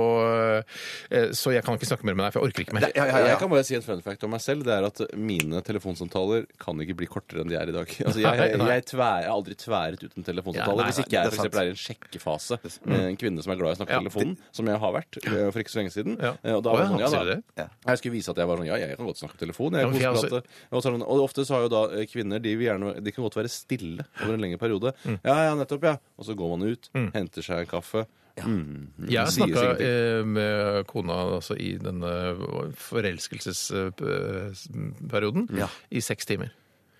Speaker 3: eh, så jeg kan ikke snakke mer med deg, for jeg orker ikke mer.
Speaker 5: Det- Ja, ja, ja.
Speaker 4: Jeg kan bare si en fun fact om meg selv. Det er at mine telefonsamtaler kan ikke bli kortere enn de er i dag. Altså, jeg, jeg,
Speaker 3: Nei.
Speaker 4: tvæ- jeg har aldri tværet ut en
Speaker 3: Ja,
Speaker 4: telefonsamtale.
Speaker 3: nei,
Speaker 4: hvis
Speaker 3: nei,
Speaker 4: ikke jeg
Speaker 5: det er
Speaker 4: for eksempel er i en sjekkefase med en kvinne som er glad i å snakke i
Speaker 3: Ja.
Speaker 4: telefonen, som jeg har vært eh, for ikke så lenge siden.
Speaker 3: Ja.
Speaker 4: Eh, Og da
Speaker 3: Å,
Speaker 4: var
Speaker 3: ja,
Speaker 4: jeg sånn, ja,
Speaker 3: sier
Speaker 4: da.
Speaker 3: du det?
Speaker 5: Ja.
Speaker 4: Jeg skulle vise at jeg var sånn Ja, jeg kan godt snakke på telefon.
Speaker 3: Ja,
Speaker 4: Jeg
Speaker 3: men
Speaker 4: koser
Speaker 3: jeg
Speaker 4: meg at- og, så er det sånn- og ofte så har jo da eh, kvinner De, vil gjerne, de
Speaker 3: Mm.
Speaker 4: kan godt være stille over en lengre periode. Ja, ja, nettopp, ja. Og så går man ut, henter seg en kaffe. Mm.
Speaker 3: Jeg
Speaker 7: sier
Speaker 3: snakka
Speaker 7: sikkert
Speaker 3: eh, med kona altså, i denne eh, forelskelsesperioden eh, i seks timer.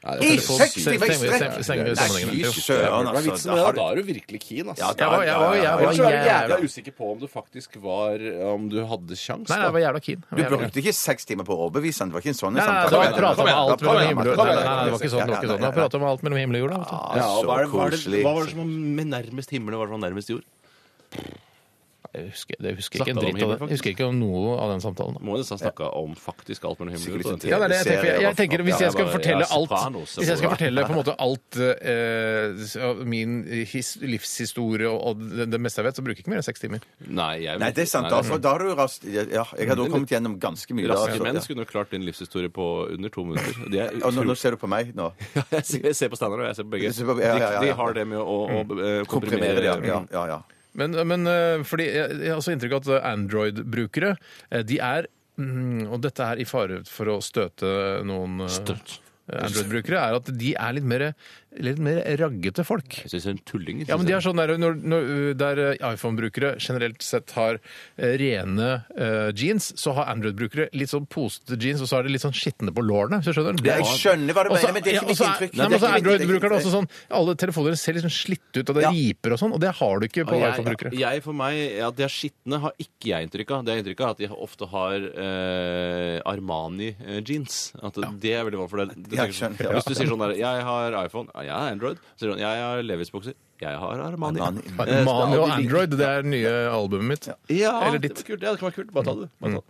Speaker 5: I
Speaker 3: Telefon-
Speaker 5: seks
Speaker 3: se-
Speaker 5: timer i
Speaker 3: se-
Speaker 5: strekk!
Speaker 3: se- se- se- sammenhengende.
Speaker 5: Nei, fy
Speaker 7: Hva
Speaker 5: søren,
Speaker 7: er
Speaker 5: altså.
Speaker 7: vitsen med det? Da er du virkelig keen, ass.
Speaker 5: Ja,
Speaker 3: Jeg var, jeg var, jeg
Speaker 7: Ellers
Speaker 3: var
Speaker 7: så er du
Speaker 3: jævla
Speaker 7: jævlig usikker på om du faktisk var Om du hadde sjans.
Speaker 3: Nei, jeg var jævla keen. Jeg var
Speaker 5: Du
Speaker 3: jævla keen.
Speaker 5: brukte ikke seks timer på å overbevise han, det var ikke en sånn
Speaker 3: Nei, nei,
Speaker 5: samtale.
Speaker 3: det var
Speaker 7: Kom igjen,
Speaker 3: prata
Speaker 7: kom
Speaker 3: om
Speaker 7: igjen, kom
Speaker 3: alt
Speaker 7: igjen,
Speaker 3: mellom himmel og
Speaker 7: kom
Speaker 3: Nei,
Speaker 7: igjen,
Speaker 3: nei, nei, det var ikke sånn. det var ikke sånn. Jeg prata om alt mellom himmel og jord. da, vet du.
Speaker 5: Ja,
Speaker 7: og hva
Speaker 5: så
Speaker 7: er det- hva er det-
Speaker 5: koselig.
Speaker 4: Hva var det som var nærmest himmelen, og hva var det som var nærmest jord?
Speaker 3: Jeg husker, jeg husker ikke
Speaker 4: Snakket
Speaker 3: en
Speaker 4: om
Speaker 3: dritt av
Speaker 4: himmel,
Speaker 3: det. Jeg husker ikke om noe av den samtalen. da.
Speaker 4: Må jo nesten ha snakka om faktisk alt mellom himmelen og jord. på den
Speaker 3: Ja,
Speaker 4: tiden.
Speaker 3: det er det jeg tenker. Jeg, jeg tenker Hvis
Speaker 4: Ja,
Speaker 3: jeg skal
Speaker 4: bare-
Speaker 3: fortelle
Speaker 4: ja,
Speaker 3: alt
Speaker 4: Sopranos,
Speaker 3: Hvis jeg skal
Speaker 4: eller-
Speaker 3: fortelle på en måte alt eh, min his, livshistorie og, og det, det meste jeg vet, så bruker jeg ikke mer enn seks timer.
Speaker 4: Nei, jeg,
Speaker 5: Nei, det er sant.
Speaker 4: Nei,
Speaker 5: Da, for da har du rast... Ja, jeg hadde også kommet gjennom ganske mye. da,
Speaker 4: Raske
Speaker 5: så-
Speaker 4: menn
Speaker 5: ja.
Speaker 4: skulle jo klart din livshistorie på under to minutter. De er
Speaker 5: Og nå, nå
Speaker 4: utrolig-
Speaker 5: ser du på meg nå.
Speaker 4: jeg ser- jeg ser på Steinar og jeg ser på begge.
Speaker 5: Du ser på- ja, ja, ja, ja.
Speaker 4: De, de har det med å, å, å eh,
Speaker 5: Komprimerer
Speaker 4: komprimere
Speaker 5: det, ja. ja, ja, ja.
Speaker 3: Men, men eh, fordi jeg, jeg har også inntrykk av at eh, Android-brukere, eh, de er mm, og dette er i fare for å støte noen eh,
Speaker 4: Støtt.
Speaker 3: Android-brukere, er at de er litt mer, litt mer raggete folk.
Speaker 4: Jeg syns det er en tulling.
Speaker 3: Ja, men de er sånn der, når, når, uh, der uh, iPhone-brukere generelt sett har eh, rene eh, jeans, så har Android-brukere litt sånn posete jeans, og så er de litt sånn skitne på lårene. hvis du skjønner? Det
Speaker 5: Ja, jeg skjønner hva du mener, men det er ikke mitt inntrykk.
Speaker 3: Nei,
Speaker 5: Det er ikke
Speaker 3: men også
Speaker 5: mitt inntrykk.
Speaker 3: Android-brukere er også sånn, alle telefoner ser litt sånn slitte ut, og det
Speaker 5: Ja.
Speaker 3: riper og sånn, og det har du ikke på
Speaker 4: jeg,
Speaker 3: iPhone-brukere.
Speaker 4: jeg for meg, At de er skitne, har ikke jeg inntrykk av. Det er inntrykk av at de ofte har eh, Armani-jeans. At Det er veldig vanlig for deg. Det
Speaker 5: Ja,
Speaker 4: tenker jeg sånn.
Speaker 5: skjønner, ja.
Speaker 4: Hvis du sier sånn der Jeg har iPhone. Ja, jeg har Android. Så sier du sånn, jeg har Levis-bukser. Jeg har Armani.
Speaker 5: Armani.
Speaker 4: Eh, så
Speaker 3: Mani og
Speaker 4: alle de-
Speaker 3: Android, det er det nye albumet mitt.
Speaker 4: Ja,
Speaker 3: Eller
Speaker 4: det
Speaker 3: ditt.
Speaker 4: var kult. Ja, det kan være kult. Bare ta
Speaker 5: Mm.
Speaker 4: det. Bare ta det.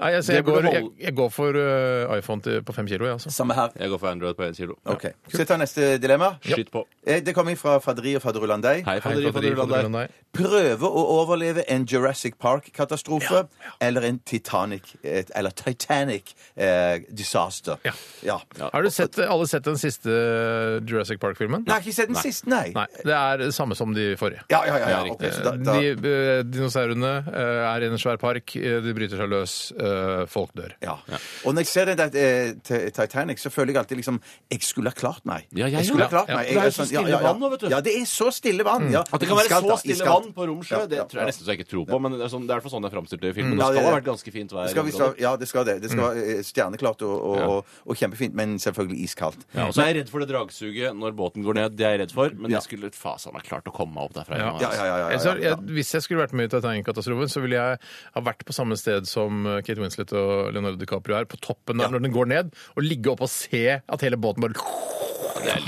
Speaker 3: Nei, jeg, så
Speaker 4: Det
Speaker 3: jeg,
Speaker 4: burde
Speaker 3: går, jeg,
Speaker 4: holde-
Speaker 3: jeg går for eh, iPhone til, på fem kilo, jeg, altså.
Speaker 5: Samme her.
Speaker 4: Jeg går for Android på 1 kilo.
Speaker 5: Ok. Skal jeg ta neste dilemma?
Speaker 4: Skyt på.
Speaker 5: Eh, Det kommer fra Fadri og Faderullandei.
Speaker 4: Hei, Faderi,
Speaker 3: Hei, Faderi, Faderi, Faderi.
Speaker 5: Prøve å overleve en Jurassic Park-katastrofe eller en Titanic eh, Eller Titanic eh, disaster.
Speaker 3: Ja.
Speaker 5: Ja.
Speaker 3: Har du sett, alle sett den siste uh, Jurassic Park-filmen?
Speaker 5: Nei, jeg har ikke sett den siste, nei.
Speaker 3: Nei, det er det samme som de forrige.
Speaker 5: Ja, ja, ja. ja.
Speaker 4: Ja,
Speaker 5: ok,
Speaker 4: riktig.
Speaker 5: så da, da,
Speaker 3: De eh, dinosaurene eh, er i en svær park, eh, de bryter seg løs, eh, folk dør.
Speaker 5: ja. Og når jeg ser den der eh, Ti- Titanic, så føler jeg alltid liksom Jeg skulle ha klart meg.
Speaker 4: Ja, jeg
Speaker 5: skulle ha
Speaker 4: gjorde
Speaker 5: klart
Speaker 3: det.
Speaker 5: meg.
Speaker 4: Ja,
Speaker 5: Jeg
Speaker 4: for det er så
Speaker 5: sånn-
Speaker 4: stille vann nå, vet du.
Speaker 5: Ja, det er så stille vann. Ja.
Speaker 4: At det kan være
Speaker 5: Iskaldt,
Speaker 4: så
Speaker 5: da,
Speaker 4: stille
Speaker 5: iskaldt.
Speaker 4: vann på Romsjø,
Speaker 5: Ja,
Speaker 4: det
Speaker 5: ja,
Speaker 4: tror jeg
Speaker 5: ja. Mm.
Speaker 4: nesten så jeg ikke tror på. Men det er, sånn, det er sånn det er framstilt i
Speaker 5: Ja,
Speaker 4: filmen. det
Speaker 5: det-
Speaker 4: skal ha vært ganske fint vær.
Speaker 5: Det skal, vi,
Speaker 4: i området.
Speaker 5: skal, ja, det skal det. Det skal
Speaker 4: Mm.
Speaker 5: være eh, stjerneklart og, og, og, og kjempefint, men selvfølgelig iskaldt.
Speaker 4: Ja,
Speaker 3: altså-
Speaker 4: og så er jeg redd for det dragsuget når båten går ned. Det er jeg redd for, men jeg skulle faen meg klart å komme meg opp derfra. altså,
Speaker 3: Ja.
Speaker 4: igjen,
Speaker 5: Ja, ja, ja, ja, ja,
Speaker 3: Jeg, så,
Speaker 5: ja.
Speaker 3: jeg, hvis jeg skulle vært med i Titanic-katastrofen, så ville jeg ha vært på samme sted som eh, Kate Winslet og Leonardo DiCaprio er, på toppen der når den går ned, og ligge opp og se at hele båten bare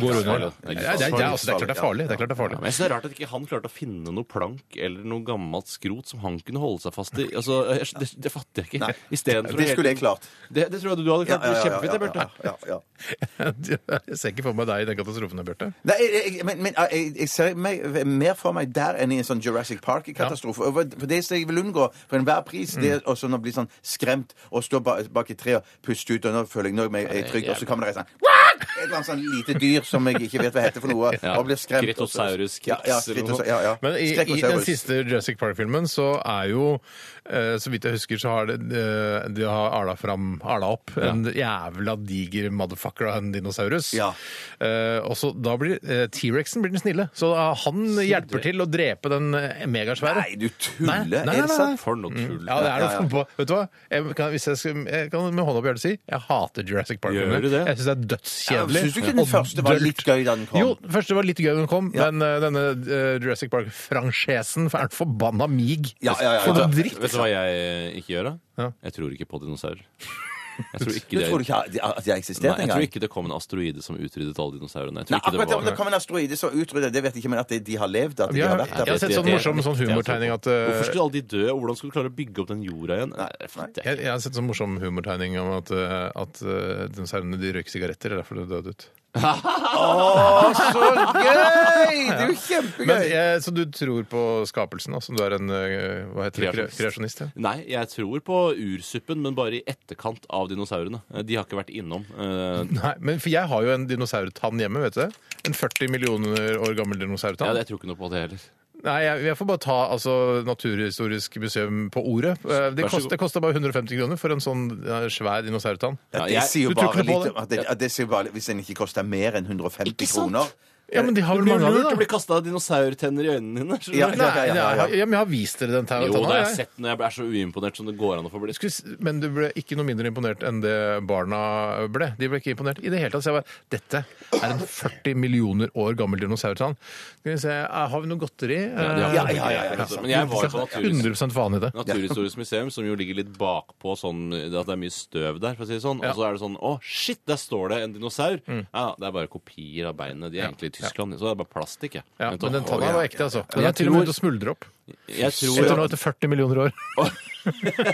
Speaker 3: går under.
Speaker 4: farlig. Det er
Speaker 3: Det
Speaker 4: litt
Speaker 3: er- det er- det er altså, det er klart det er farlig.
Speaker 5: farlig.
Speaker 3: Det er klart det er
Speaker 4: Ja,
Speaker 3: farlig.
Speaker 4: men jeg synes Det er rart at ikke han klarte å finne noe plank eller noe gammelt skrot som han kunne holde seg fast i. Altså, jeg, det, det fatter jeg ikke. I stedet for å
Speaker 5: Det
Speaker 4: hele
Speaker 5: skulle jeg
Speaker 4: tiden-
Speaker 5: klart.
Speaker 4: Det, det tror jeg du hadde klart. Det er Kjempefint, det, Bjarte.
Speaker 5: ja, ja, ja.
Speaker 3: Jeg ser ikke for meg deg i den katastrofen, Bjarte.
Speaker 5: Nei, jeg, jeg, men, men jeg, jeg ser meg, mer for meg der enn i en sånn Jurassic Park-katastrofe. Og For for Det som jeg vil unngå for enhver pris, det er
Speaker 3: Mm.
Speaker 5: også å bli sånn skremt og stå ba, bak et tre og puste ut, og nå føler jeg nå er jeg, jeg trygg, og så kommer det en sånn «Wah!» Et eller annet sånn lite dyr som jeg ikke vet hva heter for noe,
Speaker 4: Ja,
Speaker 5: og blir skremt. og så-
Speaker 4: Kritosaurus
Speaker 5: Ja, ja,
Speaker 4: kriks eller noe
Speaker 5: kritosaurus,
Speaker 4: sånt.
Speaker 5: ja, ja.
Speaker 3: Men i, i den
Speaker 5: Skrekkosaurus.
Speaker 3: siste Jurassic Park-filmen så er jo, eh, så vidt jeg husker, så har det, eh, de har arla fram, arla opp en jævla diger motherfucker av en dinosaurus.
Speaker 5: Ja.
Speaker 3: Eh, og så da blir eh, T-rexen blir den snille, så da, han hjelper til å drepe den eh, megasvære.
Speaker 5: Nei, du tuller!
Speaker 3: Nei, nei, nei,
Speaker 5: Er det
Speaker 3: nei.
Speaker 5: sant?
Speaker 4: For noe tull.
Speaker 3: Mm. Ja, det er noe
Speaker 5: Ja, ja.
Speaker 3: skumpa. Vet du hva? Jeg kan, hvis jeg, skal, jeg kan med hånda på hjertet si jeg hater Jurassic
Speaker 4: Gjør
Speaker 3: Park-filmer.
Speaker 4: du det?
Speaker 3: Jeg syns det er dødskjedelig.
Speaker 5: Ja, synes du ikke den
Speaker 3: og
Speaker 5: første var
Speaker 3: dølt.
Speaker 5: litt gøy da den kom?
Speaker 3: Jo, den første var litt gøy da den kom, men eh, denne eh, Jurassic Park-fransjesen er en forbanna mig.
Speaker 5: Ja, ja, ja,
Speaker 3: For
Speaker 5: ja.
Speaker 3: noe dritt!
Speaker 4: Vet du hva jeg ikke gjør, da?
Speaker 3: Ja.
Speaker 4: Jeg tror ikke på dinosaurer. Jeg tror ikke
Speaker 5: Du
Speaker 4: det,
Speaker 5: tror ikke at jeg eksisterte
Speaker 4: nei, jeg
Speaker 5: engang?
Speaker 4: tror ikke det kom en asteroide som utryddet alle dinosaurene.
Speaker 5: Nei,
Speaker 4: Jeg tror ikke
Speaker 5: akkurat
Speaker 4: det
Speaker 5: om det
Speaker 4: var
Speaker 5: kom en asteroide som utrydda, det vet jeg ikke, men at de, de har levd, at de
Speaker 3: Jeg
Speaker 5: har
Speaker 3: har,
Speaker 5: vært der.
Speaker 3: jeg har sett
Speaker 4: det-
Speaker 3: sånn
Speaker 4: det-
Speaker 3: morsom sånn humortegning at eh,
Speaker 4: Hvorfor skulle alle de dø? og Hvordan skulle du klare å bygge opp den jorda igjen? Nei, det fatter jeg
Speaker 3: jeg, jeg har sett sånn morsom humortegning om at, eh, at eh, dinosaurene de røyker sigaretter, det er derfor de døde ut.
Speaker 5: Så gøy! Det er jo
Speaker 3: Men,
Speaker 5: kjempegøy!
Speaker 3: eh, så du tror på skapelsen, altså? Du er en eh, hva heter det,
Speaker 4: Kreasjonist.
Speaker 3: Kre- kreasjonist? Ja.
Speaker 4: ikke. Nei, jeg tror på ursuppen, men bare i etterkant av dinosaurene. De har ikke vært innom. Eh,
Speaker 3: Nei, men for jeg har jo en dinosaurtann hjemme, vet du. det? En 40 millioner år gammel
Speaker 4: Ja,
Speaker 3: dinosaurtann.
Speaker 4: jeg tror ikke noe på det heller.
Speaker 3: Nei, jeg, jeg får bare ta altså, Naturhistorisk museum på ordet. Eh, Det
Speaker 4: Vær så
Speaker 3: kost-
Speaker 4: god.
Speaker 3: det kosta bare 150 kroner for en sånn eh, svær dinosaurtann.
Speaker 5: Ja,
Speaker 4: Ja,
Speaker 5: det
Speaker 4: jeg-
Speaker 5: sier jo
Speaker 3: du tror
Speaker 5: bare
Speaker 3: ikke noe på
Speaker 5: litt om at det, at det sier bare, Hvis den ikke koster mer enn 150 kroner
Speaker 3: Ja, men de har
Speaker 4: Du
Speaker 3: vel
Speaker 4: blir
Speaker 3: mange av
Speaker 4: lurt,
Speaker 3: det,
Speaker 4: det
Speaker 3: da.
Speaker 4: blir kasta dinosaurtenner i øynene dine. skjønner
Speaker 5: Ja,
Speaker 4: du?
Speaker 3: Nei,
Speaker 5: ja, ja, ja, ja.
Speaker 3: nei, ja, men jeg har vist dere den tanna.
Speaker 4: Jo, det har jeg
Speaker 3: jeg.
Speaker 4: sett når jeg er så uimponert som det går an å få bli.
Speaker 3: Skulle s- Men du ble ikke noe mindre imponert enn det barna ble. De ble ikke imponert i det hele tatt. Så jeg bare Dette er en 40 millioner år gammel dinosaurtann. Skal vi se eh, Har vi noe godteri?
Speaker 4: de har
Speaker 3: Eh,
Speaker 5: Ja, ja, ja, ja,
Speaker 4: Altså, Men jeg var på Naturhistorisk
Speaker 3: 100 faen i det.
Speaker 4: Naturhistorisk museum, som jo ligger litt bakpå sånn at det er mye støv der, for å si det sånn. Og så er det sånn Å, shit, der står det en dinosaur! Ja, det er bare kopier av beinet. De er egentlig i Tyskland, så det er bare plastikk, jeg.
Speaker 3: Ja,
Speaker 4: Vent,
Speaker 3: men den
Speaker 4: å,
Speaker 3: tanna
Speaker 4: ja.
Speaker 3: var ekte, altså.
Speaker 4: Men
Speaker 3: Den
Speaker 4: jeg
Speaker 3: er til og med
Speaker 4: tror-
Speaker 3: ute og smuldrer opp.
Speaker 4: Jeg
Speaker 3: Etter nå
Speaker 4: tror
Speaker 3: etter 40 millioner år.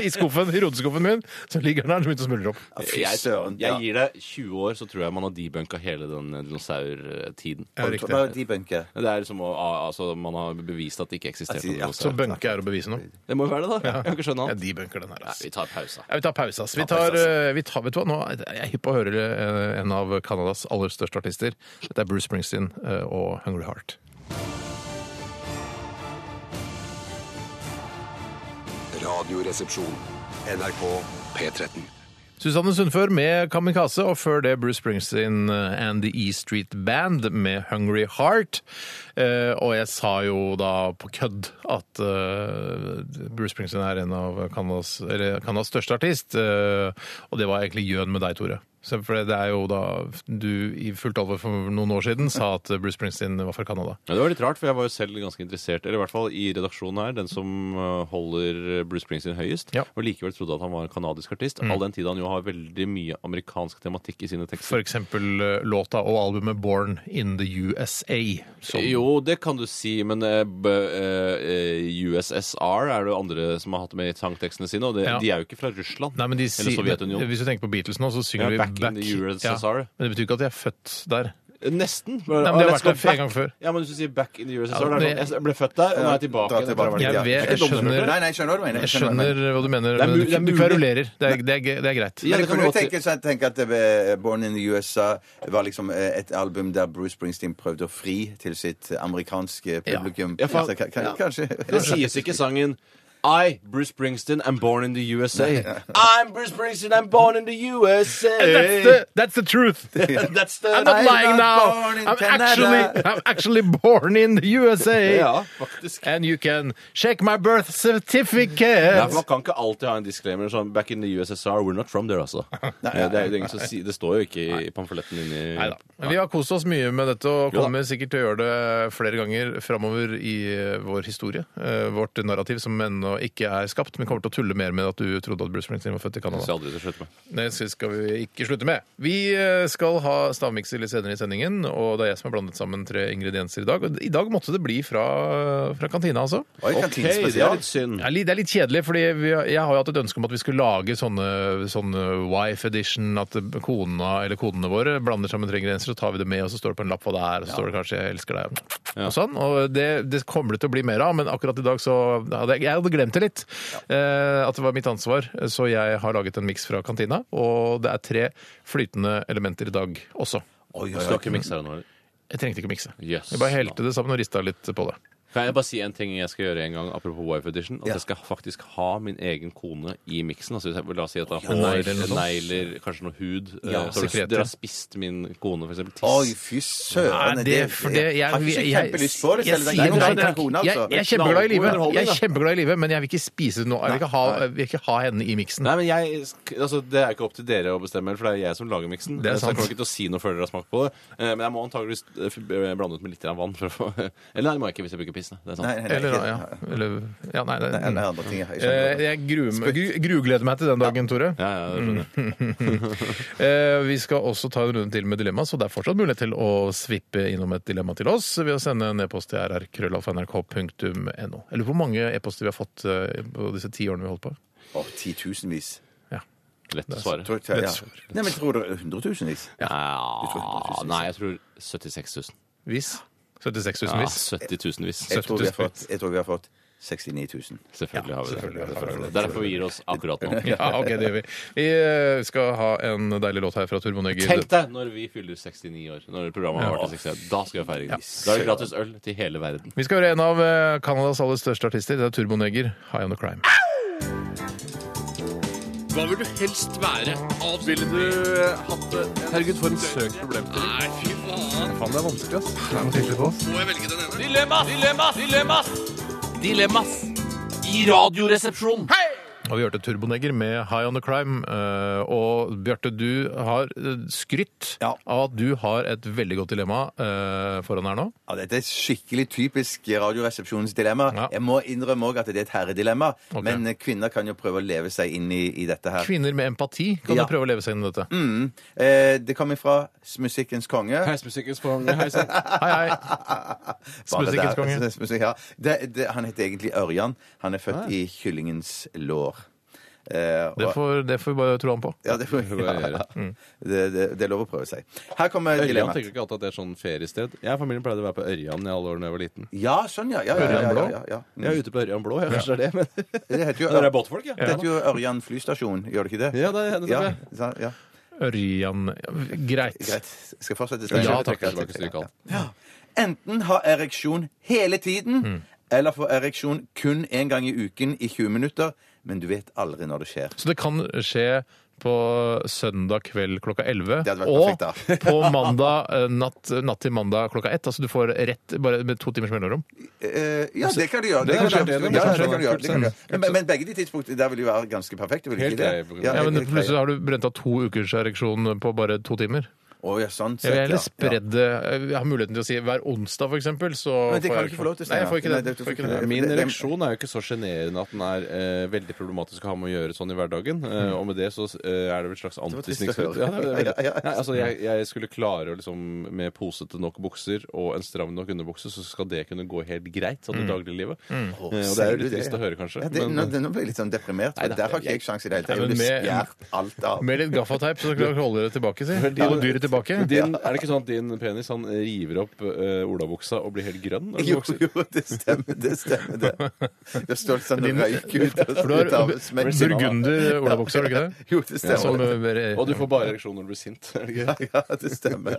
Speaker 3: I skuffen, i roteskuffen min, så ligger den der og begynte å smuldre opp.
Speaker 5: Fy
Speaker 4: jeg,
Speaker 5: søren.
Speaker 4: jeg gir det 20 år, så tror jeg man har debunka hele den dinosaurtiden.
Speaker 3: Ja,
Speaker 5: Ja.
Speaker 3: riktig.
Speaker 5: Bare de bunker.
Speaker 4: Det er som å, altså, Man har bevist at det ikke eksisterte
Speaker 5: Altså,
Speaker 4: noen
Speaker 5: ja,
Speaker 3: Så
Speaker 4: dinosaur.
Speaker 3: bunke er å bevise noe.
Speaker 4: Det må jo være det, da. Jeg kan ikke skjønne
Speaker 3: Ja,
Speaker 4: annet.
Speaker 3: de bunker den her,
Speaker 4: Nei,
Speaker 3: altså.
Speaker 4: vi tar pause.
Speaker 3: Ja, vi tar pause, ass. Vi
Speaker 4: Ta
Speaker 3: tar,
Speaker 4: pause, ass.
Speaker 3: eh, vi tar, vet du hva, nå er jeg er hypp på å høre eh, en av Canadas aller største artister. Dette er Bruce Springsteen eh, og Hungry Heart.
Speaker 2: Radioresepsjon. NRK P13.
Speaker 3: Susanne Sundfør med Kamikaze, og før det Bruce Springsteen and The E Street Band med Hungry Heart. Eh, og jeg sa jo da på kødd at eh, Bruce Springsteen er en av Canadas eller Canadas største artist, eh, og det var egentlig gjøn med deg, Tore. Så For det er jo da du i fullt alvor for noen år siden sa at Bruce Springsteen var fra Canada.
Speaker 4: Ja, det var litt rart, for jeg var jo selv ganske interessert, eller i hvert fall i redaksjonen her, den som øh, holder Bruce Springsteen høyest,
Speaker 3: Ja. Mm.
Speaker 4: og likevel trodde at han var en kanadisk artist, all den tid han jo har veldig mye amerikansk tematikk i sine tekster.
Speaker 3: For eksempel eh, låta og albumet Born in the USA. som-
Speaker 4: Jo, det kan du si, men eh, b eh, eh, USSR er det jo andre som har hatt med i sangtekstene sine, og det,
Speaker 3: Ja.
Speaker 4: de er jo ikke fra Russland
Speaker 3: Nei, men de
Speaker 4: eller
Speaker 3: sier,
Speaker 4: Sovjetunionen.
Speaker 3: Hvis du tenker på Beatles nå, så synger
Speaker 4: Ja,
Speaker 3: vi
Speaker 4: back in the USSR.
Speaker 3: men det betyr ikke at de er født der.
Speaker 4: Nesten.
Speaker 3: Nei, men de har vært der en gang før.
Speaker 4: Ja, men hvis du sier back in the USSR,
Speaker 3: Ja,
Speaker 4: da er det
Speaker 3: men-
Speaker 4: sånn, jeg ble født der, og nå er jeg
Speaker 5: Da
Speaker 4: tilbake.
Speaker 5: er jeg tilbake.
Speaker 3: Jeg,
Speaker 5: Ja, det er
Speaker 3: vet, jeg
Speaker 5: ikke dumt,
Speaker 3: skjønner,
Speaker 5: Nei, nei, jeg skjønner hva du mener.
Speaker 3: jeg
Speaker 5: hva du mener.
Speaker 3: skjønner hva du mener,
Speaker 4: er
Speaker 3: men
Speaker 4: mu-
Speaker 3: du,
Speaker 4: det er
Speaker 3: du
Speaker 4: mulig.
Speaker 3: kverulerer. Det er, det er, det er greit.
Speaker 4: Ja,
Speaker 5: Men jeg
Speaker 4: det kan
Speaker 5: kunne jo
Speaker 4: godt-
Speaker 5: tenke, seg- tenke at eh, Born in the USA var liksom eh, et album der Bruce Springsteen prøvde å fri til sitt amerikanske publikum.
Speaker 4: Ja, for-
Speaker 5: Så ka- ka- Kanskje.
Speaker 4: Det sies ikke i sangen I, Bruce Springsteen, am born in the USA. I'm Bruce Springsteen, I'm born in the
Speaker 3: That's
Speaker 4: USA.
Speaker 3: the, that's the truth!
Speaker 4: That's the
Speaker 3: I'm not
Speaker 5: I'm not
Speaker 3: lying now!
Speaker 5: born in
Speaker 3: I'm
Speaker 5: Canada.
Speaker 3: actually, I'm actually born in the USA!
Speaker 4: Ja, faktisk.
Speaker 3: And you can check my birth
Speaker 4: Ja,
Speaker 3: certificate!
Speaker 4: for man kan ikke alltid ha en disclaimer sånn Back in the USSR, we're not from there, altså. Eh, det, er, det, er ingen som sier- det står jo ikke i- i pamfletten inni
Speaker 3: Neida. Men Vi har kost oss mye med dette og
Speaker 4: Jo da.
Speaker 3: kommer sikkert til å gjøre det flere ganger framover i eh, vår historie. Eh, Vårt narrativ som ennå ikke er skapt, men kommer til å tulle mer med at du trodde at Bruce Springsteen var født i
Speaker 4: Det skal
Speaker 3: Canada.
Speaker 4: jeg aldri til å slutte med.
Speaker 3: Det skal vi ikke slutte med. Vi eh, skal ha stavmikser litt senere i sendingen, og det er jeg som har blandet sammen tre ingredienser i dag. Og I dag måtte det bli fra, fra kantina, altså.
Speaker 5: Oi,
Speaker 4: Ok, det er
Speaker 5: kantinespesial.
Speaker 4: litt synd.
Speaker 3: Det er litt, det er litt kjedelig, fordi vi, har- jeg har jo hatt et ønske om at vi skulle lage sånne, sånne wife edition, at kona eller kodene våre blander sammen tre ingredienser, så tar vi det med, og så står det på en lapp hva det er, og så står det kanskje 'jeg elsker deg', og sånn. Og det, det kommer det til å bli mer av, men akkurat i dag så hadde jeg, jeg hadde glemt det litt, eh, at det var mitt ansvar, så jeg har laget en miks fra kantina, og det er tre flytende elementer i dag også.
Speaker 5: Oi, oi,
Speaker 4: Du skal ikke mikse her nå, eller?
Speaker 3: Jeg trengte ikke mikse.
Speaker 4: Yes.
Speaker 3: jeg bare helte det sammen og rista litt på det.
Speaker 4: Kan jeg bare si en ting jeg skal gjøre en gang, apropos Wife Edition? At jeg skal faktisk ha min egen kone i miksen. Altså, hvis jeg- la oss si at det er
Speaker 3: negler eller
Speaker 4: hår,
Speaker 3: noe sånt.
Speaker 4: negler, kanskje noe hud.
Speaker 5: Ja,
Speaker 4: eh, så har du-
Speaker 3: sekreter.
Speaker 4: Dere har spist min kone, for eksempel. Tiss.
Speaker 5: Oi, fy søren.
Speaker 3: Nei, det, for det, jeg,
Speaker 5: jeg har ikke
Speaker 3: jeg-
Speaker 5: kjempelyst på det.
Speaker 3: jeg
Speaker 5: selv. Det er
Speaker 3: sier
Speaker 5: ikke noe
Speaker 3: nei,
Speaker 5: sånn
Speaker 3: takk.
Speaker 5: kone,
Speaker 3: Jeg,
Speaker 5: altså.
Speaker 3: jeg er kjempeglad i livet,
Speaker 4: underholdning,
Speaker 3: jeg
Speaker 4: da.
Speaker 3: er kjempeglad i livet, men jeg vil ikke spise det nå. Jeg vil ikke ha, jeg vil ikke ha henne i miksen.
Speaker 4: Nei, men jeg, altså, Det er ikke opp til dere å bestemme, for det er jeg som lager miksen.
Speaker 3: Det er
Speaker 4: Så jeg
Speaker 3: sant.
Speaker 4: kommer ikke til å si noe før dere har smakt på det. Eh, Men jeg må antageligvis eh, f- eh, blande ut med litt grann vann. For å få Eller nei, det må jeg ikke hvis jeg bruker piss. nei. Det er sant.
Speaker 5: Nei, nei,
Speaker 3: Eller,
Speaker 5: ikke-
Speaker 3: ja, eller, ja, nei, det,
Speaker 5: Nei, nei, andre ting. Jeg
Speaker 3: Eh,
Speaker 5: skjønner.
Speaker 3: jeg gruer meg- gru- grugleder meg til den dagen, Tore.
Speaker 4: Ja, ja, det skjønner
Speaker 3: Mm.
Speaker 4: jeg.
Speaker 3: Eh, Vi skal også ta en runde til med dilemma, så det er fortsatt mulighet til å svippe innom et dilemma til oss ved å sende en e-post til rrkrøllalfa.nrk.no. Jeg lurer på hvor mange e-poster vi har fått eh, på disse ti årene vi har holdt på.
Speaker 5: Å, titusenvis.
Speaker 4: Lett å svare.
Speaker 5: Tror jeg- ja. Nei, men tror dere hundretusenvis?
Speaker 4: Ja, nei, jeg tror 76 000.
Speaker 3: Vis. 76
Speaker 4: Ja,
Speaker 3: 000 vis.
Speaker 4: 70 000 vis.
Speaker 5: Jeg tror vi har
Speaker 3: 70 000.
Speaker 5: fått, jeg tror vi har fått 69 000.
Speaker 4: Selvfølgelig har
Speaker 3: selvfølgelig har
Speaker 4: vi det.
Speaker 3: vi det.
Speaker 4: Selvfølgelig. Derfor vi gir oss akkurat nå.
Speaker 3: Ja, ok, det gjør vi. Vi eh, skal ha en deilig låt her fra Turbo Neger.
Speaker 4: Tenk deg når vi fyller 69 år. Når programmet har vært i 60 år. Da skal vi feire. Da er det gratis øl til hele verden.
Speaker 3: Vi skal høre en av eh, Canadas aller største artister. Det er Turbo Neger, 'High On The Crime'.
Speaker 8: Hva vil du eh, helst være? Ville du hatt det? Herregud, for en søk problemstilling. Nei, fy faen. Dilemmas! Dilemmas! Dilemmas! Dilemmas i Radioresepsjonen.
Speaker 3: Og vi hørte Turbonegger med High on the Crime. Eh, Og Bjarte, du har eh, skrytt
Speaker 5: Ja.
Speaker 3: av at du har et veldig godt dilemma eh, foran her nå.
Speaker 5: Ja, Dette er skikkelig typisk Radioresepsjonens dilemma.
Speaker 3: Ja.
Speaker 5: Jeg må innrømme òg at det er et herredilemma,
Speaker 3: Ok.
Speaker 5: men eh, kvinner kan jo prøve å leve seg inn i, i dette her.
Speaker 3: Kvinner med empati kan
Speaker 5: Ja. Mm.
Speaker 3: du prøve å leve seg inn i dette.
Speaker 5: Eh, det kommer fra Musikkens konge.
Speaker 7: Heismusikkens konge, hei sann.
Speaker 3: Hei, hei.
Speaker 5: Bare
Speaker 3: Musikkens
Speaker 5: der,
Speaker 3: konge.
Speaker 5: altså, musikk- Ja. Det, det, han heter egentlig Ørjan. Han er født i kyllingens lår. Eh,
Speaker 3: Det
Speaker 5: og-
Speaker 3: får, det får vi bare tro han på.
Speaker 5: ja, det, får, ja, ja. Det, det, det er lov å prøve seg. Her kommer
Speaker 4: Ørjan
Speaker 5: dilemmaet.
Speaker 4: tenker ikke alltid at det er sånn feriested. Jeg og familien pleide å være på Ørjan i alle år da jeg var liten.
Speaker 5: Ja, sånn, ja. ja, ja, ja, ja, ja, ja.
Speaker 4: Jeg er ute på Ørjan Blå, jeg. Kanskje det er det, men
Speaker 5: Det heter jo,
Speaker 4: Dere er båtfolk, ja?
Speaker 5: det heter jo Ørjan flystasjon, gjør det ikke det?
Speaker 4: Ja, det er det.
Speaker 5: ja, sa- ja.
Speaker 3: Ørjan Greit.
Speaker 5: Greit. Skal jeg fortsette?
Speaker 3: Ja,
Speaker 4: Jeg
Speaker 3: takk.
Speaker 4: trekker tilbake styrkalt.
Speaker 5: Enten ha ereksjon hele tiden, eller få ereksjon kun én gang i uken i 20 minutter, men du vet aldri når det skjer.
Speaker 3: Så det kan skje på søndag kveld klokka 11.
Speaker 5: Det hadde vært
Speaker 3: og
Speaker 5: perfekt,
Speaker 3: på mandag, eh, natt, natt til mandag klokka 1. Altså du får rett bare med to timers mellomrom.
Speaker 5: Eh, ja, det kan du gjøre.
Speaker 4: det kan
Speaker 5: kan
Speaker 4: skje,
Speaker 5: du gjøre.
Speaker 4: det kan
Speaker 5: Ja,
Speaker 4: skje.
Speaker 5: det kan du gjøre. Det kan du gjøre. Men, men begge de tidspunktene der vil jo være ganske perfekte. Vil
Speaker 4: Helt
Speaker 5: ikke det?
Speaker 4: grei.
Speaker 3: Ja, men
Speaker 5: helt grei.
Speaker 3: Plutselig har du brent av to ukers ereksjon på bare to timer.
Speaker 5: Å, ja, sånn
Speaker 3: Jeg
Speaker 5: sett,
Speaker 3: vil heller
Speaker 5: ja.
Speaker 3: spre det Jeg har muligheten til å si hver onsdag, for eksempel, så
Speaker 5: Men det
Speaker 3: får
Speaker 5: kan
Speaker 3: jeg
Speaker 5: du ikke få lov til,
Speaker 3: Nei, jeg får ikke
Speaker 5: Steinar.
Speaker 3: det.
Speaker 5: Nei, det- du
Speaker 3: får
Speaker 5: får
Speaker 3: ikke
Speaker 5: ikke
Speaker 3: det.
Speaker 5: det.
Speaker 4: Min
Speaker 5: det-
Speaker 4: reaksjon er jo ikke så sjenerende at den er eh, veldig problematisk å ha med å gjøre sånn i hverdagen. Eh, og med det så eh, er det vel et slags antisnikkskudd.
Speaker 5: trist å
Speaker 4: Ja,
Speaker 5: høre.
Speaker 4: det er veldig-
Speaker 5: Ja, ja, ja.
Speaker 4: Nei, altså, jeg, jeg skulle klare å liksom med posete nok bukser og en stram nok underbukse, så skal det kunne gå helt greit sånn i dagliglivet. Eh, og det er
Speaker 5: Sier
Speaker 4: jo
Speaker 5: du
Speaker 4: litt trist
Speaker 5: ja?
Speaker 4: å høre, kanskje.
Speaker 5: Ja, det, nå,
Speaker 4: men,
Speaker 5: det, nå ble jeg litt sånn deprimert. for Der har ikke jeg sjanse i det hele tatt. Jeg
Speaker 3: Nei, men
Speaker 5: ville
Speaker 3: med-
Speaker 5: spjært alt av
Speaker 3: Med litt gaffateip, så klarer du å holde det tilbake, si.
Speaker 4: Men de-
Speaker 3: Holde dyret tilbake.
Speaker 4: din, er det ikke sånn at din penis han river opp eh, olabuksa og blir helt grønn? når den
Speaker 5: jo,
Speaker 4: vokser?
Speaker 5: jo, det stemmer, det stemmer det. Det står sånn
Speaker 3: Din-
Speaker 5: røyk ut av
Speaker 3: For du
Speaker 5: ut av
Speaker 3: har
Speaker 5: smekken.
Speaker 3: burgunder-olabukse, har du ikke det?
Speaker 5: Jo, det
Speaker 3: Som,
Speaker 5: stemmer.
Speaker 3: eh,
Speaker 4: Og du får bare ereksjon når du blir sint. er det ikke?
Speaker 5: Ja, ja, det stemmer.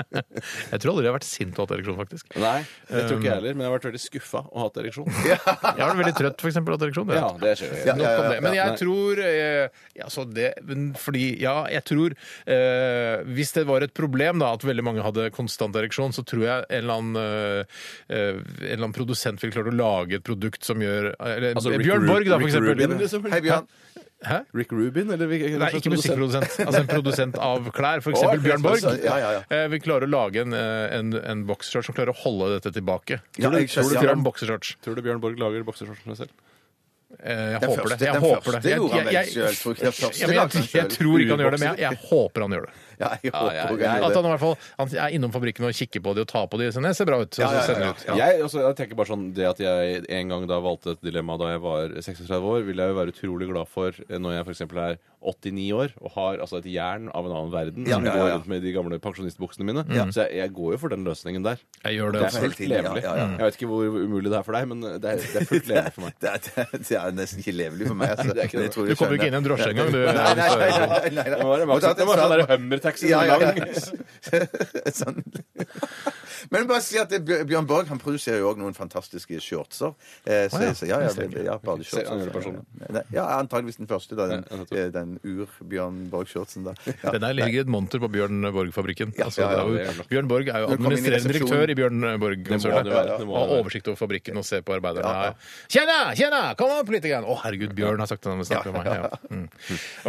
Speaker 3: jeg tror aldri jeg har vært sint og hatt ereksjon, faktisk.
Speaker 4: Nei, det tror ikke jeg heller, men jeg har vært veldig skuffa og hatt ereksjon.
Speaker 3: Jeg har vært veldig trøtt, for eksempel, og hatt ereksjon. det
Speaker 4: Ja,
Speaker 3: vet du.
Speaker 4: det skjer jo.
Speaker 5: Ja,
Speaker 4: helt.
Speaker 3: Nok om det. Men jeg
Speaker 4: Nei.
Speaker 3: tror eh, ja, så det, men Fordi, ja, jeg tror eh, Hvis det var et problem da at veldig mange hadde konstant ereksjon, så tror jeg en eller annen, eh, eh, en eller annen produsent vil klare å lage et produkt som gjør eller,
Speaker 4: Altså, Rick
Speaker 3: Bjørn
Speaker 4: Ru-
Speaker 3: Borg, da, for
Speaker 4: Rick Rubin,
Speaker 3: eksempel.
Speaker 4: liksom.
Speaker 5: Hei, Bjørn.
Speaker 3: Hæ?
Speaker 4: Rick Rubin, eller hvilken
Speaker 3: Nei, ikke musikkprodusent. Altså en produsent av klær, f.eks.
Speaker 5: Å,
Speaker 3: Bjørn Borg.
Speaker 5: sånn, ja, ja, ja.
Speaker 3: Eh, Vi klarer å lage en, eh, en, en boxershort som klarer å holde dette tilbake.
Speaker 5: Ja, jeg skjønner.
Speaker 3: Tror du Kram boxershorts?
Speaker 4: Tror du Bjørn Borg lager bokseshortsene selv?
Speaker 3: Eh, Jeg
Speaker 5: Den
Speaker 3: håper
Speaker 5: første-
Speaker 3: det. Jeg
Speaker 5: den
Speaker 3: håper
Speaker 5: første
Speaker 3: det. Jeg-
Speaker 5: gjorde han
Speaker 3: jeg-
Speaker 5: vel
Speaker 3: jeg-
Speaker 5: selv, tror jeg. Den første
Speaker 3: Ja, men
Speaker 5: lagde han
Speaker 3: jeg, jeg
Speaker 5: selv.
Speaker 3: tror ikke han gjør det, men jeg, jeg håper han gjør det.
Speaker 5: Ja, jeg håper
Speaker 4: ja,
Speaker 5: også
Speaker 4: ja.
Speaker 5: jeg
Speaker 3: At
Speaker 5: gjør
Speaker 3: han
Speaker 5: det.
Speaker 3: i hvert fall han er innom fabrikken og kikker på de og tar på de. Sånn, det ser bra ut. Og
Speaker 5: Ja, ja,
Speaker 3: så
Speaker 5: ja,
Speaker 3: sender de
Speaker 5: ja.
Speaker 3: ut.
Speaker 4: Jeg, altså, jeg tenker bare sånn, Det at jeg en gang da valgte et dilemma da jeg var 36 år, vil jeg jo være utrolig glad for eh, når jeg f.eks. er 89 år og har altså, et jern av en annen verden som
Speaker 5: ja, ja,
Speaker 4: går
Speaker 5: ja.
Speaker 4: rundt med de gamle pensjonistbuksene mine. Så jeg, jeg går jo for den løsningen der.
Speaker 3: Jeg gjør det.
Speaker 4: Det er
Speaker 3: altså.
Speaker 4: fullt
Speaker 5: tiden, ja,
Speaker 4: levelig.
Speaker 5: ja, ja.
Speaker 4: Mm. Jeg vet ikke hvor umulig det er for deg, men det er, det er fullt levelig for meg.
Speaker 5: Det er, det, er, det er nesten ikke levelig for meg. Altså. Jeg tror
Speaker 3: Du
Speaker 5: jeg
Speaker 3: kommer jo ikke inn i en
Speaker 5: skjønner.
Speaker 3: drosje engang, du.
Speaker 5: Nei, nei, nei, nei, nei, nei.
Speaker 4: Det var, det var,
Speaker 5: Og da-
Speaker 4: det var sånn der
Speaker 5: altså.
Speaker 4: Hummer-taxi.
Speaker 5: Ja, ja, ja.
Speaker 4: lang.
Speaker 5: sånn. Men bare si at det, Bjør- Bjørn Borg han produserer jo òg noen fantastiske shortser. Eh, så,
Speaker 3: Å, ja.
Speaker 5: så, ja, ja,
Speaker 3: Stemmer.
Speaker 5: ja, ja, bare
Speaker 4: Ser andre
Speaker 5: shortser.
Speaker 4: personer.
Speaker 5: Ja, ja, antageligvis den første, da. Den,
Speaker 4: Ja, jeg tror.
Speaker 5: eh, den ur-Bjørn Borg-shortsen. da. Ja.
Speaker 3: Den der ligger et monter på Bjørn Borg-fabrikken. Altså,
Speaker 5: ja, ja,
Speaker 3: det er jo-
Speaker 4: det er nok.
Speaker 3: Bjørn Borg er jo
Speaker 5: Når du kommer inn i
Speaker 3: administrerende
Speaker 5: resepsjonen-
Speaker 3: direktør i Bjørn
Speaker 4: Det må det
Speaker 3: Borg-konsernet.
Speaker 4: jo være, det må
Speaker 3: Og
Speaker 4: det
Speaker 3: har
Speaker 4: være.
Speaker 3: oversikt over fabrikken og ser på arbeiderne.
Speaker 5: Ja, ja.
Speaker 3: Tjena, tjena, kom opp litt! Grann. Å, herregud, Bjørn har sagt det når vi snakker med meg. Mm.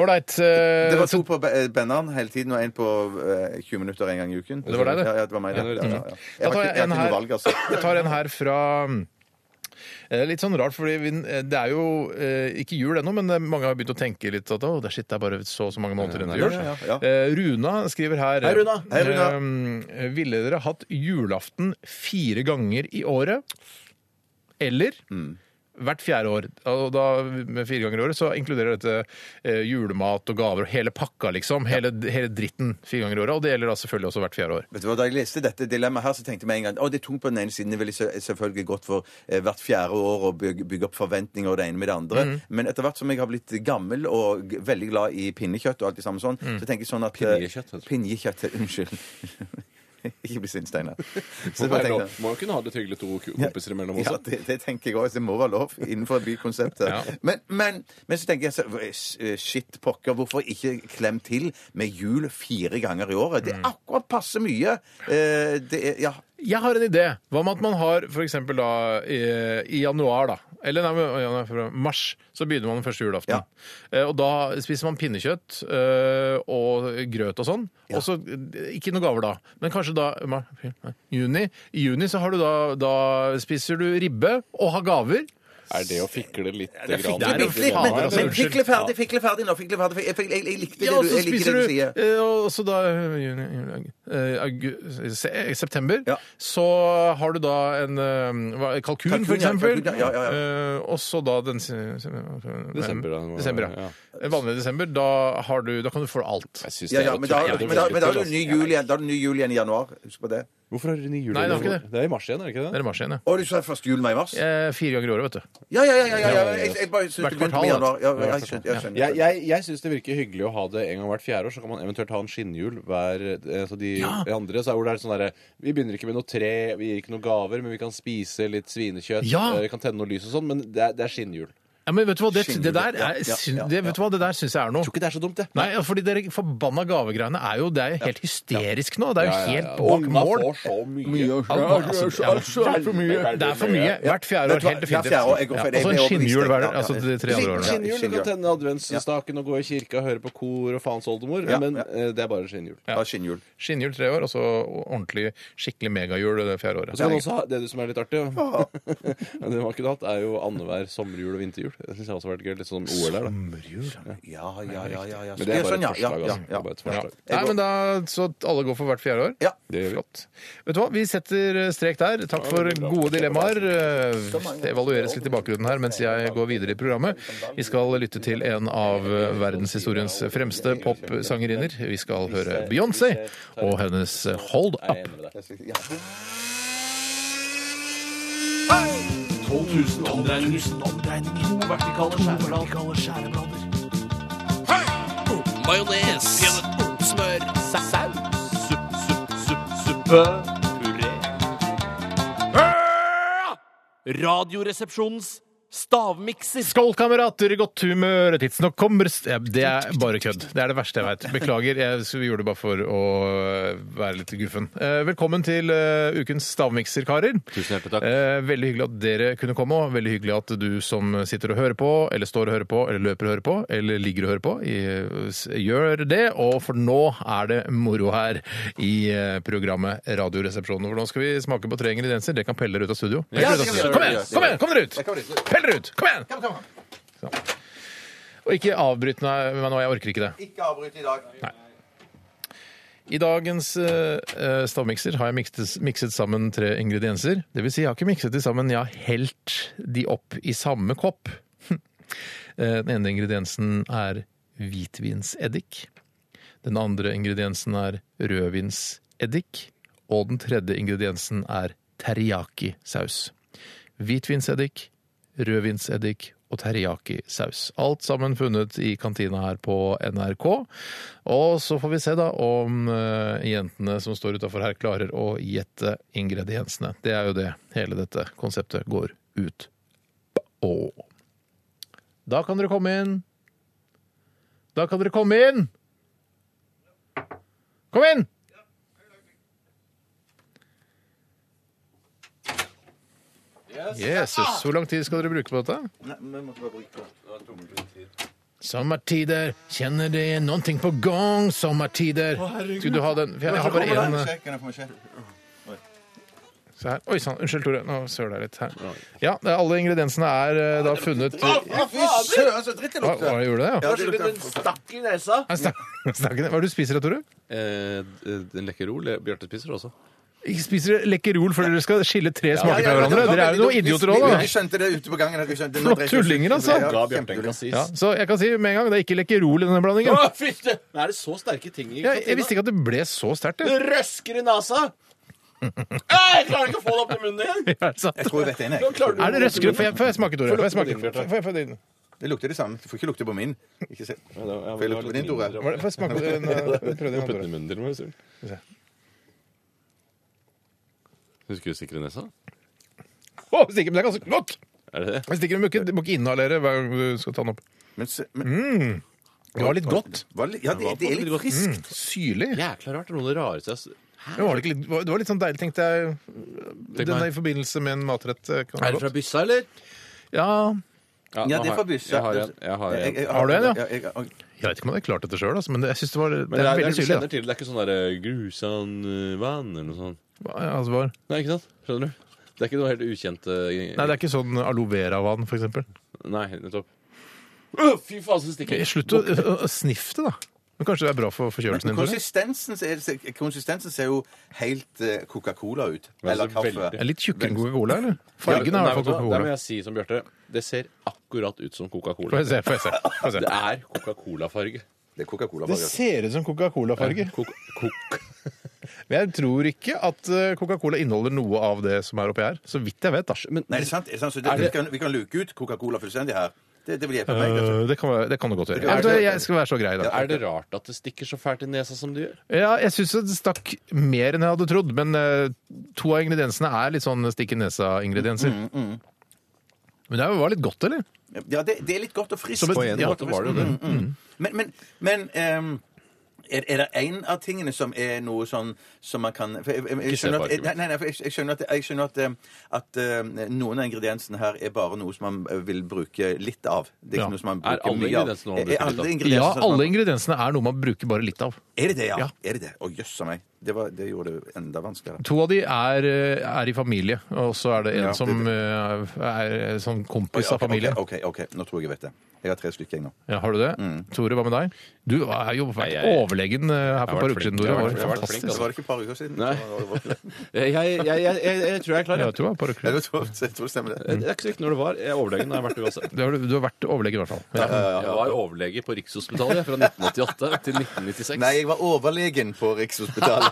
Speaker 3: Ålreit.
Speaker 5: Det var
Speaker 3: eh,
Speaker 5: to på Be- Benneren hele tiden, og en på eh, 20 minutter en gang i uken.
Speaker 3: Det var deg, det.
Speaker 5: Ja, ja, det var meg, det. Ja, ja, ja.
Speaker 3: Da
Speaker 5: Jeg
Speaker 3: tar
Speaker 5: har ikke,
Speaker 3: jeg
Speaker 5: jeg har ikke
Speaker 3: en
Speaker 5: noe
Speaker 3: her.
Speaker 5: valg, altså.
Speaker 3: Jeg tar en her fra eh, Litt sånn rart, fordi vi, det er jo eh, ikke jul ennå, men det- mange har begynt å tenke litt at å, det er shit, det er bare så og så mange måneder igjen til jul.
Speaker 5: ja, ja, ja.
Speaker 3: Eh, Runa skriver her
Speaker 5: Hei, Runa. Hei,
Speaker 3: eh, Ville dere hatt julaften fire ganger i året? Eller
Speaker 5: Mm.
Speaker 3: hvert fjerde år. Og da, med fire ganger i året så inkluderer dette eh, julemat og gaver og hele pakka, liksom. Hele, hele dritten fire ganger i året. Og det gjelder da selvfølgelig også hvert fjerde år.
Speaker 5: Vet du hva, Da jeg leste dette dilemmaet her, så tenkte jeg med en gang å, det er tungt på den ene siden. Det ville selvfølgelig gått for eh, hvert fjerde år å bygge, bygge opp forventninger og det ene med det andre. Men etter hvert som jeg har blitt gammel og g- veldig glad i Mm. pinnekjøtt og alt det samme sånn, så tenker jeg sånn at eh,
Speaker 4: Pinjekjøtt, heter det.
Speaker 5: Pinjekjøtt, unnskyld. Ikke bli sint, Steinar. Så
Speaker 7: Må,
Speaker 5: bare
Speaker 7: være
Speaker 5: tenk
Speaker 7: lov.
Speaker 5: det.
Speaker 7: må jo kunne ha det hyggelig to ko- kompiser imellom
Speaker 5: Ja,
Speaker 7: også.
Speaker 5: det, det tenker jeg òg. Det må være lov innenfor bykonseptet.
Speaker 3: Ja.
Speaker 5: men, men, men så tenker jeg så, eh, shit pokker, hvorfor ikke klem til med jul fire ganger i året? Det er akkurat passe mye. Eh, det er, ja,
Speaker 3: Jeg har en idé. Hva med at man har f.eks. da i, i januar, da. Eller nei, men januar, februar, mars. Så begynner man den første julaften.
Speaker 5: Ja.
Speaker 3: Eh, Og da spiser man pinnekjøtt eh, og grøt og sånn. Og så eh, ikke noe gaver da. Men kanskje da ma- nei, juni. I juni så har du da, da spiser du ribbe og har gaver.
Speaker 7: Er det å fikle litt
Speaker 5: det
Speaker 7: grann?
Speaker 5: er
Speaker 3: fikle-
Speaker 5: men,
Speaker 3: det er
Speaker 5: fikle,
Speaker 3: faen,
Speaker 5: men,
Speaker 3: altså,
Speaker 5: men
Speaker 3: unnskyld.
Speaker 5: fikle ferdig, fikle ferdig nå. Fikle ferdig. Jeg, jeg, jeg, jeg likte det
Speaker 3: Ja, og
Speaker 5: du,
Speaker 3: så
Speaker 5: jeg likte
Speaker 3: spiser
Speaker 5: det
Speaker 3: du
Speaker 5: du sier.
Speaker 3: eh, Og så da eh, juni, juli, eh, august, se- eh, september,
Speaker 5: Ja.
Speaker 3: så har du da en eh, hva- kalkun,
Speaker 5: Kalkun,
Speaker 3: for
Speaker 5: ja,
Speaker 3: eksempel.
Speaker 5: kalkun, ja, ja, ja,
Speaker 3: Eh, Og så da den se- se-
Speaker 4: Desember, da.
Speaker 3: Desember, ja.
Speaker 4: Ja.
Speaker 3: En Vanlig desember. Da, har du, da kan du få alt.
Speaker 4: Jeg synes
Speaker 5: Ja,
Speaker 4: det er
Speaker 5: ja, men da
Speaker 4: utrolig
Speaker 5: men da- men da er det jo
Speaker 4: vanskelig,
Speaker 5: ny jul igjen, da er det ny jul igjen i januar. Husk på det.
Speaker 4: altså. Hvorfor har dere ny jul?
Speaker 3: Nei, det er
Speaker 4: igjen?
Speaker 3: ikke det.
Speaker 4: Det er i mars igjen, er det ikke
Speaker 3: Det
Speaker 4: det?
Speaker 3: er i mars igjen, ja.
Speaker 5: Å, du sa først jul, meg i mars? Ja,
Speaker 3: Eh, Fire ganger i året, vet du.
Speaker 5: ja, ja. ja, ja, Jeg, jeg bare syntes
Speaker 3: Hvert
Speaker 5: du begynte
Speaker 3: kvartal,
Speaker 5: med januar. Ja,
Speaker 3: da.
Speaker 5: jeg skjønner. Jeg skjønner.
Speaker 4: Jeg, jeg, jeg syns det virker hyggelig å ha det en gang hvert fjerde år. Så kan man eventuelt ha en skinnhjul hver eh, Så de andre så er hvor det er sånn derre Vi begynner ikke med noe tre, vi gir ikke noen gaver, men vi kan spise litt svinekjøtt,
Speaker 3: Ja.
Speaker 4: eh, vi kan tenne noe lys og sånn, men det er, det er skinnhjul.
Speaker 3: Ja, men vet du hva, det,
Speaker 5: Skinnhjul,
Speaker 3: det der,
Speaker 5: ja,
Speaker 3: er,
Speaker 5: ja,
Speaker 3: syn-
Speaker 5: ja,
Speaker 3: det, vet du hva, det der syns jeg er noe.
Speaker 4: Tror ikke det er så dumt, det.
Speaker 3: Nei, fordi dere forbanna gavegreiene er jo Det er jo helt hysterisk nå. Det er jo helt bak
Speaker 4: Unga
Speaker 3: mål.
Speaker 4: får så mye.
Speaker 3: Ja, altså, ja, det er for mye. Det er for mye. Hvert
Speaker 5: Vet
Speaker 3: fjerde år,
Speaker 5: du hva?
Speaker 3: helt definitivt.
Speaker 5: Hvert fjerde år, jeg går for
Speaker 3: Ja,
Speaker 5: det. Jeg
Speaker 3: Og så en
Speaker 5: blir
Speaker 3: skinnhjul hver
Speaker 5: overbevist. Ja,
Speaker 3: altså
Speaker 5: ja.
Speaker 3: de tre andre årene.
Speaker 4: Skinnhjul. Du kan tenne adventsstaken og gå i kirka og høre på kor og faens oldemor,
Speaker 5: Ja,
Speaker 4: men
Speaker 5: ja.
Speaker 4: eh, det er bare skinnhjul.
Speaker 5: Ja, skinnhjul.
Speaker 3: Skinnhjul tre år, og så ordentlig skikkelig megahjul det fjerde året.
Speaker 4: Og så kan du også ha det du som er litt artig, ja. Men det man kunne hatt, er jo annenhver sommerjul og vinterjul. Det syns jeg også har vært gøy. Litt sånn OL her, da.
Speaker 5: Ja, ja, ja. ja, ja.
Speaker 4: Men det er bare
Speaker 5: Sånn,
Speaker 4: et
Speaker 5: ja, ja,
Speaker 4: forslag,
Speaker 5: ja,
Speaker 4: altså. Det
Speaker 5: ja.
Speaker 4: er bare et
Speaker 3: Ja.
Speaker 4: forslag.
Speaker 3: Nei, men da, Så at alle går for hvert fjerde år?
Speaker 5: Ja.
Speaker 4: Det gjør vi.
Speaker 3: Flott. Vet du hva, Vi setter strek der. Takk for gode dilemmaer. Eh, Det evalueres litt i bakgrunnen her mens jeg går videre i programmet. Vi skal lytte til en av eh, verdenshistoriens fremste popsangerinner. Vi skal høre Beyoncé og hennes Hold Up.
Speaker 4: Jeg er enig med deg.
Speaker 8: 12 000 omdreininger. To vertikale skjæreblader. Majones. Smør. Saus. Supp, supp, supp, suppe. Puré. Radioresepsjonens stavmikser.
Speaker 3: Skål, kamerater! Godt humør! Tidsnok kommer st... Ja, Det er bare kødd. Det er det verste jeg veit. Beklager. Jeg så vi gjorde det bare for å øh, være litt guffen. Eh, Velkommen til eh, ukens stavmikser, karer.
Speaker 4: Tusen hjertelig takk.
Speaker 3: Eh, Veldig hyggelig at dere kunne komme, og veldig hyggelig at du som sitter og hører på, eller står og hører på, eller løper og hører på, eller ligger og hører på, i- s- gjør det. Og for nå er det moro her i eh, programmet Radioresepsjonen. For nå skal vi smake på tre ingredienser. Det kan pelle dere ut av studio. Pelle
Speaker 5: Ja,
Speaker 3: dere ut
Speaker 5: det
Speaker 3: av
Speaker 5: kan
Speaker 3: studio.
Speaker 5: vi gjøre.
Speaker 3: Kom igjen!
Speaker 5: Det
Speaker 3: Kom
Speaker 5: kan vi
Speaker 3: igjen! Kom dere ut!
Speaker 5: kan vi gjøre.
Speaker 3: Pell dere ut! Kom igjen!
Speaker 5: Kom, kom, kom.
Speaker 3: Og ikke avbryt meg nå, jeg orker ikke det.
Speaker 5: Ikke avbryt i dag.
Speaker 3: I dagens eh, eh, stavmikser har jeg mikset, mikset sammen tre ingredienser. Det vil si, jeg har ikke mikset de sammen, jeg har helt de opp i samme kopp. Eh, Den ene ingrediensen er hvitvinseddik. Den andre ingrediensen er rødvinseddik. Og den tredje ingrediensen er teriyaki-saus. Hvitvinseddik, rødvinseddik og teriyaki-saus. Alt sammen funnet i kantina her på NRK. Og så får vi se da om eh, jentene som står utafor her, klarer å gjette ingrediensene. Det er jo det hele dette konseptet går ut på. Da kan dere komme inn. Da kan dere komme inn! Kom inn! Jesus, hvor lang tid skal dere bruke på dette? Sommertider, kjenner det er noen ting på gang, sommertider. Skal du ha den? For Jeg, jeg har bare én eh, se her. Oi sann, unnskyld, Tore. Nå søler jeg litt her. Ja, det er- alle ingrediensene er eh, da funnet Hva,
Speaker 5: Fy søren, så dritt det
Speaker 3: hva
Speaker 5: lukter.
Speaker 3: gjorde det? Ja?
Speaker 5: Ja, det lukter
Speaker 8: Stakk i nesa.
Speaker 3: Nei, snak- snakker det. Hva er det du spiser da, Tore?
Speaker 4: Eh, d- en lekkerol. eh, Bjarte spiser også.
Speaker 3: Ikke spiser Lekkerol fordi dere skal skille tre smaker
Speaker 5: Ja, ja, ja,
Speaker 3: fra
Speaker 5: det var
Speaker 3: hverandre? Dere er
Speaker 5: veldig
Speaker 3: jo
Speaker 5: dumt.
Speaker 3: noen
Speaker 5: Vi-
Speaker 3: idioter
Speaker 5: vi-
Speaker 3: òg, da.
Speaker 5: Vi skjønte det ute på gangen. at vi skjønte-
Speaker 3: Flott tullinger, altså.
Speaker 5: Ja,
Speaker 4: Ga Bjarte en
Speaker 5: kjempedumt.
Speaker 4: kassis.
Speaker 3: Ja, så jeg kan si med en gang, det er ikke Lekkerol i denne blandingen.
Speaker 4: Nå er det så sterke ting i
Speaker 3: Jeg, jeg visste ikke at det ble så sterkt. jeg.
Speaker 4: Røsker i nesa!
Speaker 8: Jeg klarer ikke å få det opp i munnen igjen.
Speaker 3: Er det sant?
Speaker 5: Jeg tror jeg vet en, jeg.
Speaker 3: Er det røskere? Får jeg, får jeg smake, Tore? Får jeg smake?
Speaker 4: din, Bjarte.
Speaker 3: Får jeg, får jeg,
Speaker 5: Det lukter det samme. Du får ikke lukte på min. Ikke se. Får jeg lukte på din, Tore?
Speaker 3: får jeg smake? eh, Prøv den
Speaker 4: Putt den
Speaker 3: andre.
Speaker 4: i munnen til og med. hvis du vil. Husker du stikker i nesa?
Speaker 3: Å, stikker, men det er ganske godt!
Speaker 4: Er det det?
Speaker 3: Jeg stikker, du må ikke, du må ikke inhalere hver gang du skal ta den opp.
Speaker 5: Men, se- men,
Speaker 3: Det var litt godt.
Speaker 5: hva, ja, det, det er litt friskt.
Speaker 3: Mm, syrlig.
Speaker 4: Jækla rart. Det er noe av det rareste jeg har s-
Speaker 3: Det var, det ikke litt, det var litt sånn deilig, tenkte jeg. Den
Speaker 4: meg.
Speaker 3: er i forbindelse med en matrett. eh, Kan
Speaker 4: Er
Speaker 3: være
Speaker 4: det fra
Speaker 3: godt.
Speaker 4: byssa, eller?
Speaker 3: Ja,
Speaker 5: Ja,
Speaker 4: nå
Speaker 5: det er
Speaker 4: har-
Speaker 5: fra Byssa.
Speaker 4: Jeg har en. Jeg har en.
Speaker 3: Har du en, ja?
Speaker 5: jeg- jeg-
Speaker 3: jeg vet ikke om jeg hadde klart dette sjøl, altså, men det, jeg synes det var det
Speaker 4: Men
Speaker 3: er
Speaker 4: det er, det,
Speaker 3: veldig
Speaker 4: er,
Speaker 3: syrlig.
Speaker 4: kjenner til, det er ikke sånn der eh, grusan eh, vann eller noe sånt.
Speaker 3: Da. Hva- Altså, var-
Speaker 4: Nei, ikke sant? Skjønner du? Det er ikke noe helt ukjent eh,
Speaker 3: Nei, det er ikke sånn aloe vera-vann, for eksempel.
Speaker 4: Nei, nettopp. Øh, Fy faen, så stikker jeg.
Speaker 3: Slutt å, å, å sniffe det, da. Men kanskje det er bra for forkjølelsen din? Tore?
Speaker 5: Konsistensen, ser- konsistensen ser jo helt eh, Coca-Cola ut.
Speaker 4: Ja,
Speaker 5: Eller
Speaker 4: så
Speaker 5: kaffe.
Speaker 4: veldig.
Speaker 3: Er litt tjukkere enn Coca-Cola, eller? Fargen er i
Speaker 4: Nei,
Speaker 3: hvert fall
Speaker 4: vet du hva? Der
Speaker 3: Coca-Cola.
Speaker 4: må jeg si som Bjarte. Det ser akkurat ut som
Speaker 3: Får
Speaker 4: Coca-Cola.
Speaker 3: jeg se, får jeg se. Får jeg se.
Speaker 4: Det er Coca-Cola-farge.
Speaker 5: Det er Coca-Cola.
Speaker 3: Det
Speaker 5: bare.
Speaker 3: ser ut som Coca-Cola-farge. Men jeg tror ikke at eh, Coca-Cola inneholder noe av det som er oppi her. Så vidt jeg vet, da.
Speaker 5: Nei, det er sant. Det er sant. Så det, vi, kan, vi kan luke ut Coca-Cola fullstendig her. Det, det vil hjelpe meg. altså.
Speaker 3: Eh, det kan, være- det kan du godt gjøre.
Speaker 5: kan
Speaker 3: Jeg, vet
Speaker 5: være-
Speaker 3: du, jeg skal være så grei i dag.
Speaker 4: Er det rart at det stikker så fælt i nesa som det gjør?
Speaker 3: Ja, jeg syns det stakk mer enn jeg hadde trodd, men eh, to av ingrediensene er litt sånn stikk i nesa-ingredienser.
Speaker 5: Mm,
Speaker 3: Men det var litt godt, eller?
Speaker 5: Ja, det, det er litt godt og friskt.
Speaker 3: Som et- På en ja, måte
Speaker 4: var det jo det.
Speaker 5: Mm, mm. Men, men, men ehm, er, er det én av tingene som er noe sånn som man kan for jeg, jeg, jeg, skjønner at, nei, nei, nei, for jeg, jeg skjønner at, jeg skjønner at, ehm, at ehm, noen av ingrediensene her er bare noe som man eh, vil bruke litt av. Det er
Speaker 3: Ja.
Speaker 5: ikke noe som man
Speaker 4: Er
Speaker 5: bruker
Speaker 4: alle
Speaker 5: mye av.
Speaker 4: ingrediensene noe man bruker litt av?
Speaker 3: Ja,
Speaker 5: sånn at man-
Speaker 3: alle ingrediensene er noe man bruker bare litt av.
Speaker 5: Er det det, ja?
Speaker 3: Ja.
Speaker 5: Er det det? Å, jøss a meg. Det, var, det gjorde det enda vanskeligere.
Speaker 3: To av de er, eh, er i familie, og så er det en
Speaker 5: Ja, det-
Speaker 3: som eh, er som kompis av
Speaker 5: Ok, ok,
Speaker 3: familien.
Speaker 5: OK, ok, nå tror jeg jeg vet det. Jeg har tre stykker, jeg nå.
Speaker 3: Ja, har du det? Tore, hva med deg? Du har jo vært
Speaker 4: Mm. jeg-
Speaker 3: overlegen eh, her for
Speaker 4: har
Speaker 3: et par
Speaker 4: vært
Speaker 3: uker siden,
Speaker 4: flink.
Speaker 3: Tore.
Speaker 4: Jeg har
Speaker 3: Det var
Speaker 4: vært- jeg har vært flink,
Speaker 5: Så
Speaker 4: altså.
Speaker 3: fantastisk.
Speaker 5: var det ikke et par uker siden.
Speaker 4: Nei.
Speaker 5: Så var det- var-
Speaker 4: Jeg, jeg, jeg, jeg, jeg tror jeg er klar.
Speaker 3: Ja,
Speaker 4: Jeg.
Speaker 3: du var et par
Speaker 5: Nei,
Speaker 3: uker.
Speaker 5: Jeg tror jeg tror det stemmer, det.
Speaker 4: Det er ikke så viktig når det var. Jeg er overlegen. Jeg har vært det uansett.
Speaker 3: Du har, du har vært overlege, i hvert fall. Ja.
Speaker 4: Jeg var overlege på Rikshospitalet fra 1988 til 1996.
Speaker 5: Nei, jeg var overlegen på Rikshospitalet.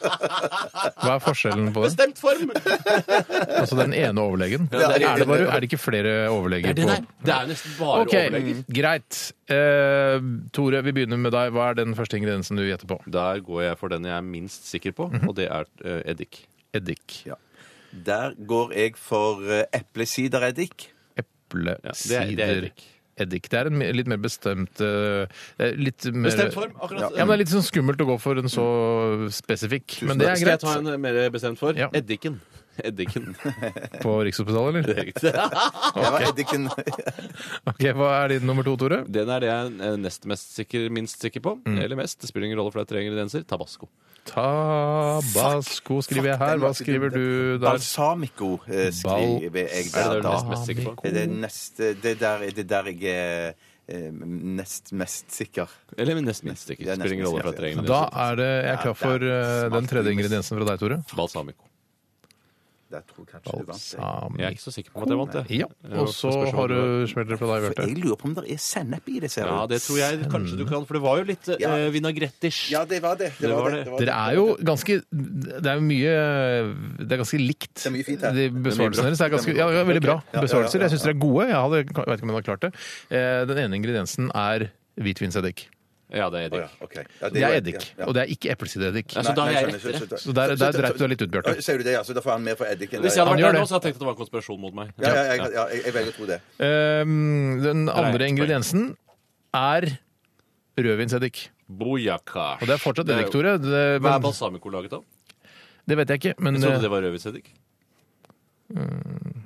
Speaker 3: Hva er forskjellen på det?
Speaker 4: Bestemt form!
Speaker 3: Altså den ene overlegen?
Speaker 4: Ja, det er
Speaker 3: er,
Speaker 4: riktig.
Speaker 3: det bare, er det ikke flere overleger
Speaker 4: Det,
Speaker 3: på
Speaker 4: der, det er nesten bare
Speaker 3: Ok,
Speaker 4: overleger.
Speaker 3: greit. Eh, Tore, vi begynner med deg. Hva er den første ingrediensen du gjetter på?
Speaker 4: Der går jeg for den jeg er minst sikker på, og det er eh, eddik. Eddik.
Speaker 5: Ja. Der går jeg for eh, eplesidereddik.
Speaker 3: Eple,
Speaker 4: Ja, det er- det er
Speaker 3: sider,
Speaker 4: eddik.
Speaker 3: eddik. Det er en me- litt mer bestemt eh, det er litt mer,
Speaker 4: Bestemt form, akkurat.
Speaker 3: Ja, men Det er litt sånn skummelt å gå for en så spesifikk. Men det er
Speaker 4: Skal jeg
Speaker 3: greit.
Speaker 4: ta en eh, mer bestemt for?
Speaker 3: Ja.
Speaker 4: Eddiken. Eddiken.
Speaker 3: På Rikshospitalet, eller?
Speaker 5: Jeg var eddiken
Speaker 3: Ok, Hva er din nummer to, Tore?
Speaker 4: Den er det jeg er nest mest sikker, minst sikker på. Eller mest. Det spiller ingen rolle, for det er tre ingredienser. Tabasco.
Speaker 3: Tabasco skriver jeg her. Hva skriver du der?
Speaker 5: Balsamico eh, skriver jeg
Speaker 4: Er det
Speaker 5: der
Speaker 4: det du er nest
Speaker 5: da.
Speaker 4: mest sikker på?
Speaker 5: Det, er neste, det, der, er- det der jeg er eh, nest mest sikker.
Speaker 4: Eller nest minst sikker.
Speaker 5: Ja,
Speaker 4: Det
Speaker 5: nest
Speaker 4: spiller ingen
Speaker 5: minst
Speaker 4: rolle, for
Speaker 5: sikker,
Speaker 4: det er tre
Speaker 5: ja.
Speaker 3: Da
Speaker 4: ingredienser.
Speaker 3: er det, jeg er klar for eh, den tredje ingrediensen fra deg, Tore.
Speaker 4: Balsamico.
Speaker 5: Der tror jeg kanskje du vant. jeg.
Speaker 4: Jeg er
Speaker 3: Balsamico.
Speaker 4: ikke så sikker på at jeg vant, jeg.
Speaker 3: Ja, og så
Speaker 4: Spørs om
Speaker 3: har
Speaker 4: det var-
Speaker 3: du smelter fra deg,
Speaker 5: For
Speaker 3: Bjarte.
Speaker 5: jeg lurer på om det er sennep i det, ser
Speaker 4: Ja, det tror jeg kanskje du kan, for det var jo litt
Speaker 5: Ja.
Speaker 4: eh, vinagrettish.
Speaker 5: Ja, det var det.
Speaker 4: Det
Speaker 5: Det
Speaker 4: var
Speaker 5: var
Speaker 4: det.
Speaker 5: det. det, var
Speaker 3: Dere er jo ganske Det er jo mye Det er ganske likt.
Speaker 5: er mye fint her.
Speaker 3: De besvarelsene deres er ganske ja, ja, veldig bra. Besvarelser. Jeg syns dere er gode. Jeg, hadde, jeg vet ikke om jeg hadde klart det. Eh, Den ene ingrediensen er hvitvinseddik.
Speaker 4: Ja,
Speaker 5: Å,
Speaker 4: det er
Speaker 5: ja,
Speaker 4: eddik.
Speaker 5: ok. Ja,
Speaker 3: Det er
Speaker 5: var-
Speaker 3: eddik,
Speaker 5: ja, ja.
Speaker 3: og det er ikke eplesidereddik.
Speaker 4: Ja, så da
Speaker 5: Nei,
Speaker 4: er jeg
Speaker 5: nei, skjønner,
Speaker 4: rettere.
Speaker 5: skjønner, skjønner.
Speaker 3: Så der, der dreit du deg litt ut,
Speaker 5: Oi,
Speaker 3: Bjarte.
Speaker 5: Sier du det, ja? Så da får han mer for eddik enn
Speaker 4: Hvis jeg hadde
Speaker 3: Han
Speaker 4: vært
Speaker 3: gjør
Speaker 4: der nå,
Speaker 3: det.
Speaker 4: så hadde jeg tenkt at det var en konspirasjon mot meg.
Speaker 5: Ja, ja, jeg, ja, jeg, jeg velger å tro det.
Speaker 3: Ehm, Den
Speaker 4: Nei,
Speaker 3: andre
Speaker 4: poeng.
Speaker 3: ingrediensen er rødvinseddik.
Speaker 4: Bouillakash.
Speaker 3: Og det er fortsatt eddik,
Speaker 4: jo-
Speaker 3: Tore. Det,
Speaker 4: Hva er
Speaker 3: men,
Speaker 4: balsamico laget av?
Speaker 3: det vet jeg ikke. Men
Speaker 4: Jeg trodde det
Speaker 3: eh,
Speaker 4: var rødvinseddik.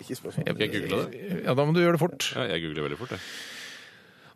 Speaker 5: Ikke spørsmål.
Speaker 4: Skal jeg google det?
Speaker 3: eh, ja, da må du gjøre det fort.
Speaker 4: Ja, jeg googler veldig fort, jeg.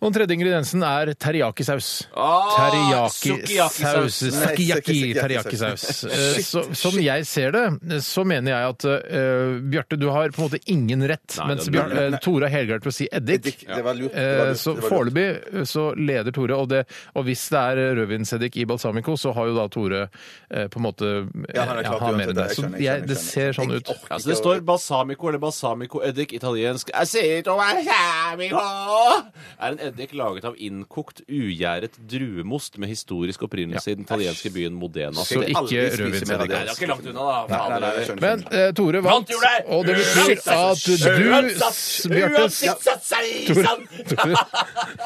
Speaker 3: Og den tredje ingrediensen er teriyaki-saus.
Speaker 4: Ah, sukiyaki-saus.
Speaker 3: Teriyaki-saus.
Speaker 5: Nei,
Speaker 3: Sukiyaki
Speaker 5: sukiyaki-saus.
Speaker 3: teriyaki-saus. Eh, så- Som jeg ser det, så mener jeg at eh, Bjarte, du har på en måte ingen rett.
Speaker 4: Nei,
Speaker 3: mens
Speaker 4: det-
Speaker 3: Bjarte, eh, Tore har helgardert på å si eddik.
Speaker 5: Eddik, det var lurt. det var
Speaker 3: Eh,
Speaker 5: lurt,
Speaker 3: Så
Speaker 5: det var lurt.
Speaker 3: foreløpig eh, så leder Tore, og, det, og hvis det er rødvinseddik i balsamico, så har jo da Tore eh, på en måte eh,
Speaker 5: Ja, han er klart
Speaker 3: har mer
Speaker 5: uansett,
Speaker 3: enn det.
Speaker 5: jeg
Speaker 3: Så
Speaker 5: skjønner, jeg
Speaker 3: jeg,
Speaker 5: skjønner,
Speaker 3: det ser
Speaker 5: jeg
Speaker 3: sånn
Speaker 5: skjønner.
Speaker 3: ut.
Speaker 4: Ja, så Altså, det står balsamico eller balsamico eddik italiensk. Jeg sier ikke balsamico! Er en Senneddik laget av innkokt, ugjæret druemost med historisk opprinnelse i den italienske byen Modena.
Speaker 3: Så ikke rødvinssenneddik.
Speaker 8: Nei, det er ikke langt unna, da.
Speaker 5: Nei,
Speaker 8: Fader,
Speaker 5: nei, jeg
Speaker 8: det er-
Speaker 5: skjønner,
Speaker 3: Men
Speaker 5: skjønner.
Speaker 3: eh, Tore vant,
Speaker 8: Vant, gjorde jeg!
Speaker 3: og det betyr at du, s- Bjarte
Speaker 8: Uansett satt seg i sand,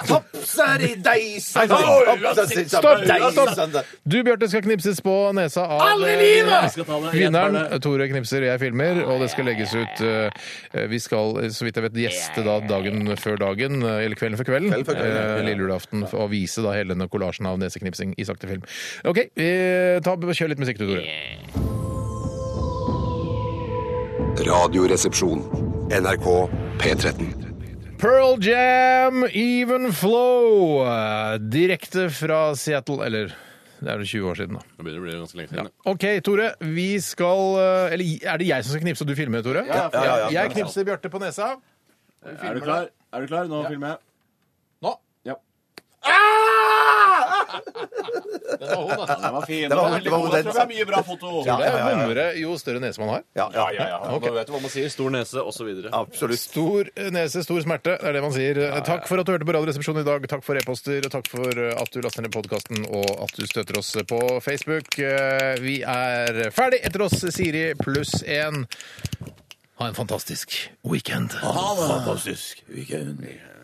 Speaker 8: topser i deg sand
Speaker 5: Stopp!
Speaker 3: Stopp! eh, Du, Bjarte, skal knipses på nesa av
Speaker 8: Alle i livet!
Speaker 3: eh,
Speaker 8: Jeg skal ta det, jeg tar
Speaker 3: Vinneren
Speaker 8: det.
Speaker 3: Tore knipser, jeg filmer, og det skal legges ut eh, Vi skal, eh, så vidt jeg vet, gjeste da dagen før dagen, eh, eller kvelden før kvelden.
Speaker 5: før kvelden, ja.
Speaker 3: eh, Lille julaften, for å vise da hele denne kollasjen av neseknipsing i sakte film. OK, eh, ta, kjør litt musikk du, Tore.
Speaker 2: Radioresepsjon. NRK P13.
Speaker 3: Pearl Jam, Even Flow, eh, direkte fra Seattle, eller det er jo 20 år siden, da.
Speaker 4: Nå begynner det å bli ganske lenge siden.
Speaker 3: OK, Tore. Vi skal eh, Eller er det jeg som skal knipse, og du filmer, Tore?
Speaker 5: ja, ja, ja.
Speaker 3: Jeg knipser Bjarte på nesa.
Speaker 4: Er du klar? Er du klar? Nå filmer jeg.
Speaker 3: Nå.
Speaker 4: Ja.
Speaker 5: Det var det var hodet. Ja,
Speaker 3: Det
Speaker 5: ja,
Speaker 3: er
Speaker 5: ja, ja.
Speaker 3: vommere jo større nese man har.
Speaker 5: Ja, ja, ja.
Speaker 4: Nå vet du hva man sier. Stor nese, osv.
Speaker 5: Absolutt.
Speaker 3: Stor eh, nese, stor smerte. Det er det man sier. Takk for at du hørte på Radioresepsjonen i dag. Takk for e-poster, og takk for eh, at du laster ned podkasten, og at du støtter oss eh, på Facebook. Eh, Vi er ferdig. Etter oss Siri pluss én. Ha en fantastisk weekend.
Speaker 5: Fantastisk. Weekend.